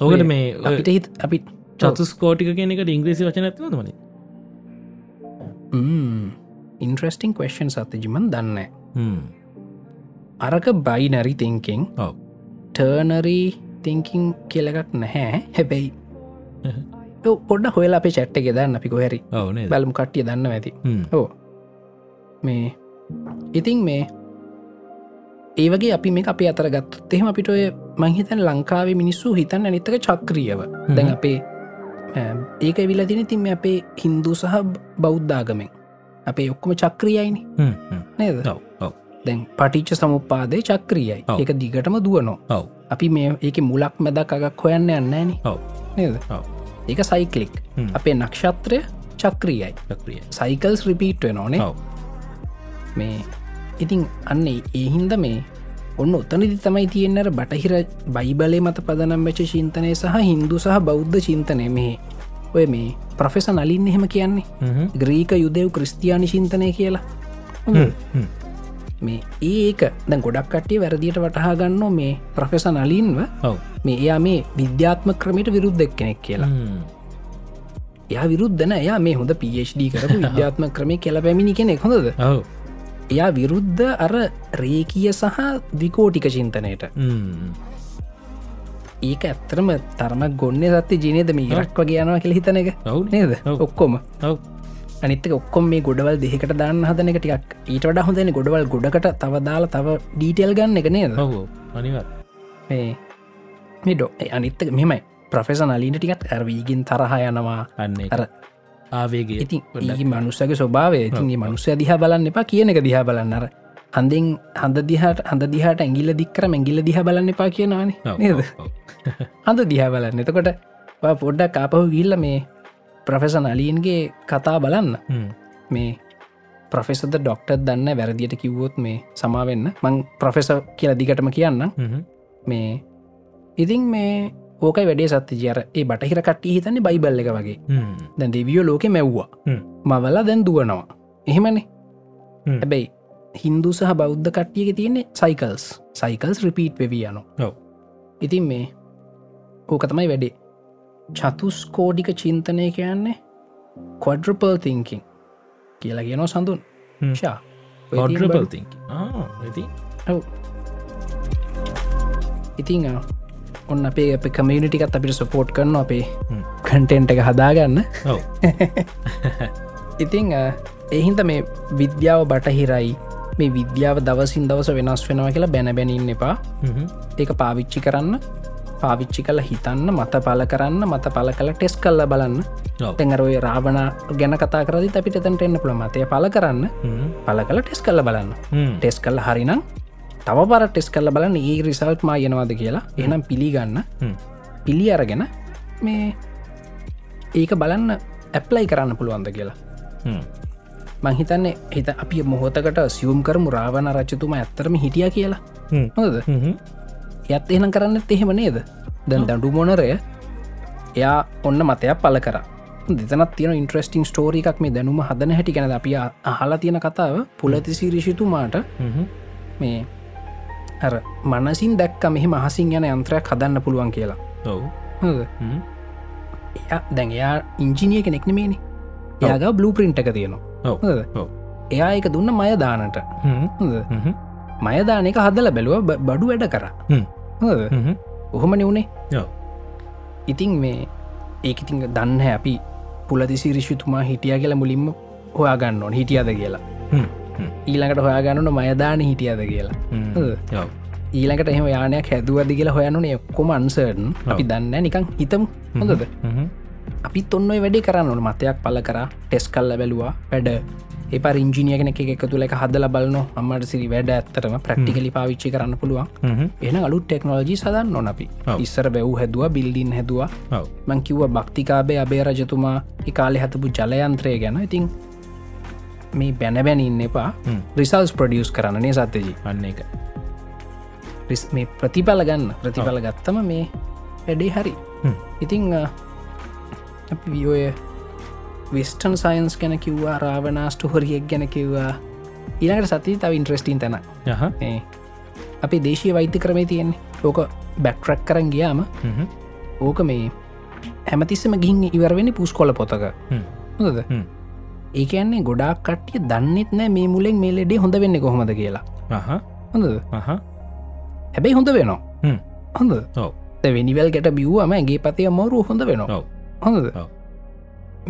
[SPEAKER 2] ඕකට මේ ඔය
[SPEAKER 1] අපිට හිත් අපි
[SPEAKER 2] චතුස් කෝටික කෙනෙකට ඉංග්‍රීසි වචන ඇත්න මන
[SPEAKER 1] ඉන්ට්‍රස්ටිං කවස්න් සතජිමන් දන්න අරක බයිනරි තිංකින්
[SPEAKER 2] ඔව්.
[SPEAKER 1] ටර්නරී තිංකින් කියලකක් නැහැ හැබැයි ඔව්, පොඩ්ඩ හොයලා අපේ චැට්ට ගෙදන්න අපි කොහැරි
[SPEAKER 2] ඔවනේ
[SPEAKER 1] බලමු කට්ටිය දන්න ඇති ඕ මේ ඉතින් මේ ඒවගේ අපි මේ අපි අතර ගත්තත් එහෙම අපිට ඔය මංහිතන් ලංකාවේ මිනිස්සු හිතන් අනිත්තක චක්‍රියව දැන්
[SPEAKER 2] හ්ම්.
[SPEAKER 1] අපේ අම්, ඒක විලදින තින් මේ අපේ හින්දු සහ බෞද්ධාගමෙන් අපේ ඔක්කොම චක්‍රියයිනි නේද
[SPEAKER 2] ඔව් ඔව්
[SPEAKER 1] දැන් පටිච්ච සමුපාදය චක්‍රියයි
[SPEAKER 2] ඔව්.
[SPEAKER 1] එක දිගටම දුවනෝ
[SPEAKER 2] ඔව්
[SPEAKER 1] අපි මේ ඒක මුලක් මැදක් අගක් හොයන්න යන්නන
[SPEAKER 2] ඔව්
[SPEAKER 1] නේද
[SPEAKER 2] ඔව්.
[SPEAKER 1] ඒක සයිකලික්
[SPEAKER 2] හ්ම්.
[SPEAKER 1] අපේ නක්ෂත්‍රය චක්‍රියයි
[SPEAKER 2] ක්‍රිය
[SPEAKER 1] සයිකල්ස් රිපීට් වෙනෝනේ
[SPEAKER 2] ඔව්
[SPEAKER 1] මේ ඉතින් අන්න ඒ- ඒ හින්ද මේ ඔන්න උතනදි තමයි තියෙන්නට බටහිර බයිබලේ මත පදනම් වෙච චින්තනය සහ හින්දු සහ බෞද්ධ චින්තනය මේ ඔය මේ ප්‍රොෆෙස නලින් එහෙම කියන්නේ ග්‍රීක යුදෙව් ක්‍රස්තියානි චින්තනය කියලා
[SPEAKER 2] Hmm.
[SPEAKER 1] මේ ඒක දැ ගොඩක් කට්ටිය වැරදිට වටහා ගන්න මේ ප්‍රොෆෙස නලින්ව
[SPEAKER 2] ඔව්
[SPEAKER 1] මේ එයා මේ විද්‍යාත්ම ක්‍රමයට විරුද්ධ එක් කෙනෙක් කියලා යා විරුද්ධන එයා මේ හොඳ පිD කර විද්‍යාත්ම ක්‍රමය කියලා පැමිණි කෙනෙක් හොඳද
[SPEAKER 2] ඔව්
[SPEAKER 1] එයා විරුද්ධ අර රේකිය සහ විකෝටික චින්තනයට ඒක ඇත්තරම තරම ගොන්න සත්ති ජනයද මේ ඉරක් වගේ යනවා කෙළ හිතන එක
[SPEAKER 2] ඔව්
[SPEAKER 1] නේද
[SPEAKER 2] ඔව්.
[SPEAKER 1] ඔක්කොම
[SPEAKER 2] ඔව්
[SPEAKER 1] අනිත්තක ඔක්කොම මේ ගොඩවල් දෙකට දාන්න හදන එක ටිකක් ඊට වඩා හොඳන ගොඩවල් ගොඩකට තව දාලා තව ඩීටෙල් ගන්න එක නේද
[SPEAKER 2] ඔව් අනිවත්
[SPEAKER 1] මේ මේ ඩො අනිත්තක මෙමයි ප්‍රෆෙස නලීට ටිකත් ඇරවීගින් තරහ යනවා
[SPEAKER 2] අන්න ඒක.
[SPEAKER 1] අර
[SPEAKER 2] ආවේගේ
[SPEAKER 1] ඉතින් ඒ මනුස්සක ස්වභාවය ඉතින්ගේ මනුස්සය දිහා බලන්න එපා කියන එක දිහා බලන්න අර හඳෙන් හඳ දිහාට හඳ දිහාට ඇගිල්ල දික්කර මැගිල්ල දිහ බලන්න එපා
[SPEAKER 2] Oh,
[SPEAKER 1] කියනවානේ නේද හඳ දිහා බලන්න එතකොට ඔයා පොඩ්ඩක් ආපහු ගිල්ල මේ ප්‍රොෆෙසන් අලියන්ගේ කතා බලන්න මේ ප්‍රොෆෙසද ඩොක්ටර් දන්න වැරදිට කිව්වොත් මේ සමාවෙන්න මං ප්‍රොෆෙස කියල දිගටම කියන්න මේ ඉතින් මේ ඕක වැඩේ සත්ති ජයර ඒ බටහිර කට්ටි හිතන්නේ බයිබල්ල එක වගේ දැන් දෙවියෝ ලෝක මැව්වා
[SPEAKER 2] හ්ම්.
[SPEAKER 1] මවලා දැන් දුවනවා එහෙමනේ
[SPEAKER 2] හ්ම්.
[SPEAKER 1] හැබැයි හින්දු සහ බෞද්ධ කට්ටියක තියන්නේ සයිකල්ස් සයිකල්ස් රිපීට් වෙවී යනු
[SPEAKER 2] ඔව්.
[SPEAKER 1] ඉතින් මේ ඕක තමයි වැඩේ චතුස්කෝඩික චින්තනය කියන්නේ කොඩ්‍රපල් තිංකින් කියලා කියනෝ සඳුන්
[SPEAKER 2] හ්ම්.
[SPEAKER 1] ෂා ඔය තියෙන
[SPEAKER 2] ඔඩ්‍රපල්
[SPEAKER 1] බඩු-
[SPEAKER 2] තිංක ඉති
[SPEAKER 1] ඔව්. ඉතිං ආ, ඔන්න අපේ අප කමියනිිටිකත් අපිට සපෝට් කරන අපේ
[SPEAKER 2] හ්ම්.
[SPEAKER 1] කටෙන්ට් එක හදාගන්න
[SPEAKER 2] ඔව්
[SPEAKER 1] ඉතිං එහින්ද මේ විද්‍යාව බටහිරයි මේ විද්‍යාව දවසින් දවස වෙනස් වෙනවා කියලා බැනබැනින්න එපා
[SPEAKER 2] හ්ම්.
[SPEAKER 1] ඒක පාවිච්චි කරන්න පාවිච්චි කල හිතන්න මත පල කරන්න මත පල කළ ටෙස් කල්ල බලන්න
[SPEAKER 2] ඔව්
[SPEAKER 1] තැඟරෝය රාවණ ගැන කතා කරදි අපිට තැන්ට එන්න පුළ මතය පල කරන්න
[SPEAKER 2] හ්ම්.
[SPEAKER 1] පල කළ ටෙස් කල්ල බලන්න
[SPEAKER 2] හ්ම්.
[SPEAKER 1] ටෙස් කල් හරිනම් තව පර ටෙස් කල්ල බලන්න ඒ රිසල්ට් මා යනවාද කියලා එනම් පිළිගන්න
[SPEAKER 2] හ්ම්.
[SPEAKER 1] පිළි අරගෙන මේ ඒක බලන්න ඇප්ලයි කරන්න පුළුවන්ද කියලා
[SPEAKER 2] හ්ම්.
[SPEAKER 1] මංහිතන්නේ හිත අපි මොහොතකට සියුම් කරමු රාවණ රච්චතුම ඇත්තරම හිටිය කියලා
[SPEAKER 2] හ්ම්.
[SPEAKER 1] හොද
[SPEAKER 2] හ්ම්.
[SPEAKER 1] යත් එහෙනම් කරන්නත් එහෙම නේද දැන් දඩු මොනරය එයා ඔන්න මතයක් පල කර දෙතනත් තියෙන ඉන්ට්‍රස්ටිං ස්ටෝරි එකක් මේ දැනුම හදන හැටි ගැන අපි ආ- අහලා තියෙන කතාව පුලතිසි රිෂිතුමාට
[SPEAKER 2] හ්ම්.
[SPEAKER 1] මේ ඇර මනසින් දැක්ක මෙහි මහසින් යන යන්ත්‍රයක් හදන්න පුළුවන් කියලා
[SPEAKER 2] ඔව්
[SPEAKER 1] හොද
[SPEAKER 2] හ්ම්.
[SPEAKER 1] එයා දැන් එයා ඉංජිනිය කෙනෙක් නෙමේනි එයාග බ්ලූ පින්ට් එක තියෙනවා
[SPEAKER 2] ඔව්.
[SPEAKER 1] හොඳද?
[SPEAKER 2] ඔව්.
[SPEAKER 1] එයා එක දුන්න මය දානට
[SPEAKER 2] හ්ම්.
[SPEAKER 1] හොඳද?
[SPEAKER 2] හ්ම්.
[SPEAKER 1] මයදානක හදල බැලුව බ- බඩු වැඩ කර
[SPEAKER 2] හ්ම්.
[SPEAKER 1] හොඳද?
[SPEAKER 2] හ්ම්.
[SPEAKER 1] ඔහොම නිවුණේ
[SPEAKER 2] ඔව්.
[SPEAKER 1] ඉතින් මේ ඒක ඉතිං දන්න අපි පුලදිසි රිෂිතුමා හිටිය කියලා මුලින්ම හොයාගන්න ඕන හිටියද කියලා
[SPEAKER 2] හ්ම්. හ්ම්.
[SPEAKER 1] ඊළඟට හොයාගන්නන මයදාන හිටියද කියලා
[SPEAKER 2] හ්ම්. ඔව්.
[SPEAKER 1] ඊළඟට එහෙම යානයක් හැදුවද කියලා හොයන්නන එක්කොම අන්සර්න් අපි දන්න නිකං හිතම් හොඳද
[SPEAKER 2] හ්ම්.
[SPEAKER 1] අපි තොන්නොයි වැඩි කරන්න ඕන මතයක් පල කර ටෙස් කල්ල බැලවා වැඩ එප රිංජිනිය කෙනෙ එක තුළ එක හදල බලන අම්මට සිරි වැඩ ඇත්තරම ප්‍රක්ටිකලි පාවිච්චි කරන්න පුළුවන්
[SPEAKER 2] හ්ම්.
[SPEAKER 1] එන අලු ටෙක්නෝජී සදන්න නොන අපි
[SPEAKER 2] ඔව්.
[SPEAKER 1] ඉස්සර බැව් හැදවා බිල්ඩින් හැදවා
[SPEAKER 2] ඔව්.
[SPEAKER 1] මං කිව්ව භක්තිකාබේ අබේ රජතුමා ඒ කාලෙ හතපු ජලයන්ත්‍රය ගැන ඉතින් මේ බැනබැනින්න එපා
[SPEAKER 2] හ්ම්.
[SPEAKER 1] රිසල්ස් ප්‍රඩියස් කරන්නේ සත්‍යජී
[SPEAKER 2] අන්න එක
[SPEAKER 1] රිස්- මේ ප්‍රතිඵල ගන්න ප්‍රතිඵල ගත්තම මේ වැඩේ හරි
[SPEAKER 2] හ්ම්.
[SPEAKER 1] ඉතිං අ, අපි වියෝය විස්ටන් සයින්ස් ගැන කිව්වා රාවනාස්ට හොරියෙක් ගැන කිව්වා ඉළඟට සති තව ඉන්ට්‍රස්ටින් තැන
[SPEAKER 2] යහ
[SPEAKER 1] අපේ දේශය වෛත්‍ය ක්‍රමේ තියෙන්නේ ඕක බැක්ට්‍රක් කරන් ගියාම
[SPEAKER 2] හ්ම්.
[SPEAKER 1] ඕක මේ හැමතිස්සම ගින් ඉවරවෙනි පුස් කොල පොතක
[SPEAKER 2] හ්ම්.
[SPEAKER 1] හොද
[SPEAKER 2] හ්ම්.
[SPEAKER 1] ඒකන්නේ ගොඩක් කට්ටිය දන්නෙත් නෑ මේ මුලෙන් මේ ලෙඩේ හොඳ වෙන්න කොහොමද කියලා
[SPEAKER 2] අහ
[SPEAKER 1] හොඳ
[SPEAKER 2] අහ
[SPEAKER 1] හැබැයි හොඳ වෙනවා
[SPEAKER 2] හ්ම්.
[SPEAKER 1] හොඳ
[SPEAKER 2] ඔව්.
[SPEAKER 1] තැ වෙනිවල් ගැට බිව්වම ඇගේ පතය මෝරු හොඳ වෙනවා
[SPEAKER 2] ඔව්.
[SPEAKER 1] හොඳ
[SPEAKER 2] ඔව්.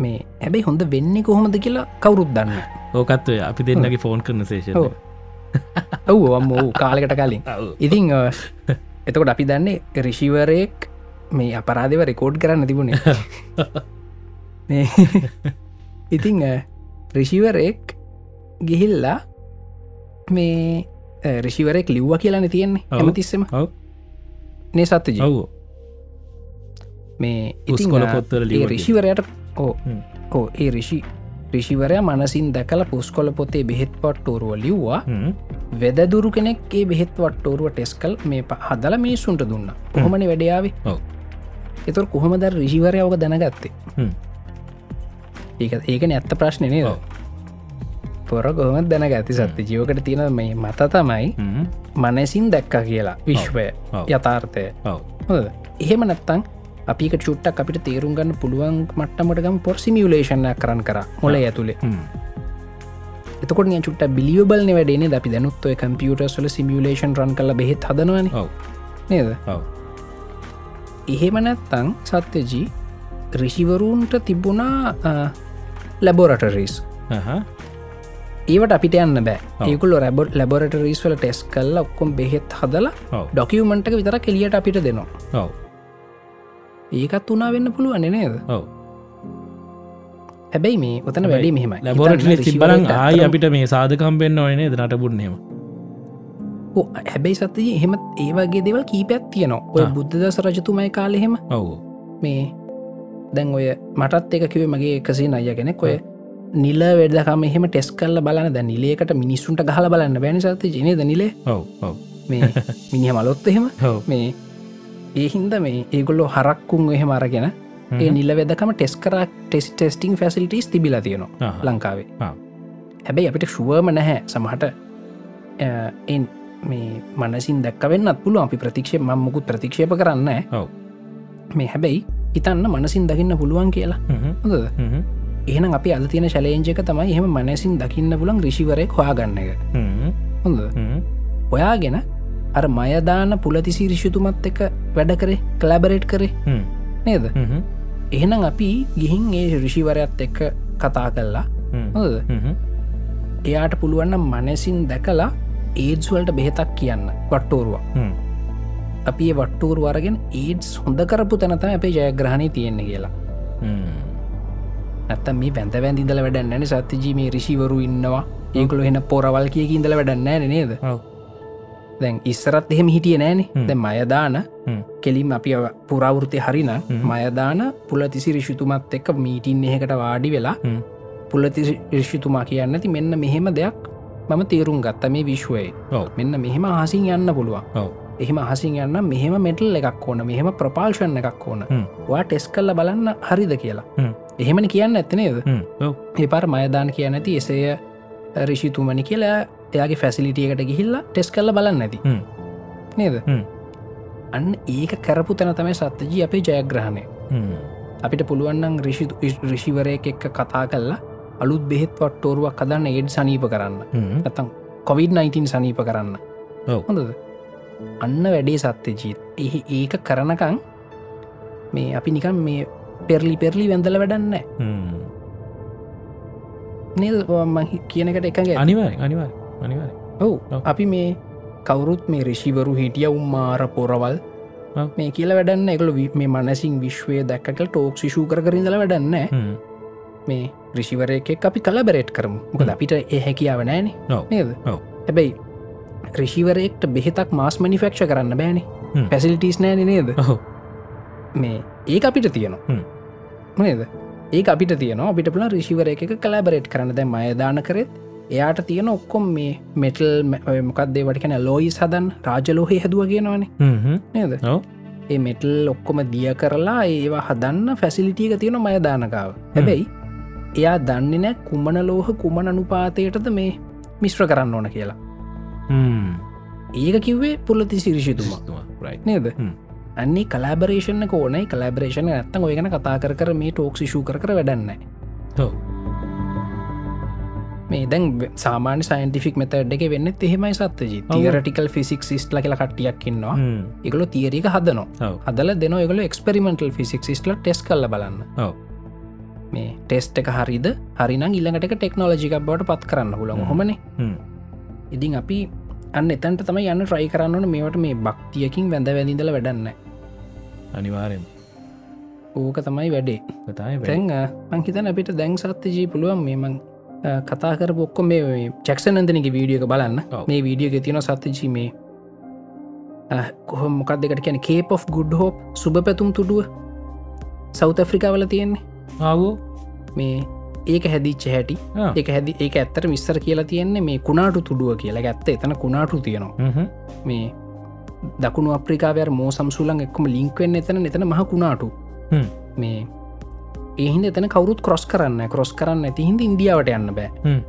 [SPEAKER 1] මේ හැබැයි හොඳ වෙන්නේ කොහොමද කියලා කවුරුත් දන්න
[SPEAKER 2] ඕකත්වය අපි දෙන්නගේ ෆෝන් කරන සේෂ
[SPEAKER 1] ඔව්. ඔව් අම්ම වූ කාලෙකට කලින් ඉතිං අ, එතකොට අපි දන්නේ රිෂිවරයෙක් මේ අපරාධව රෙකෝඩ් කරන්න තිබුණේ මේ ඉතිං අ, රිෂිවරයෙක් ගිහිල්ලා මේ අ, රිෂිවරෙක් ලිව්ව කියලන තියෙන්නේ
[SPEAKER 2] ඔව්.
[SPEAKER 1] ඇමතිස්සම
[SPEAKER 2] ඔව්.
[SPEAKER 1] නේ සත්්‍යජ
[SPEAKER 2] ඔව්
[SPEAKER 1] මේ
[SPEAKER 2] උස්
[SPEAKER 1] ඉතිං
[SPEAKER 2] කොල
[SPEAKER 1] අ,
[SPEAKER 2] පොත්තර
[SPEAKER 1] ඒ
[SPEAKER 2] ලිව
[SPEAKER 1] රිෂිවරයට ඕ
[SPEAKER 2] හ්ම්.
[SPEAKER 1] ඕ ඒ රිෂි රිෂිවරය මනසින් දැකල පුස්කොල පොතේ බෙහෙත් පට්ටෝරුව ලිව්වා වෙදදුරු කෙනෙක් ඒ බෙහෙත් වට්ටෝරුව ටෙස්කල් මේ ප හදල මිනිස්සුන්ට දුන්න කොහොමන වැඩියාවේ
[SPEAKER 2] ඔව්.
[SPEAKER 1] එතුර කොහොමද රිසිවරයෝක දැනගත්තේ
[SPEAKER 2] හ්ම්.
[SPEAKER 1] ඒක ඒකන ඇත්ත ප්‍රශ්නය
[SPEAKER 2] ඔව්.
[SPEAKER 1] පොර කොහොම දැනගඇති සත්‍ය ජීවකට තියෙන මේ මත තමයි මනැසින් දැක්ක කියලා විශ්වය
[SPEAKER 2] ඔව්.
[SPEAKER 1] යථාර්ථය
[SPEAKER 2] ඔව්.
[SPEAKER 1] හොඳද? එහෙම නැත්තං අපික චුට්ටක් අපිට තේරුම් ගන්න පුළුවන් මට්ටමටගම් පොර්සිමියලේෂණයක් කරන්න කර මොල ඇතුළේ එතකොට නිය චුට්ට බිලියෝබල් වැඩේ අපි දැනුත්ව කම්පියුට සොල සිමියලේෂන් රන් කල බෙත් හදනවන
[SPEAKER 2] ඔව්.
[SPEAKER 1] නේද
[SPEAKER 2] ඔව්.
[SPEAKER 1] එහෙමනැත්තං සත්‍යජී රිසිවරුන්ට තිබුණා ලැබෝරටරිස්
[SPEAKER 2] අහ.
[SPEAKER 1] ඒවට අපිට යන්න
[SPEAKER 2] ඔව්.
[SPEAKER 1] බෑ ඒකුල රැබ ලැබොරටරිස් වල ටෙස් කල්ල ඔක්කොම් බෙහෙත් හදලා
[SPEAKER 2] ඔව්.
[SPEAKER 1] ඩොකිවමට විතර කෙලියට අපිට දෙනවා
[SPEAKER 2] ඔව්.
[SPEAKER 1] ඒකත් වනා වෙන්න පුළුවන් නේද
[SPEAKER 2] ඔව්.
[SPEAKER 1] හැබැයි මේ ඔතන
[SPEAKER 2] හැබැයි
[SPEAKER 1] වැඩි මෙහෙමයි
[SPEAKER 2] ලැබොරටලි
[SPEAKER 1] හිතන්න
[SPEAKER 2] තිබලන්
[SPEAKER 1] රිසීවරේට
[SPEAKER 2] ආය
[SPEAKER 1] ඇත්තටම-
[SPEAKER 2] අපිට මේ සාධකම්පෙන්න්න ඕනේ නේද නටබුන්නේම
[SPEAKER 1] ඔව්, හැබැයි සතතිය එහෙමත් ඒවගේ දෙවල් කීපයක් තියනවා ඔය
[SPEAKER 2] ආ.
[SPEAKER 1] බුද්ධදස රජතුමයි කාලෙහෙම
[SPEAKER 2] ඔව්
[SPEAKER 1] මේ දැන් ඔය මටත් එක කිවේ මගේ එකසේ අය කෙනෙක් ඔය නිල වැඩකම එහෙම ටෙස් කල්ල බලන්න දැ නිලේකට මිනිස්සුන්ට ගහල බලන්න බැනි සත ජනද නිලේ
[SPEAKER 2] ඔව් ඔව්
[SPEAKER 1] මේ මිනිහ මලොත් එහෙම
[SPEAKER 2] ඔව්
[SPEAKER 1] මේ ඒහින්ද මේ ඒගොල්ලෝ හරක්කුන් එහෙම අරගෙන ඒ නිල වෙදකම ටෙස් කරක් ටෙස් ටෙස්ටිං ෆැසිල්ටස් තිබිලා තියෙනවා
[SPEAKER 2] අහහ.
[SPEAKER 1] ලංකාවේ
[SPEAKER 2] ආ.
[SPEAKER 1] හැබැයි අපිට ශුවම නැහැ සමහට අ, එන් මේ මනසින් දැක්කවෙන්නත් පුළුව අපි ප්‍රතික්ෂය ම මුකුත් ප්‍රතික්ෂේප කරන්න
[SPEAKER 2] ඔව්.
[SPEAKER 1] මේ හැබැයි හිතන්න මනසින් දකින්න පුළුවන් කියලා
[SPEAKER 2] හ්ම්.
[SPEAKER 1] හොඳද
[SPEAKER 2] හ්ම්.
[SPEAKER 1] එහන අපි අද තියෙන ශලේජක තමයි එහෙම මනසින් දකින්න පුලන් රිසිවරය හොයාගන්න එක
[SPEAKER 2] හ්ම්.
[SPEAKER 1] හොඳ
[SPEAKER 2] හ්ම්.
[SPEAKER 1] ඔයාගෙන අර මයදාන පුලතිසි රිෂුතුමත් එක වැඩ කරේ කලබරේට් කරේ
[SPEAKER 2] හ්ම්.
[SPEAKER 1] නේද
[SPEAKER 2] හ්ම්.
[SPEAKER 1] එහෙනම් අපි ගිහින් ඒ රිෂිවරයත් එක්ක කතා කල්ලා
[SPEAKER 2] හ්ම්.
[SPEAKER 1] හොද
[SPEAKER 2] හ්ම්.
[SPEAKER 1] එයාට පුළුවන්න මනසින් දැකලා ඒඩ්ස්වලට බෙහෙතක් කියන්න වට්ටෝරුවක්
[SPEAKER 2] හ්ම්.
[SPEAKER 1] අපි ඒ වට්ටෝරු වරගෙන් ඒඩ්ස් හොඳ කරපු තැනතම අපේ ජයග්‍රහණය තියෙන්නේ කියලා
[SPEAKER 2] හ්ම්.
[SPEAKER 1] ඇත්තම් මේ පැඳ වැදිදල වැඩන්නන සත්‍යජී මේ රිසිවරු ඉන්නවා ඒකුළු එෙන පොරවල් කියක ඉඳල වැඩන්නෑන නේද
[SPEAKER 2] ඔව්.
[SPEAKER 1] දැන් ඉස්සරත් එහෙම හිටිය නෑනේ
[SPEAKER 2] හ්ම්.
[SPEAKER 1] දැ මයදාන
[SPEAKER 2] හ්ම්.
[SPEAKER 1] කෙලින් අපි අව- පුරාවෘතය හරින
[SPEAKER 2] හ්ම්.
[SPEAKER 1] මයදාන පුලතිසි රිෂුතුමත් එක්ක මීටින් එහකට වාඩි වෙලා
[SPEAKER 2] හ්ම්.
[SPEAKER 1] පුලති රිෂිතුමා කියන්න ඇති මෙන්න මෙහෙම දෙයක් මම තේරුම් ගත්ත මේ විශ්වයේ
[SPEAKER 2] ඔව්.
[SPEAKER 1] මෙන්න මෙහෙම හසින් යන්න පුළුවන්
[SPEAKER 2] ඔව්.
[SPEAKER 1] එහෙම හසින් යන්න මෙහෙම මෙටල් එකක් ඕන මෙහෙම ප්‍රපාල්ශන් එකක් ඕන
[SPEAKER 2] හ්ම්.
[SPEAKER 1] වා ටෙස් කල්ල බලන්න හරිද කියලා
[SPEAKER 2] හ්ම්.
[SPEAKER 1] එහෙමනි කියන්න ඇත්තනේද
[SPEAKER 2] හ්ම්. ඔව්.
[SPEAKER 1] එපාර මයදාන කිය නැති එසය රිෂිතුමනි කියලා එයාගේ ෆැසිලිටියකට ගිහිල්ලා ටෙස් කල්ල බලන්න ඇති
[SPEAKER 2] හ්ම්.
[SPEAKER 1] නේද
[SPEAKER 2] හ්ම්.
[SPEAKER 1] අන්න ඒක කරපු තැන තමයි සත්තජී අපේ ජයග්‍රහණය
[SPEAKER 2] හ්ම්.
[SPEAKER 1] අපිට පුළුවන්න්නන් රිෂි රිෂිවරයක එක්ක කතා කල්ලා අලුත් බෙහෙත් පට්ටෝරුවක් කදන්න ඒඩ් සනීප කරන්න
[SPEAKER 2] හ්ම්.
[SPEAKER 1] ඇතම් කොවිD-19 සනීප කරන්න
[SPEAKER 2] ඔව්.
[SPEAKER 1] හොඳද අන්න වැඩේ සත්‍ය ජීත් එහි ඒක කරනකං මේ අපි නිකම් මේ පෙරලි පෙරලි වැඳල වැඩන්න
[SPEAKER 2] හ්ම්.
[SPEAKER 1] නම කියනකට එකගේ
[SPEAKER 2] අනිවාර් අනිවාර් අනිවාර්
[SPEAKER 1] ඔවු
[SPEAKER 2] ඔව්.
[SPEAKER 1] අපි මේ කවුරුත් මේ රිසිවරු හිටිය උම්මාර පොරවල්
[SPEAKER 2] ඔව්.
[SPEAKER 1] මේ කියල වැඩන්න එකල මේ මනසින් විශ්වය දැක්කට ටෝක් ශෂූ කරින්දල වැඩන්න
[SPEAKER 2] හ්ම්.
[SPEAKER 1] මේ රිසිවර එකෙක් අපි කලබරේට් කරම මොකද
[SPEAKER 2] හ්ම්.
[SPEAKER 1] අපිට ඒ හැකියාව නෑනේ
[SPEAKER 2] ඔව්.
[SPEAKER 1] නේද
[SPEAKER 2] ඔව්.
[SPEAKER 1] හැබැයි රිසිවරෙක්ට බෙහෙතක් මාස් මනිිෆක්ෂ කරන්න බෑනේ
[SPEAKER 2] හ්ම්.
[SPEAKER 1] පැසිල්ටිස් නෑන නේද
[SPEAKER 2] ඔහු
[SPEAKER 1] මේ ඒ අපිට
[SPEAKER 2] හ්ම්.
[SPEAKER 1] තියනවා නේද ඒ අපිට තියන අපිට පුල රිසිවර එක කලබරේට් කරන දැ මයදාන කරෙත් එයාට තියෙන ඔක්කොම් මේ මෙටල් මොකක්දේ වටිකන ලෝයි සදන් රාජලෝහය හැදුව කියෙනවානේ
[SPEAKER 2] හ්ම්. හ්ම්.
[SPEAKER 1] නේද
[SPEAKER 2] ඔව්.
[SPEAKER 1] ඒ මෙටල් ඔක්කොම දිය කරලා ඒවා හදන්න ෆැසිලිටියක තියෙන මයදානකාව හැබැයි එයා දන්නේ නෑ කුමන ලෝහ කුමන අනුපාතයටද මේ මිශ්‍ර කරන්න ඕන කියලා ඒක කිව්වේ පුල්ලති සිරිෂිතුමා නේද
[SPEAKER 2] හ්ම්.
[SPEAKER 1] අන්නේ කලාබරේෂන කෝනයි කලාබරේෂන ඇත්තන් ඔය ගැන කතා කර කර මේ ටෝක් ෂූ කර කර වැඩන්න මේ දැන් වෙ- සාමාන්‍ය සයින්ටිෆික් මෙතඩ් එක වෙන්නත් එහෙමයි සත්තජි
[SPEAKER 2] ඔව්.
[SPEAKER 1] තිරටිකල් ෆිසික් ස්ටල කියලා කට්ටියක්කින්නවා එකලො තියරක හදනවා
[SPEAKER 2] ඔව්.
[SPEAKER 1] හදල දෙන එකල එක්ස්පෙරිමෙන්ටල් ෆිසික් ස්ටල ටෙස් කල බලන්න
[SPEAKER 2] ඔව්.
[SPEAKER 1] මේ ටෙස්ට එක හරිද හරිනම් ඉල්ළඟට ටෙක්නෝලජික බවට පත් කරන්න හුළඟ හොමන
[SPEAKER 2] හ්ම්.
[SPEAKER 1] ඉතින් අපි අන්න එතන්ට තමයි යන්න ට්‍රයි කරන්නන මේවට මේ භක්තියකින් වැඳ වැඳදල වැඩන්න
[SPEAKER 2] අනිවාරෙන්
[SPEAKER 1] ඕක තමයි වැඩේ
[SPEAKER 2] කතයි
[SPEAKER 1] තැන් මංහිතන අපිට දැන් සත්්‍යජී පුළුවන් මෙම කතාකර පොක්කො මේ චක්ෂන් ඇදනගේ වීඩියක බලන්න
[SPEAKER 2] ඔව්.
[SPEAKER 1] මේ වීඩියෝ ගෙතින සත්්‍යජී මේ කොහොම මොකක් දෙකට කියන කේප් of ගුඩ් හෝප් සුබ පැතුම් තුඩුව සෞත ඇෆ්‍රිකාවල තියෙන්නේ
[SPEAKER 2] ආවෝ
[SPEAKER 1] මේ ඒක හැදිච්ච හැටි
[SPEAKER 2] ආ.
[SPEAKER 1] එක හැදි ඒ ඇත්තර විස්සර කියලා තියෙන්නේ මේ කුණාටු තුඩුව කියලා ඇත්ත එතන කුණාටු තියෙනවා
[SPEAKER 2] හ්ම්හ්ම්.
[SPEAKER 1] මේ දකුණු අප්‍රිකාවය මෝ සම්සුලන් එක්කම ලිංක්වෙන්න එතන එතන මහ කුණාටු
[SPEAKER 2] හ්ම්.
[SPEAKER 1] මේ ඒහින්ද එතන කවරුත් කොස් කරන්න කොස් කරන්න ඇති හින්ද ඉන්දියාවට යන්න බෑ
[SPEAKER 2] හ්ම්.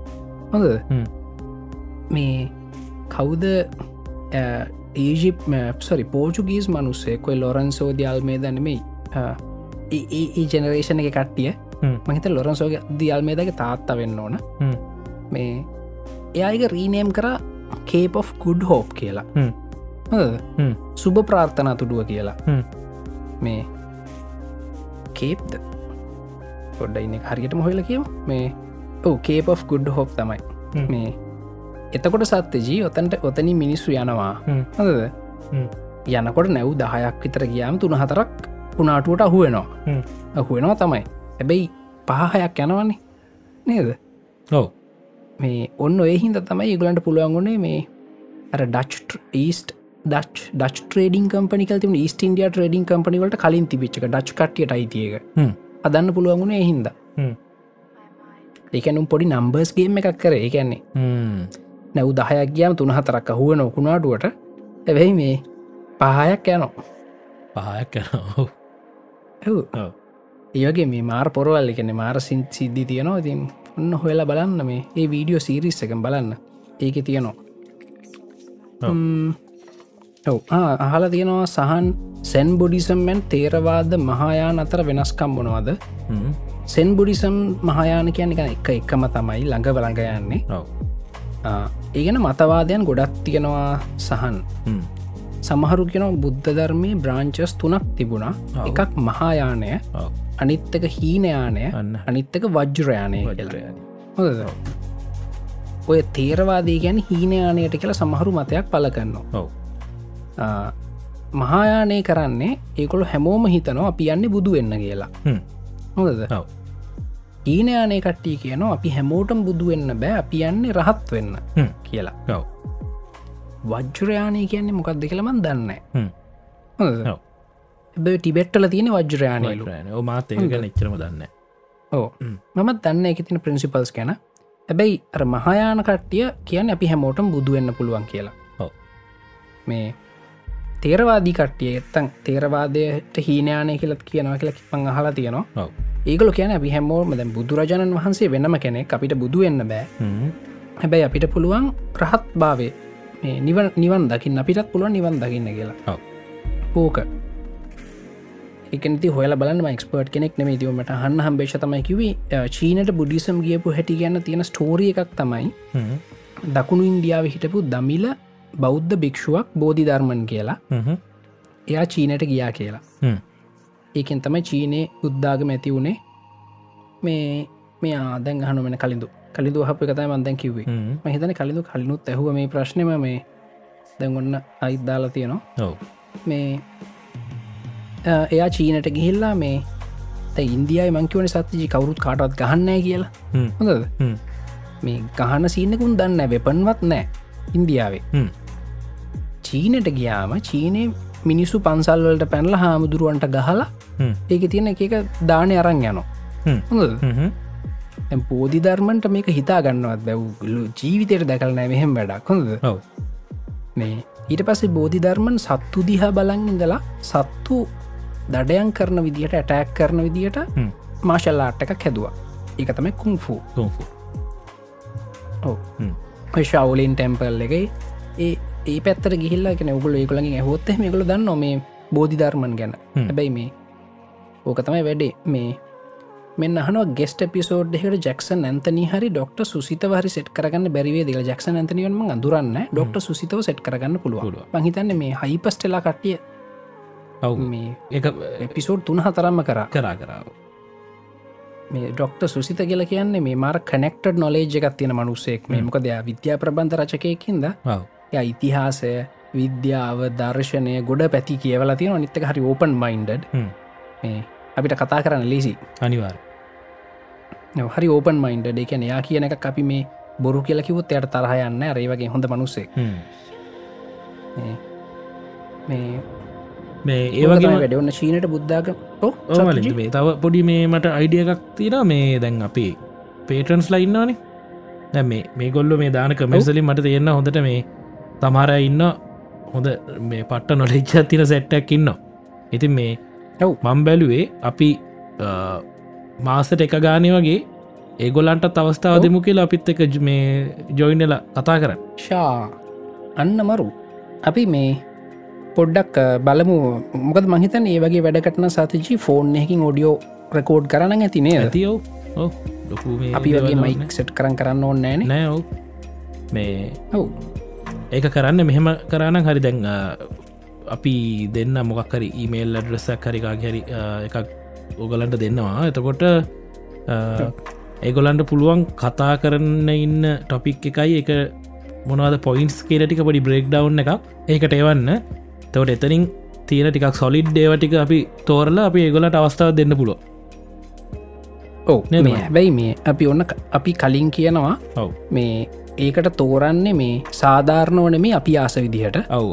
[SPEAKER 1] හොඳ
[SPEAKER 2] හ්ම්.
[SPEAKER 1] මේ කවුද ඒජිප් සරි පෝජුගීස් මනුස්සේ කොයි ලොරන්සෝ දයාල්මේ දැනමයි ඒ ජනරේෂණ එක කට්ටිය
[SPEAKER 2] හ්ම්.
[SPEAKER 1] මහිත ලොරන්සෝගේ දියල්මේදගේ තාත්තා වෙන්න ඕන
[SPEAKER 2] හ්ම්.
[SPEAKER 1] මේ එයායක රීනේම් කර කේප් of ගුඩ් හෝප් කියලා
[SPEAKER 2] හ්ම්.
[SPEAKER 1] හොඳද?
[SPEAKER 2] හ්ම්.
[SPEAKER 1] සුබ ප්‍රාර්ථනා තුඩුව කියලා
[SPEAKER 2] හ්ම්.
[SPEAKER 1] මේ කේප්ද පොඩ්ඩ ඉන්න හරියට මොහොල කියව මේ ඔව කේප් of ගුඩ් හෝප් තමයි
[SPEAKER 2] හ්ම්.
[SPEAKER 1] මේ එතකොට සත්්‍යජී ඔතන්ට ඔතනි මිනිස්සු යනවා
[SPEAKER 2] හ්ම්.
[SPEAKER 1] හොඳද
[SPEAKER 2] හ්ම්.
[SPEAKER 1] යනකොට නැව් දහයක් විතර ගියාම තුන හතරක් කුණාටුවට අහුවෙනවා
[SPEAKER 2] හ්ම්.
[SPEAKER 1] අහුවෙනවා තමයි හැබැයි පහහයක් යනවන්නේ නේද
[SPEAKER 2] ඔව්.
[SPEAKER 1] මේ ඔන්න එහින්ද තමයි ඉගලන්ට පුළුවන්ගුණේ මේ ඇර Dutch East Dutch Dutch trading කම්පනිකල් තිම ස්ට ඉන්ඩිය ට්‍රේඩින් කම්පනිවලට කලින් තිබිච්චක ඩච් කටියට අයිතියක
[SPEAKER 2] හ්ම්.
[SPEAKER 1] අදන්න පුළුවන්ගුණ එහින්ද
[SPEAKER 2] හ්ම්.
[SPEAKER 1] එකනුම් පොඩි නම්බර්ස්ගේම එකක් කර ඒකන්නේ
[SPEAKER 2] හ්ම්.
[SPEAKER 1] නැව් දහයක් ගියම් තුන හතරක් හුව නොකුණාටුවට ඇැබැයි මේ පහයක් යනෝ
[SPEAKER 2] පහයක් කරනවා
[SPEAKER 1] ඇව්
[SPEAKER 2] ඔව්.
[SPEAKER 1] ඒවගේ මේ මාර් පොරවල් එකන මාර සින් සිද්ධි තියනවා ඉතින් ඔන්න හොලා බලන්න මේ ඒ වීඩියෝ සීරිස් එකම් බලන්න ඒක තියනවා
[SPEAKER 2] ඔව්.
[SPEAKER 1] ම්ම්. ඔව් ආ, අහලා තියෙනවා සහන් සැන් බොඩිසම්මැන් තේරවාද මහායාන අතර වෙනස්කම් බොනවාද
[SPEAKER 2] හ්ම්.
[SPEAKER 1] සෙන් බොඩිසම් මහායාන කියන එක එක එකම තමයි ළඟ බලඟ යන්නේ
[SPEAKER 2] ඔව්.
[SPEAKER 1] ආ, ඒ ගැන මතවාදයන් ගොඩක් තියෙනවා සහන්
[SPEAKER 2] හ්ම්.
[SPEAKER 1] සමහරු කෙන බුද්ධ ධර්මය බ්‍රාංචස් තුනක් තිබුණා
[SPEAKER 2] ඔව්.
[SPEAKER 1] එකක් මහායානය
[SPEAKER 2] ඔව්.
[SPEAKER 1] අනිත්තක හීනයානය
[SPEAKER 2] අන්න
[SPEAKER 1] අනිත්තක වජ්‍රයානය කියලා
[SPEAKER 2] වජ්‍රයානය.
[SPEAKER 1] හොඳද? ඔය තේරවාදී ගැන හීනයානයට කියලා සමහරු මතයක් පලකන්නවා
[SPEAKER 2] ඔව්.
[SPEAKER 1] මහායානය කරන්නේ ඒකොළු හැමෝම හිතනවා අපි යන්නේ බුදු වෙන්න කියලා
[SPEAKER 2] හ්ම්.
[SPEAKER 1] හොඳද
[SPEAKER 2] ඔව්.
[SPEAKER 1] ඊනයානය කට්ටිය කියනවා අපි හැමෝටම් බුදු වෙන්න බෑ අපි යන්නේ රහත් වෙන්න
[SPEAKER 2] හ්ම්.
[SPEAKER 1] කියලා
[SPEAKER 2] ඔව්.
[SPEAKER 1] වජ්‍රයානය කියන්නේ මොකක් දෙ කියලමන් දන්න
[SPEAKER 2] හ්ම්. ඔව්.
[SPEAKER 1] එබ ටිබෙට්ටල තියෙන වජ්‍රයානයලු
[SPEAKER 2] වජ්‍රයානය. ඔව්, මාත් ඒක ගැන එච්චරම දන්නේ නැහැ.
[SPEAKER 1] ඕ මමත් දන්න එක තින ප්‍රින්සිපල්ස් ගැන හැබැයි අර මහායාන කට්ටිය කියන්න අපි හැමෝටම් බුදුවෙන්න පුළුවන් කියලා
[SPEAKER 2] ඔව්.
[SPEAKER 1] මේ තේරවාදී කට්ටිය එත්තං තේරවාදයට හීනයානය කියලත් කියනවා කියලා කිපං අහලා තියනවා
[SPEAKER 2] ඔව්.
[SPEAKER 1] ඒගොල කියන පිහැමෝම දැ බුදුරජාණන් වහන්සේ වෙනම කෙනෙක් අපිට බුදුවෙන්න බෑ
[SPEAKER 2] හ්ම්.
[SPEAKER 1] හැබැයි අපිට පුළුවන් රහත් භාවය මේ නිවන් නිවන් දකින්න අපිටත් පුළුවන් නිවන් දකින්න කියලා
[SPEAKER 2] ඔව්.
[SPEAKER 1] ඕෝක එකනති හොල බලන්න මක්ස්පර්ට් කෙනෙක් නෙම තිවීමට හන්න හම්බේෂ තමයි කිවේ චීනට බුඩිසම් ගියපු හැටි ගැන්න තියෙන ස්ටෝරිය එකක් තමයි
[SPEAKER 2] හ්ම්.
[SPEAKER 1] දකුණු ඉන්දියාව හිටපු දමිල බෞද්ධ භික්ෂුවක් බෝධි ධර්මන් කියලා
[SPEAKER 2] හ්ම්.
[SPEAKER 1] එයා චීනයට ගියා කියලා
[SPEAKER 2] හ්ම්.
[SPEAKER 1] ඒකෙන් තමයි චීනය උද්දාගම ඇති වුණේ මේ මේ ආදැන් හනු වෙන කලින්ඳු කලින්ඳු හප කතයි මන්දැන් කිවේ
[SPEAKER 2] හ්ම්.
[SPEAKER 1] මහිතන කලින්ඳු කලිනුත් ඇහුව මේ ප්‍රශ්නම මේ දැන්ගොන්න අයිද්දාලා තියනවා
[SPEAKER 2] ඔව්.
[SPEAKER 1] මේ අ, එයා චීනට ගිහිල්ලා මේ තැ ඉන්දියයි මංකවන සතතිජි කවරුත් කාටත් ගහන්නෑ කියලා
[SPEAKER 2] හ්ම්.
[SPEAKER 1] හොඳද
[SPEAKER 2] හ්ම්.
[SPEAKER 1] මේ ගහන සීනකුන් දන්න වෙපන්වත් නෑ ඉන්දියාවේ
[SPEAKER 2] හ්ම්.
[SPEAKER 1] චීනට ගියාම චීනය මිනිස්සු පන්සල්වලට පැනල හාමුදුරුවන්ට ගහලා
[SPEAKER 2] හ්ම්.
[SPEAKER 1] ඒක තියෙන එක එක දානය අරං යනවා
[SPEAKER 2] හ්ම්.
[SPEAKER 1] හොඳද
[SPEAKER 2] හ්ම්.
[SPEAKER 1] දැන් බෝධිධර්මන්ට මේක හිතා ගන්නවත් බැව්ලු ජීවිතයට දැකලනෑ මෙහෙම වැඩක් හොඳද
[SPEAKER 2] ඔව්.
[SPEAKER 1] මේ ඊට පස්සේ බෝධිධර්මන් සත්තු දිහා බලන් ඉඳලා සත්තු දඩයන් කරන විදිහට ඇටෑක් කරන විදිහට
[SPEAKER 2] හ්ම්.
[SPEAKER 1] මාශල්ලාට්ටක හැදවා ඒක තමයි කුම්ෆූ
[SPEAKER 2] කුන්ෆු.
[SPEAKER 1] ඔව
[SPEAKER 2] හ්ම්.
[SPEAKER 1] ශවලින් ටැම්පල් එකයි ඒ ඒ පැත්තර ගිහිල්ලාගෙන උගුල ඒකුලගින් හොත්ත මේකළ දන්න මේ බෝධිධර්මන් ගැන
[SPEAKER 2] හ්ම්.
[SPEAKER 1] හැබැයි මේ ඕක තමයි වැඩේ මේ මෙන්න හන ගෙස්ට පිසෝඩ් එකට ජක්සන් ඇතනි හරි ඩොක්ට සුසිත හරි සෙට් කරගන්න බැරිවේ දිල ජක්සන් ඇතනියන්ම අඳුරන්න ඩොක්ට සුසිතව සෙට් කරගන්න පුළුවන්
[SPEAKER 2] පුළුවන්.
[SPEAKER 1] පහිතන්න මේ හයිපස්ටෙලා කට්ටිය
[SPEAKER 2] ඔව්
[SPEAKER 1] මේ
[SPEAKER 2] එක
[SPEAKER 1] එපිසෝඩ් තුන හතරම්ම කර
[SPEAKER 2] කරා කරාව
[SPEAKER 1] මේ ඩොක්ට සුසිත කියල කියන්නේ මේ මාර කනෙක්ටඩ් නොලේජ් එකක් තියෙන මනුස්සෙක් මේ මොකද එයා විද්‍යා ප්‍රබන්ධ රචකයකින්ද
[SPEAKER 2] ඔව්
[SPEAKER 1] එයා ඉතිහාසය විද්‍යාව දර්ශනය ගොඩ පැති කියවලා තියෙන නිත්තක හරි ඕපන් මයින්ඩඩ්
[SPEAKER 2] හ්ම්.
[SPEAKER 1] මේ අපිට කතා කරන්න ලේසි
[SPEAKER 2] අනිවාර්
[SPEAKER 1] නව හරි ඕපන් මයින්ඩඩ එකන යා කියන එක අපි මේ බොරු කියලකිවොත් එයට තරහයන්න රේවගේ හොඳ මනුස්සේ මේ
[SPEAKER 2] මේ
[SPEAKER 1] ඒවගේ
[SPEAKER 2] ඒවගේ
[SPEAKER 1] වැඩවන්න චීනට බුද්ධාග ඕ
[SPEAKER 2] ඕමල මේ තව පොඩි මේ මට අයිඩිය එකක් තින මේ දැන් අපි පේටන්ස් ලයින්නවානේ දැ මේ මේ ගොල්ල මේ දාන කමෙන්සලින් මට තියෙන්න හොඳට මේ තමාර ඉන්න හොඳ මේ පට්ට නොලෙච්චත් තින සැට්ටක් ඉන්න ඉතින් මේ
[SPEAKER 1] ඔව්.
[SPEAKER 2] මං බැලුවේ අපි අ, මාසට එක ගානය වගේ ඒගොලන්ට අවස්ථාව
[SPEAKER 1] ඔව්.
[SPEAKER 2] දෙමු කියලා අපිත් එක ජ- මේ ජොයිනල කතා කරන්න
[SPEAKER 1] ශා අන්න මරු අපි මේ පොඩ්ඩක් අ, බලමු මොකද මහිතන් ඒ වගේ වැඩකටන සතිචි ෆෝන් එකින් ඔඩියෝ ප්‍රකෝඩ් කරන්න ඇතිනේ
[SPEAKER 2] ඇතියෝ ඔ ලොකු මේ
[SPEAKER 1] අපි වගේ
[SPEAKER 2] දේවල්
[SPEAKER 1] මයික් සෙට් කරන්න කරන්න ඕන්න ෑන
[SPEAKER 2] නෑ ඔව්. මේ
[SPEAKER 1] ඔව
[SPEAKER 2] ඒක කරන්න මෙහෙම කරන්න හරි දැන් අ, අපි දෙන්න මොකක්කරි ඊමේල් අඩ්‍රෙස කරිකාගැරි එකක් ඕගලන්ට දෙන්නවා එතකොට අ, ඒගොලන්ට පුළුවන් කතා කරන්න ඉන්න ටොපික් එකයි එක මොනවද පොයින්ස් කියලටික පොඩි බ්‍රේක් ඩව් එකක් ඒකට එවන්න තවට එතනින් තියෙන ටිකක් සොලිඩ් ඒවටික අපි තෝරලා අපි ඒගොලට අවස්ථාව දෙන්න පුළුව
[SPEAKER 1] ඕ
[SPEAKER 2] නේද මචං?
[SPEAKER 1] හැබැයි මේ අපි ඔන්න ක- අපි කලින් කියනවා
[SPEAKER 2] ඔව්
[SPEAKER 1] මේ ඒකට තෝරන්නේ මේ සාධාරණ ඕන මේ අපි ආස විදිහට
[SPEAKER 2] ඔව්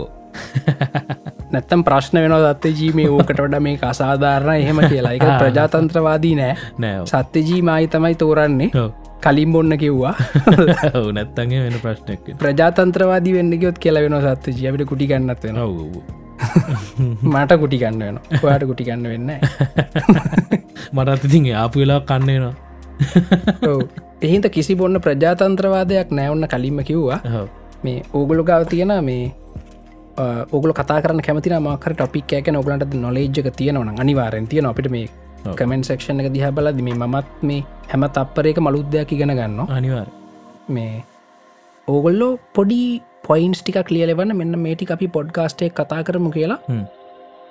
[SPEAKER 1] නැත්තම් ප්‍රශ්න වෙන දත්තේ ජීමේ ඕකට වඩ මේ අසාධාරණ එහෙම කියලා එක ප්‍රජාතන්ත්‍රවාදී නෑ
[SPEAKER 2] නෑ
[SPEAKER 1] සත්‍යජී මයි තමයි තෝරන්නේ
[SPEAKER 2] ඔව්.
[SPEAKER 1] කලින් බොන්න කිව්වා
[SPEAKER 2] ඔව් නැත්තගේ වෙන ප්‍රශ්නයක්
[SPEAKER 1] ප්‍රජාතන්ත්‍රවාදී වෙන්නගයොත් කියල වෙන සත්ත ජියට කුටිගන්නත් වෙන
[SPEAKER 2] ඔව්
[SPEAKER 1] මට කුටිගන්න වෙන ඔයාට කුටිගන්න වෙන්න
[SPEAKER 2] මරත් ඉතින් ආපු වෙලා කන්නේනවා
[SPEAKER 1] එහින්ද කිසි බොන්න ප්‍රජාතන්ත්‍රවාදයක් නෑවන්න කලින්ම කිව්වා
[SPEAKER 2] ඔව්.
[SPEAKER 1] මේ ඕගොලු ගාව තියෙන මේ ඔගල කතර කැමති මාකර ටොපික් ෑක ඔගලන්ට නොලේජ්ක තියෙනවන අනිවාරෙන් තියෙන අපිට මේ
[SPEAKER 2] ඔව්.
[SPEAKER 1] කමෙන්ට සක්ෂණ එක දිහ බලද මේ මත් මේ හැම තප්පරයක මලුද්දයක් ඉගෙන ගන්න
[SPEAKER 2] අනිවාර්
[SPEAKER 1] මේ ඕගොල්ලෝ පොඩි පොයින්ස් ටික ලියලෙවන්න මෙන්න මේටි අපි පොඩ්කාස්ටේ කතා කරමු කියලා
[SPEAKER 2] හ්ම්.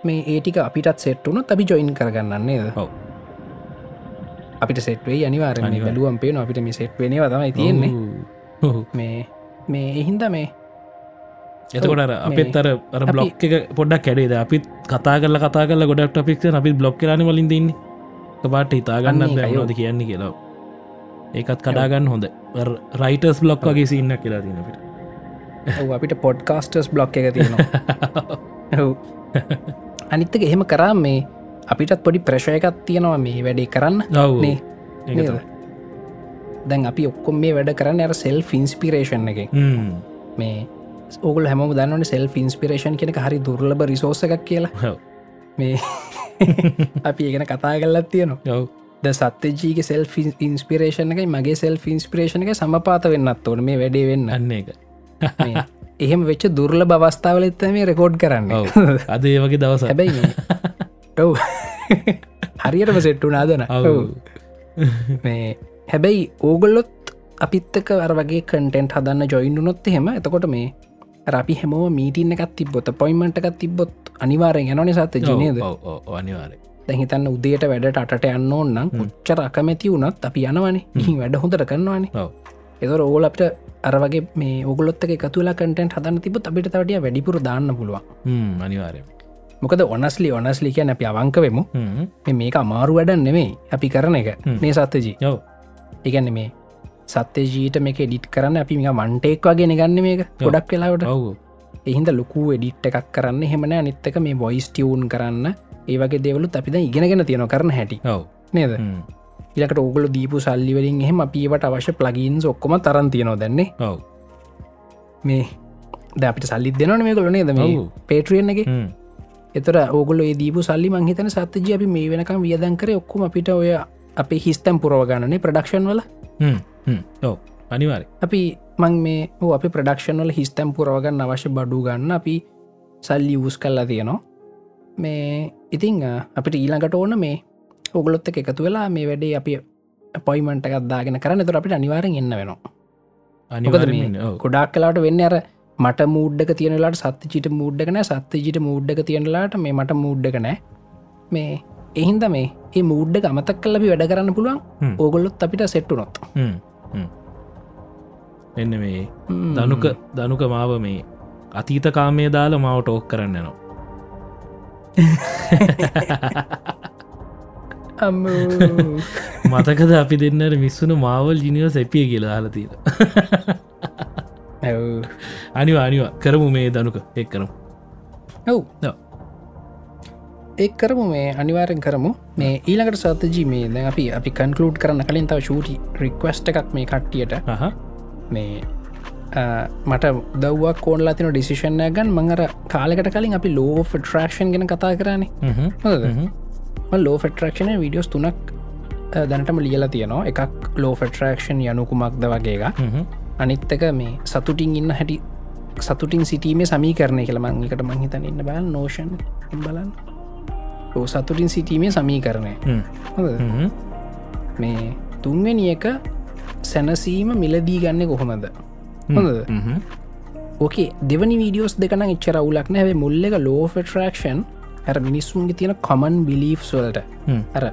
[SPEAKER 1] මේ ඒටික අපිටත් සෙට්ටුන තබි ජොයින් කරගන්නන්නේ ද
[SPEAKER 2] ඔව්.
[SPEAKER 1] අපිට සෙට්වේ අනිවාර
[SPEAKER 2] අනිවාර්යෙන්.
[SPEAKER 1] වැලුවම් පේන අපිට මේ සෙට් වෙන තමයි තියෙන්නේ
[SPEAKER 2] ඔව්. ඔව්.
[SPEAKER 1] මේ මේ එහින්ද මේ
[SPEAKER 2] එතකොට අර අපිත් අර අර
[SPEAKER 1] අපි-
[SPEAKER 2] බ්ලොක්් එක පොඩක් කැඩේද අපිත් කතා කරල කතා කල ගොඩක් අපික් අපි බ්ලොක් කරන වලින් දෙන්න බට හිතාගන්න
[SPEAKER 1] අන්න ඒකයි
[SPEAKER 2] බැනෝද කියන්නේ කියලා ඒකත් කඩාගන්න හොඳ රයිටර්ස් බ්ලොක් වගේ සින්න කියලා දනට
[SPEAKER 1] ඔව් අපිට පොඩ්කාස්ටර්ස් බ්ලොක් එක තියෙනවා ඔව්. අනිත්තක එහෙම කරා මේ අපිටත් පොඩි ප්‍රශයකත් තියෙනවා මේ වැඩේ කරන්න
[SPEAKER 2] ඔව්
[SPEAKER 1] නේ
[SPEAKER 2] ඒක
[SPEAKER 1] නේද?
[SPEAKER 2] තමයි.
[SPEAKER 1] දැන් අපි ඔක්කොම් මේ වැඩ කරන්න ඇර සෙල් ෆින්ස්පිරේෂන් එක
[SPEAKER 2] හ්ම්.
[SPEAKER 1] මේ ඔගල හැම දන්නට සෙල් ෆින්ස්පිරේෂන් කෙනෙක හරි දුර්ලබ රිසෝස එකක් කියලා
[SPEAKER 2] ඔව්.
[SPEAKER 1] මේ අපි ඒගෙන කතා කල්ලත් තියනවා
[SPEAKER 2] ඔව්.
[SPEAKER 1] ද සත්‍යජීක සෙල් ඉන්ස්පිරේෂණ එකයි මගේ සෙල් ෆින්ස්පිරේෂණ එක සමපාත වෙන්නත් ඕන මේ වැඩේ වෙන්න
[SPEAKER 2] අන්න ඒක
[SPEAKER 1] මේ එහෙම වෙච්ච දුර්ල බවස්ථාවලත්ත මේ රෙකෝඩ් කරන්න
[SPEAKER 2] ඔව්. අද ඒ වගේ දවස
[SPEAKER 1] හැබැයි මේ- ඔව් හරියටම සෙට්ටු නාදන
[SPEAKER 2] ඔව්.
[SPEAKER 1] මේ හැබැයි ඕගොල්ලොත් අපිත්තක අර වගේ කටෙන්ට් හදන්න ජොයින්ඩුනොත් එහෙම එතකොට මේ අපි හෙම මීටන එකත් තිබොත් පොයිමට එකක් තිබොත් අනිවාරෙන් යනනි සත ජනයද
[SPEAKER 2] ඔව්. ඔව්. ඔව්. අනිවාර්ය
[SPEAKER 1] දැහිතන්න උදේට වැඩට අට යන්න ඕන්නම් පුච්චර අකමැති වුණත් අපි යනවනේ ඉහි වැඩ හොඳට කරන්නවානේ
[SPEAKER 2] ඔව්.
[SPEAKER 1] එතොර ඕල අපට අරවගේ මේ ඔගොත්ක එකතුල කටෙන්ට් හදන්න තිබොත් අපිට තවටිය වැඩිපුර දාන්න පුළුවන්
[SPEAKER 2] හ්ම්. අනිවාර්ය
[SPEAKER 1] මොකද ඔනස්ලි ඔනස්ලි කියන අපි අවංකවෙමු
[SPEAKER 2] හ්ම්.
[SPEAKER 1] මේ- මේක අමාරු වැඩන් නෙමේ අපි කරන එක
[SPEAKER 2] හ්ම්.
[SPEAKER 1] මේ සත්‍යජී
[SPEAKER 2] ඔව්.
[SPEAKER 1] ඉගැන්න මේ සත්‍ය ජීට මේක ඩිට් කරන්න අපි මේ මන්ටෙක් වගේ ගන්න මේක ගොඩක් වෙලාවට
[SPEAKER 2] ඔව්.
[SPEAKER 1] එහින්ද ලොකු ඩිට් එකක් කරන්න හෙමන අනිත්තක මේ බොයිස් ටියවුන් කරන්න ඒවගේ දෙවලු අපිද ඉගෙනගෙන තියෙන කරන හැටි
[SPEAKER 2] ඔව්.
[SPEAKER 1] නේද
[SPEAKER 2] හ්ම්.
[SPEAKER 1] ඉලකට ඔගල දීපු සල්ලිවලින් එහෙම අපිවට අවශ්‍ය ප්ලගින්ස් ඔක්කොම තරන් තියෙනවා දැන්නේ
[SPEAKER 2] ඔව්.
[SPEAKER 1] මේ ද අපිට සල්ලි දෙනන මේ කොලනේ දම
[SPEAKER 2] ඔව්.
[SPEAKER 1] පේට්‍රියෙන් එක
[SPEAKER 2] හ්ම්.
[SPEAKER 1] එතර ඔගොල දීපු සල්ලි මංහිතන සත්තජ අපි මේ වෙනකම් වියදංකර ඔක්කොම අපිට ඔය අපේ හිස්තැම් පුරවගණනේ ප්‍රඩක්ෂන් වල
[SPEAKER 2] හ්ම්. හ්ම්. ඔව්. අනිවාර්ය
[SPEAKER 1] අපි මං මේ ඕ අපි ප්‍රඩක්ෂන්වල හිස්තැම් පුරවගන්න අවශ්‍ය බඩු ගන්න අපි සල්ලි වූස් කල්ලා තියනවා මේ ඉතිං අපිට ඊළඟට ඕන මේ ඔගලොත්ත එකතු වෙලා මේ වැඩේ අපි පොයිමට ගත්දාගෙන කරන්න තුර අපිට අනිවාරෙන් එන්න වෙනවා
[SPEAKER 2] අනිවරෙන්
[SPEAKER 1] ගොඩක් කලාට වෙන්න අර මට මූඩ්ඩක තියනලාට සත්‍ය චිට මූඩ්ඩකන සත්‍ය ජිට මූඩ්ඩක තියනලාට මේ මට මූඩ්ඩකනෑ මේ එහින්ද මේ ඒ මූඩ්ඩ ගමතක් කල්ලබි වැඩ කරන්න
[SPEAKER 2] හ්ම්.
[SPEAKER 1] පුළුවන් ඕගොල්ලොත් අපිට සෙට්ටු නොත්
[SPEAKER 2] එන්න මේ දනුක දනුක මාව මේ අතීත කාමය දාල මාව ටෝක් කරන්න නවා මතකද අපි දෙන්නට මිස්සුණු මාවල් ජිනිවස් එපිය කියලා හලතීර අනිවා අනිවා කරමු මේ දනුක එක් කරම්
[SPEAKER 1] ඔව්
[SPEAKER 2] ඔව්.
[SPEAKER 1] ඒ කරමු මේ අනිවාරෙන් කරමු මේ ඊළකට සතජී මේ දැන් අපි අපි කන්කලුඩ් කරන්න කලින් තව ශූටි රික්වස්ට එකක් මේ කට්ටියට
[SPEAKER 2] අහ
[SPEAKER 1] මේ අ, මට දවක් කෝල්ලා තින ඩිසිෂණය ගන් මංර කාලෙකට කලින් අපි ලෝ ෆටරක්ෂන් ගෙන කතා කරන්නේ ලෝ ෆටරක්ෂණ විඩියෝස් තුනක් අ, දැනටම ලියලා තියෙනවා එකක් ලෝ ෆටරක්ෂන් යනුකුමක්ද වගේක අනිත්තක මේ සතුටින් ඉන්න හැටි සතුටින් සිටීමේ සමීකරණය කියල මංකට මංහිතන ඉන්න බල නෝෂන් බලන්න ඔ සතුටින් සිටීමේ සමීකරණය හොඳද? මේ තුන්වැනි එක සැනසීම මිලදී ගන්න කොහොමද හොඳද ඕකේ දෙවනි වීඩියෝස් දෙකන චර වුලක් නැවේ මුල්ල එක ලෝෆටරක්ෂන් ඇර මිනිස්සුන්ගේ තියෙන කොමන් බිලිස් වලට
[SPEAKER 2] හ්ම්.
[SPEAKER 1] ඇර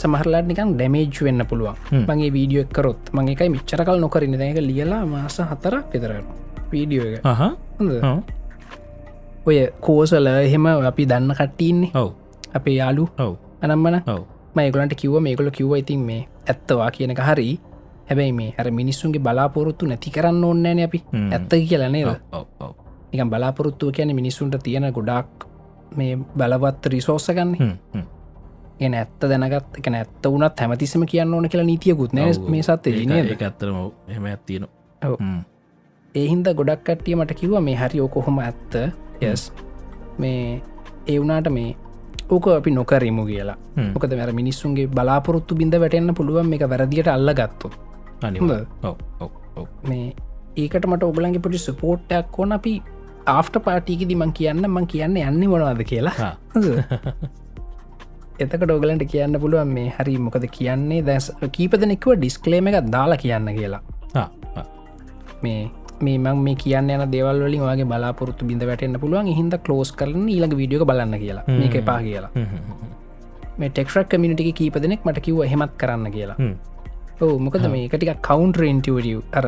[SPEAKER 1] සමහරලා නිකන් ඩැමේජ් වෙන්න පුළුවන්
[SPEAKER 2] හ්ම්.
[SPEAKER 1] මගේ වීඩියෝ කරොත් මං එකයි මිච්චර කල් නොකරන්න දැක ලියලා මාස හතරක් පෙතරෙන වීඩියෝ එක
[SPEAKER 2] අහ
[SPEAKER 1] හොඳද? ඔය කෝසල එහෙම අපි දන්න කට්ටීන්නේ
[SPEAKER 2] ඔව්
[SPEAKER 1] අපේ යාලු
[SPEAKER 2] ඔව්
[SPEAKER 1] අනම්මන
[SPEAKER 2] ඔව්
[SPEAKER 1] මයගලන්ට කිව මේකොල කිව ඉතින් මේ ඇත්තවා කියනක හරි හැබැයි මේ අර මිනිස්සුන්ගේ බලාපොරොත්තු නැති කරන්න ඕන්නෑන අපි
[SPEAKER 2] හ්ම්.
[SPEAKER 1] ඇත්ත කියලනේ
[SPEAKER 2] ඔව්, ඔව්, ඔව්.
[SPEAKER 1] නිකම් බලාපොරොත්තුව කියන මිනිස්සුන්ට තියෙන ගොඩක් මේ බලවත් රිසෝස්සගන්න
[SPEAKER 2] හ්ම්, හ්ම්.
[SPEAKER 1] ගෙන ඇත්ත දැනගත් එක ඇත්ත වනත් හැමතිසම කියන්න ඕන කියලා නීතියකුත් නෑ
[SPEAKER 2] ඔව්, ඔව්.
[SPEAKER 1] මේ සත්
[SPEAKER 2] ඒක-
[SPEAKER 1] නේද
[SPEAKER 2] ඒක ඇත්තරම ඔව්. එහෙම ඇත්තියෙන
[SPEAKER 1] ඔව්. ඒහින්ද ගොඩක් කට්ටිය මට කිව මේ හරි ඕකොහොම ඇත්ත යස් මේ ඒ වනාට මේ ඕක අපි නොකරමු කියලා
[SPEAKER 2] හ්ම්.
[SPEAKER 1] මොකද මෙර මිනිස්සුන්ගේ බලාපොරොත්තු බිඳ වැටන්න පුළුවන් මේ එක වැරදිට අල්ලගත්තු
[SPEAKER 2] අනිවා
[SPEAKER 1] හොඳ
[SPEAKER 2] ඔව් ඔව් ඔව්
[SPEAKER 1] මේ ඒකට මට ඔබලන්ගේ පොටි සුපෝට්ටක් ඕන අපි ආෆ්ට පාටීකිදි මං කියන්න මං කියන්න යන්න මොනවාද කියලා
[SPEAKER 2] හා.
[SPEAKER 1] එතක ඩෝගලන්ට කියන්න පුළුවන් මේ හරි මොකද කියන්නේ දැස් කීපදනෙක්ව ඩිස්කලේම එකක් දාලා කියන්න කියලා
[SPEAKER 2] හා, හා.
[SPEAKER 1] මේ මේ මං මේ කියන්න යන දෙවල් වලින් වගේ බලාපොරොත්තු බිඳ වැටන්න පුළුවන් හින්ද කලෝස් කරන ඊළඟ වීඩියෝ බලන්න කියලා මේක එපා කියලා
[SPEAKER 2] හ්ම්, හ්ම්, හ්ම්.
[SPEAKER 1] මේ ටෙක්රක් කමිනිටි කීපදනෙක් මට කිව හෙමත් කරන්න කියලා
[SPEAKER 2] හ්ම්.
[SPEAKER 1] ඔහු මොකද මේ එකටික කවන්ට්‍ර ඉන්ටවරිය අර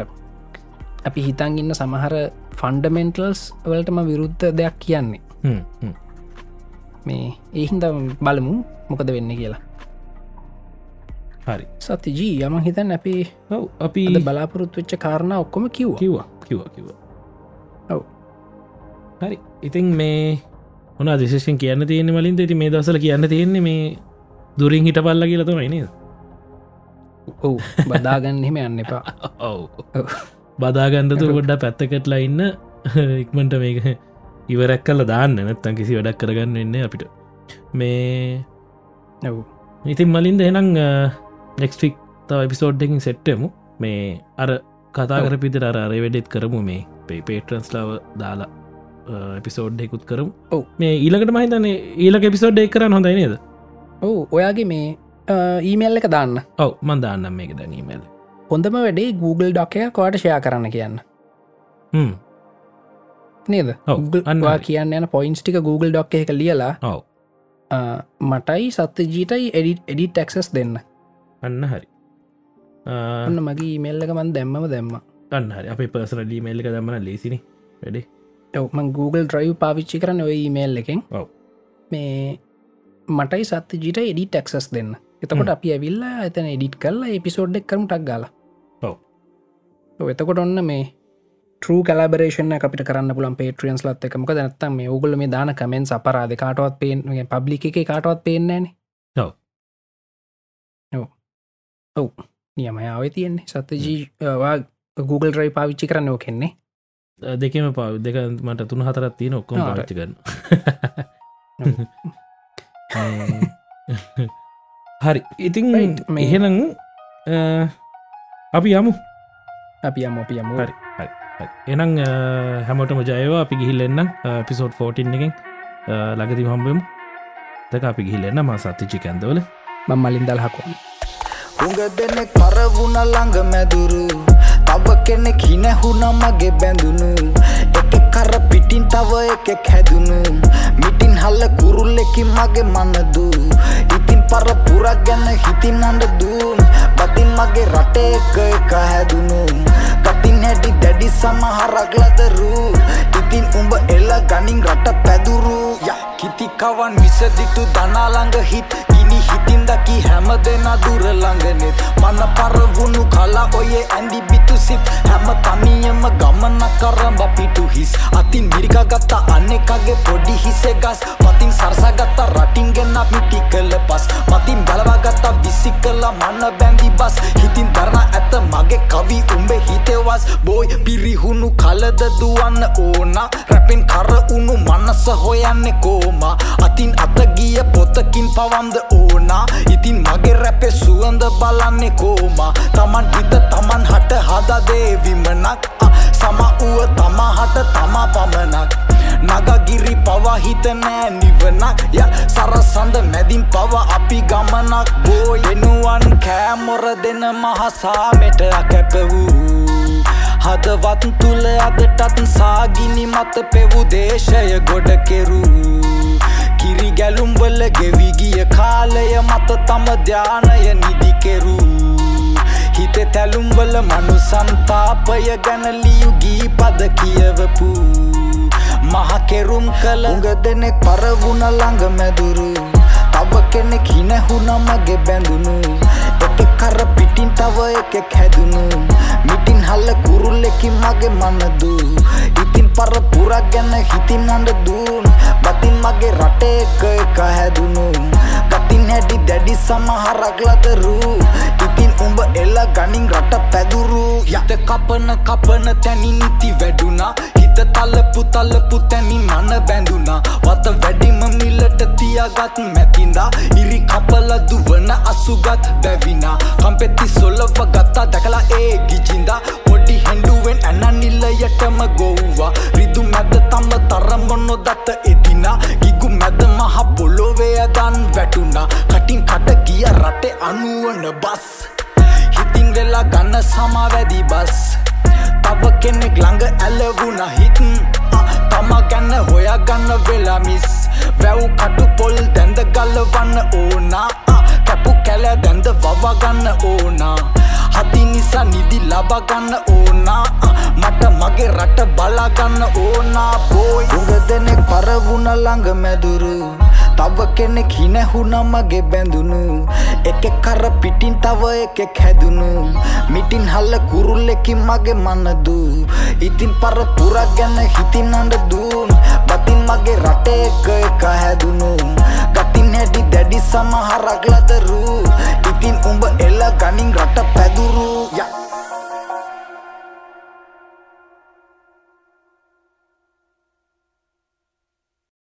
[SPEAKER 1] අපි හිතන් ඉන්න සමහර ෆන්ඩමෙන්ටල්ස් වලටම විරුද්ධ දෙයක් කියන්නේ
[SPEAKER 2] හ්ම්, හ්ම්.
[SPEAKER 1] මේ ඒහින්ද බලමු මොකද වෙන්න කියලා
[SPEAKER 2] හරි
[SPEAKER 1] සතිජී යම හිතන් අපේ
[SPEAKER 2] ඔව් අපි
[SPEAKER 1] අද බලාපොරොත්තු වෙච්ච කාරණ ඔක්කොම කිව්ව
[SPEAKER 2] කිව්වා කිව්වා කිව්වා
[SPEAKER 1] ඔව්.
[SPEAKER 2] හරි ඉතින් මේ හොන අදිශෂෙන් කියන්න තියෙන මලින් දෙති මේ දසල කියන්න තියෙන්නේ මේ දුරින් හිට පල්ල කියලත මයිනද
[SPEAKER 1] ඔවු බදාගන්න එහෙම යන්න එපා
[SPEAKER 2] ඔව
[SPEAKER 1] ඔව්.
[SPEAKER 2] බදාගන්ඩතු ගොඩ්ඩා පැත්තකටලා ඉන්න ඉක්මට මේක ඉවරැක් කල දාන්න නැත්තන් කිසි වැඩක් කරගන්න වෙන්න අපිට මේ
[SPEAKER 1] ඔව්
[SPEAKER 2] ඉතින් මලින්ද එනම් නෙක්ස්ටික් තව එපිසෝඩ්ඩකින් සෙට්ටමු මේ අර කතා
[SPEAKER 1] ඔව්.
[SPEAKER 2] කරපිතර අර වැඩෙත් කරමු මේ පේ පේට්‍රන්ස්ලාව දාලා එපිසෝඩ්ඩෙකුත් කරමු
[SPEAKER 1] ඔව්.
[SPEAKER 2] මේ ඊලකට මහිතන ඊලක එපිසෝඩ් එක් කරන්න හොඳයි නේද
[SPEAKER 1] ඔවු ඔයාගේ මේ ඊමල් එක දාන්න
[SPEAKER 2] ඔව මන් දාන්නම් මේක දැනීමල්
[SPEAKER 1] හොඳම වැඩේ Google ඩොක්කය කොට ෂයා කරන්න කියන්න නේද
[SPEAKER 2] ඔව්,
[SPEAKER 1] Google-
[SPEAKER 2] අන්න
[SPEAKER 1] ඔයා
[SPEAKER 2] හරි.
[SPEAKER 1] කියන්න යන පොයින්ස් ටික Google ඩොක් එක ලියලා
[SPEAKER 2] ඔව
[SPEAKER 1] අ, මටයි සත්‍ය ජීටයි එඩි ටක්සස් දෙන්න
[SPEAKER 2] අන්න හරි අ,
[SPEAKER 1] ඔන්න මගේ ඊමල්ලක මන් දැම්මම දැම්ම
[SPEAKER 2] අන්න හරි අපේ පර්සන ඩීමේල් එක දම්මන ලේසිනි වැඩේ
[SPEAKER 1] ඔවම Google ්‍රයි් පාවිච්චි කරන ඔය ඊමේල් එකෙන්
[SPEAKER 2] ඔව්.
[SPEAKER 1] මේ මටයි සත්‍ය ජීට එඩි ටක්සස් දෙන්න එතකොට අපි ඇවිල්ලා ඇතන එඩිට් කරලා එපිසෝඩ් එක් කරම ටක් ගාලා
[SPEAKER 2] ඔව්.
[SPEAKER 1] ඔව්, එතකොට ඔන්න මේ ටර කලබරේෂන අපිට කරන්න පුලන් පේටියන්ස් ලත් එකමක දැනත්තම් මේ ඔගුල මේ දාන කමෙන් සපරාධ කාටවත් පේෙන් පබ්ලි එක කාටවත් පේෙන්නේන
[SPEAKER 2] ඔව්.
[SPEAKER 1] ඔව් නියමයාව තියෙන්නේ සත්‍යජීවා Google රයි පාවිච්චි කරන්න ඕකෙන්නේ
[SPEAKER 2] අ, දෙකම පව දෙක මට තුන හතරත් තියෙන ඔක්කොම
[SPEAKER 1] ආ,
[SPEAKER 2] පාච්චි කරන්න
[SPEAKER 1] ඔව්.
[SPEAKER 2] හරි ඉතින්
[SPEAKER 1] Right, මේ-
[SPEAKER 2] එහෙනම් අ, අපි යමු
[SPEAKER 1] අපි යම අපියම
[SPEAKER 2] හරි. එනම් හැමටම ජයවා අපි ගිහිල් එන්නම් පිසෝට් 14 එකෙන් ලගති හම්බම් තක අපි ගිහිල්ලන්න ම සත්තිචි කැන්දවල
[SPEAKER 1] මම්මලින් දල් හකෝ
[SPEAKER 3] උඟ දෙනෙක් මරවුණ ළඟ මැදුරු තව කෙනෙක් හිනැහුනමගේ බැඳුණු එක කර පිටින් තව එකෙක් හැදුණු මිටින් හල්ල කුරුල්ලෙකින් මගේ මනදු ඉතින් පර පුරක් ගැන හිතින් අඩදුම් බතින් මගේ රට එක එක හැදුණු කතින් හැටි දැඩි සමහරක් ලදරු ඉතින් උඹ එල්ල ගනින් රට පැදුරු ය කිතිකවන් විසදිතු දනාළඟ හිත් ගිනි හිතින් දකි හැම දෙෙන දුර ළඟනෙත් මන පරවුණු කලා ඔය ඇඳි බිතු සිත් හැම තනියම ගමන කරම් බපිටු හිස් අතින් මිරිකගත්තා අනෙකගේ පොඩි හිසේ ගස් පතින් සරසගත්තා රටින් ගෙන්න්න මිටි කල පස් මතින් බලවාගත්තා විසි කලා මන්න බැඳි බස් හිතින් දරණ ඇත මගේ කවි උඹේ හිතෙවස් බෝයි පිරිහුණු කලද දුවන්න ඕන රැපෙන් කර උුණු මනස හොයන්න කෝම අතින් අතගිය පොතකින් පවන්ද ඕන ඉතින් මගේ රැපේ සුවඳ බලන්නේ කෝම තමන් හිත තමන් හට හදදේ විමනක් අ, සම වුව තමා හට තමා පමණක් නගගිරි පවහිතනෑ නිවනක් ය සරසඳ මැදින් පව අපි ගමනක් බෝ එනුවන් කෑමොර දෙන මහසාමෙට කැප වූ හදවත් තුළ අදටත් සාගිනි මත පෙවු දේශය ගොඩ කෙරූ කිරි ගැලුම්වල ගෙවිගිය කාලය මත තම ධ්‍යානය නිදිකෙරූ හිත තැලුම්වල මනු සන්තාපය ගැනලියුගී පද කියවපු මහකෙරුම් කළ උග දෙනෙක් පරවුණ ළඟ මැදුරු තව කෙනෙක් හිනැහුනමගේ බැඳුණු එක කර පිටින් තව එකෙක් හැදුණු මිටින් හල්ල කුරුල්ලෙකින් මගේ මනදු ඉතින් පර පුරක් ගැන හිතින් අඩ දුන් බතින් මගේ රට එක එක හැදුණු ගතින් හැටි දැඩි සමහරක් ලදරු ඉතින් උඹ එල්ල ගනින් රට පැදුරු යත කපන කපන තැනින් ඉති වැඩුණා හිත තලපු තලපු තැනි මන බැඳුනා වත වැඩිම මිලට තියාගත් මැතින්දා ඉරි කපල දුවන අසුගත් බැවිනා කම්පෙති සොලව ගත්තා දැකලා ඒ ගිජින්දා පොඩි හැඩුවෙන් ඇන නිල්ලයටම ගොව්වා රිදු මැද තම තරම්බොන්න දත්ත එදිනා ගිගු මැද මහ පොලොවේයදන් වැටුනා කටින් කට ගිය රටේ අනුවන බස් හිතින් වෙලා ගන්න සමවැදි බස් තව කෙනෙක් ළඟ ඇලවුණ හිතන් තමා ගැන්න හොයා ගන්න වෙලා මිස් වැව් කටු පොල් දැන්ද ගල්ලවන්න ඕනා ආ, කැපු කැල දැන්ද වවාගන්න ඕනා හති නිසා නිදි ලබගන්න ඕනා ආ, මට මගේ රට බලාගන්න ඕනා පෝයි උග දෙනෙක් පරවුණ ළඟ මැදුරු තව කෙනෙක් හිනැහුනමගේ බැඳුණු එක කර පිටින් තව එකෙක් හැදුණු මිටින් හල්ල කුරුල්ලෙකින් මගේ මනදු ඉතින් පර පුරක් ගැන හිතින් අඩ දුන් බතින් මගේ රට එක එක හැදුණු ගතින් හැඩි දැඩි සමහරක් ලදරු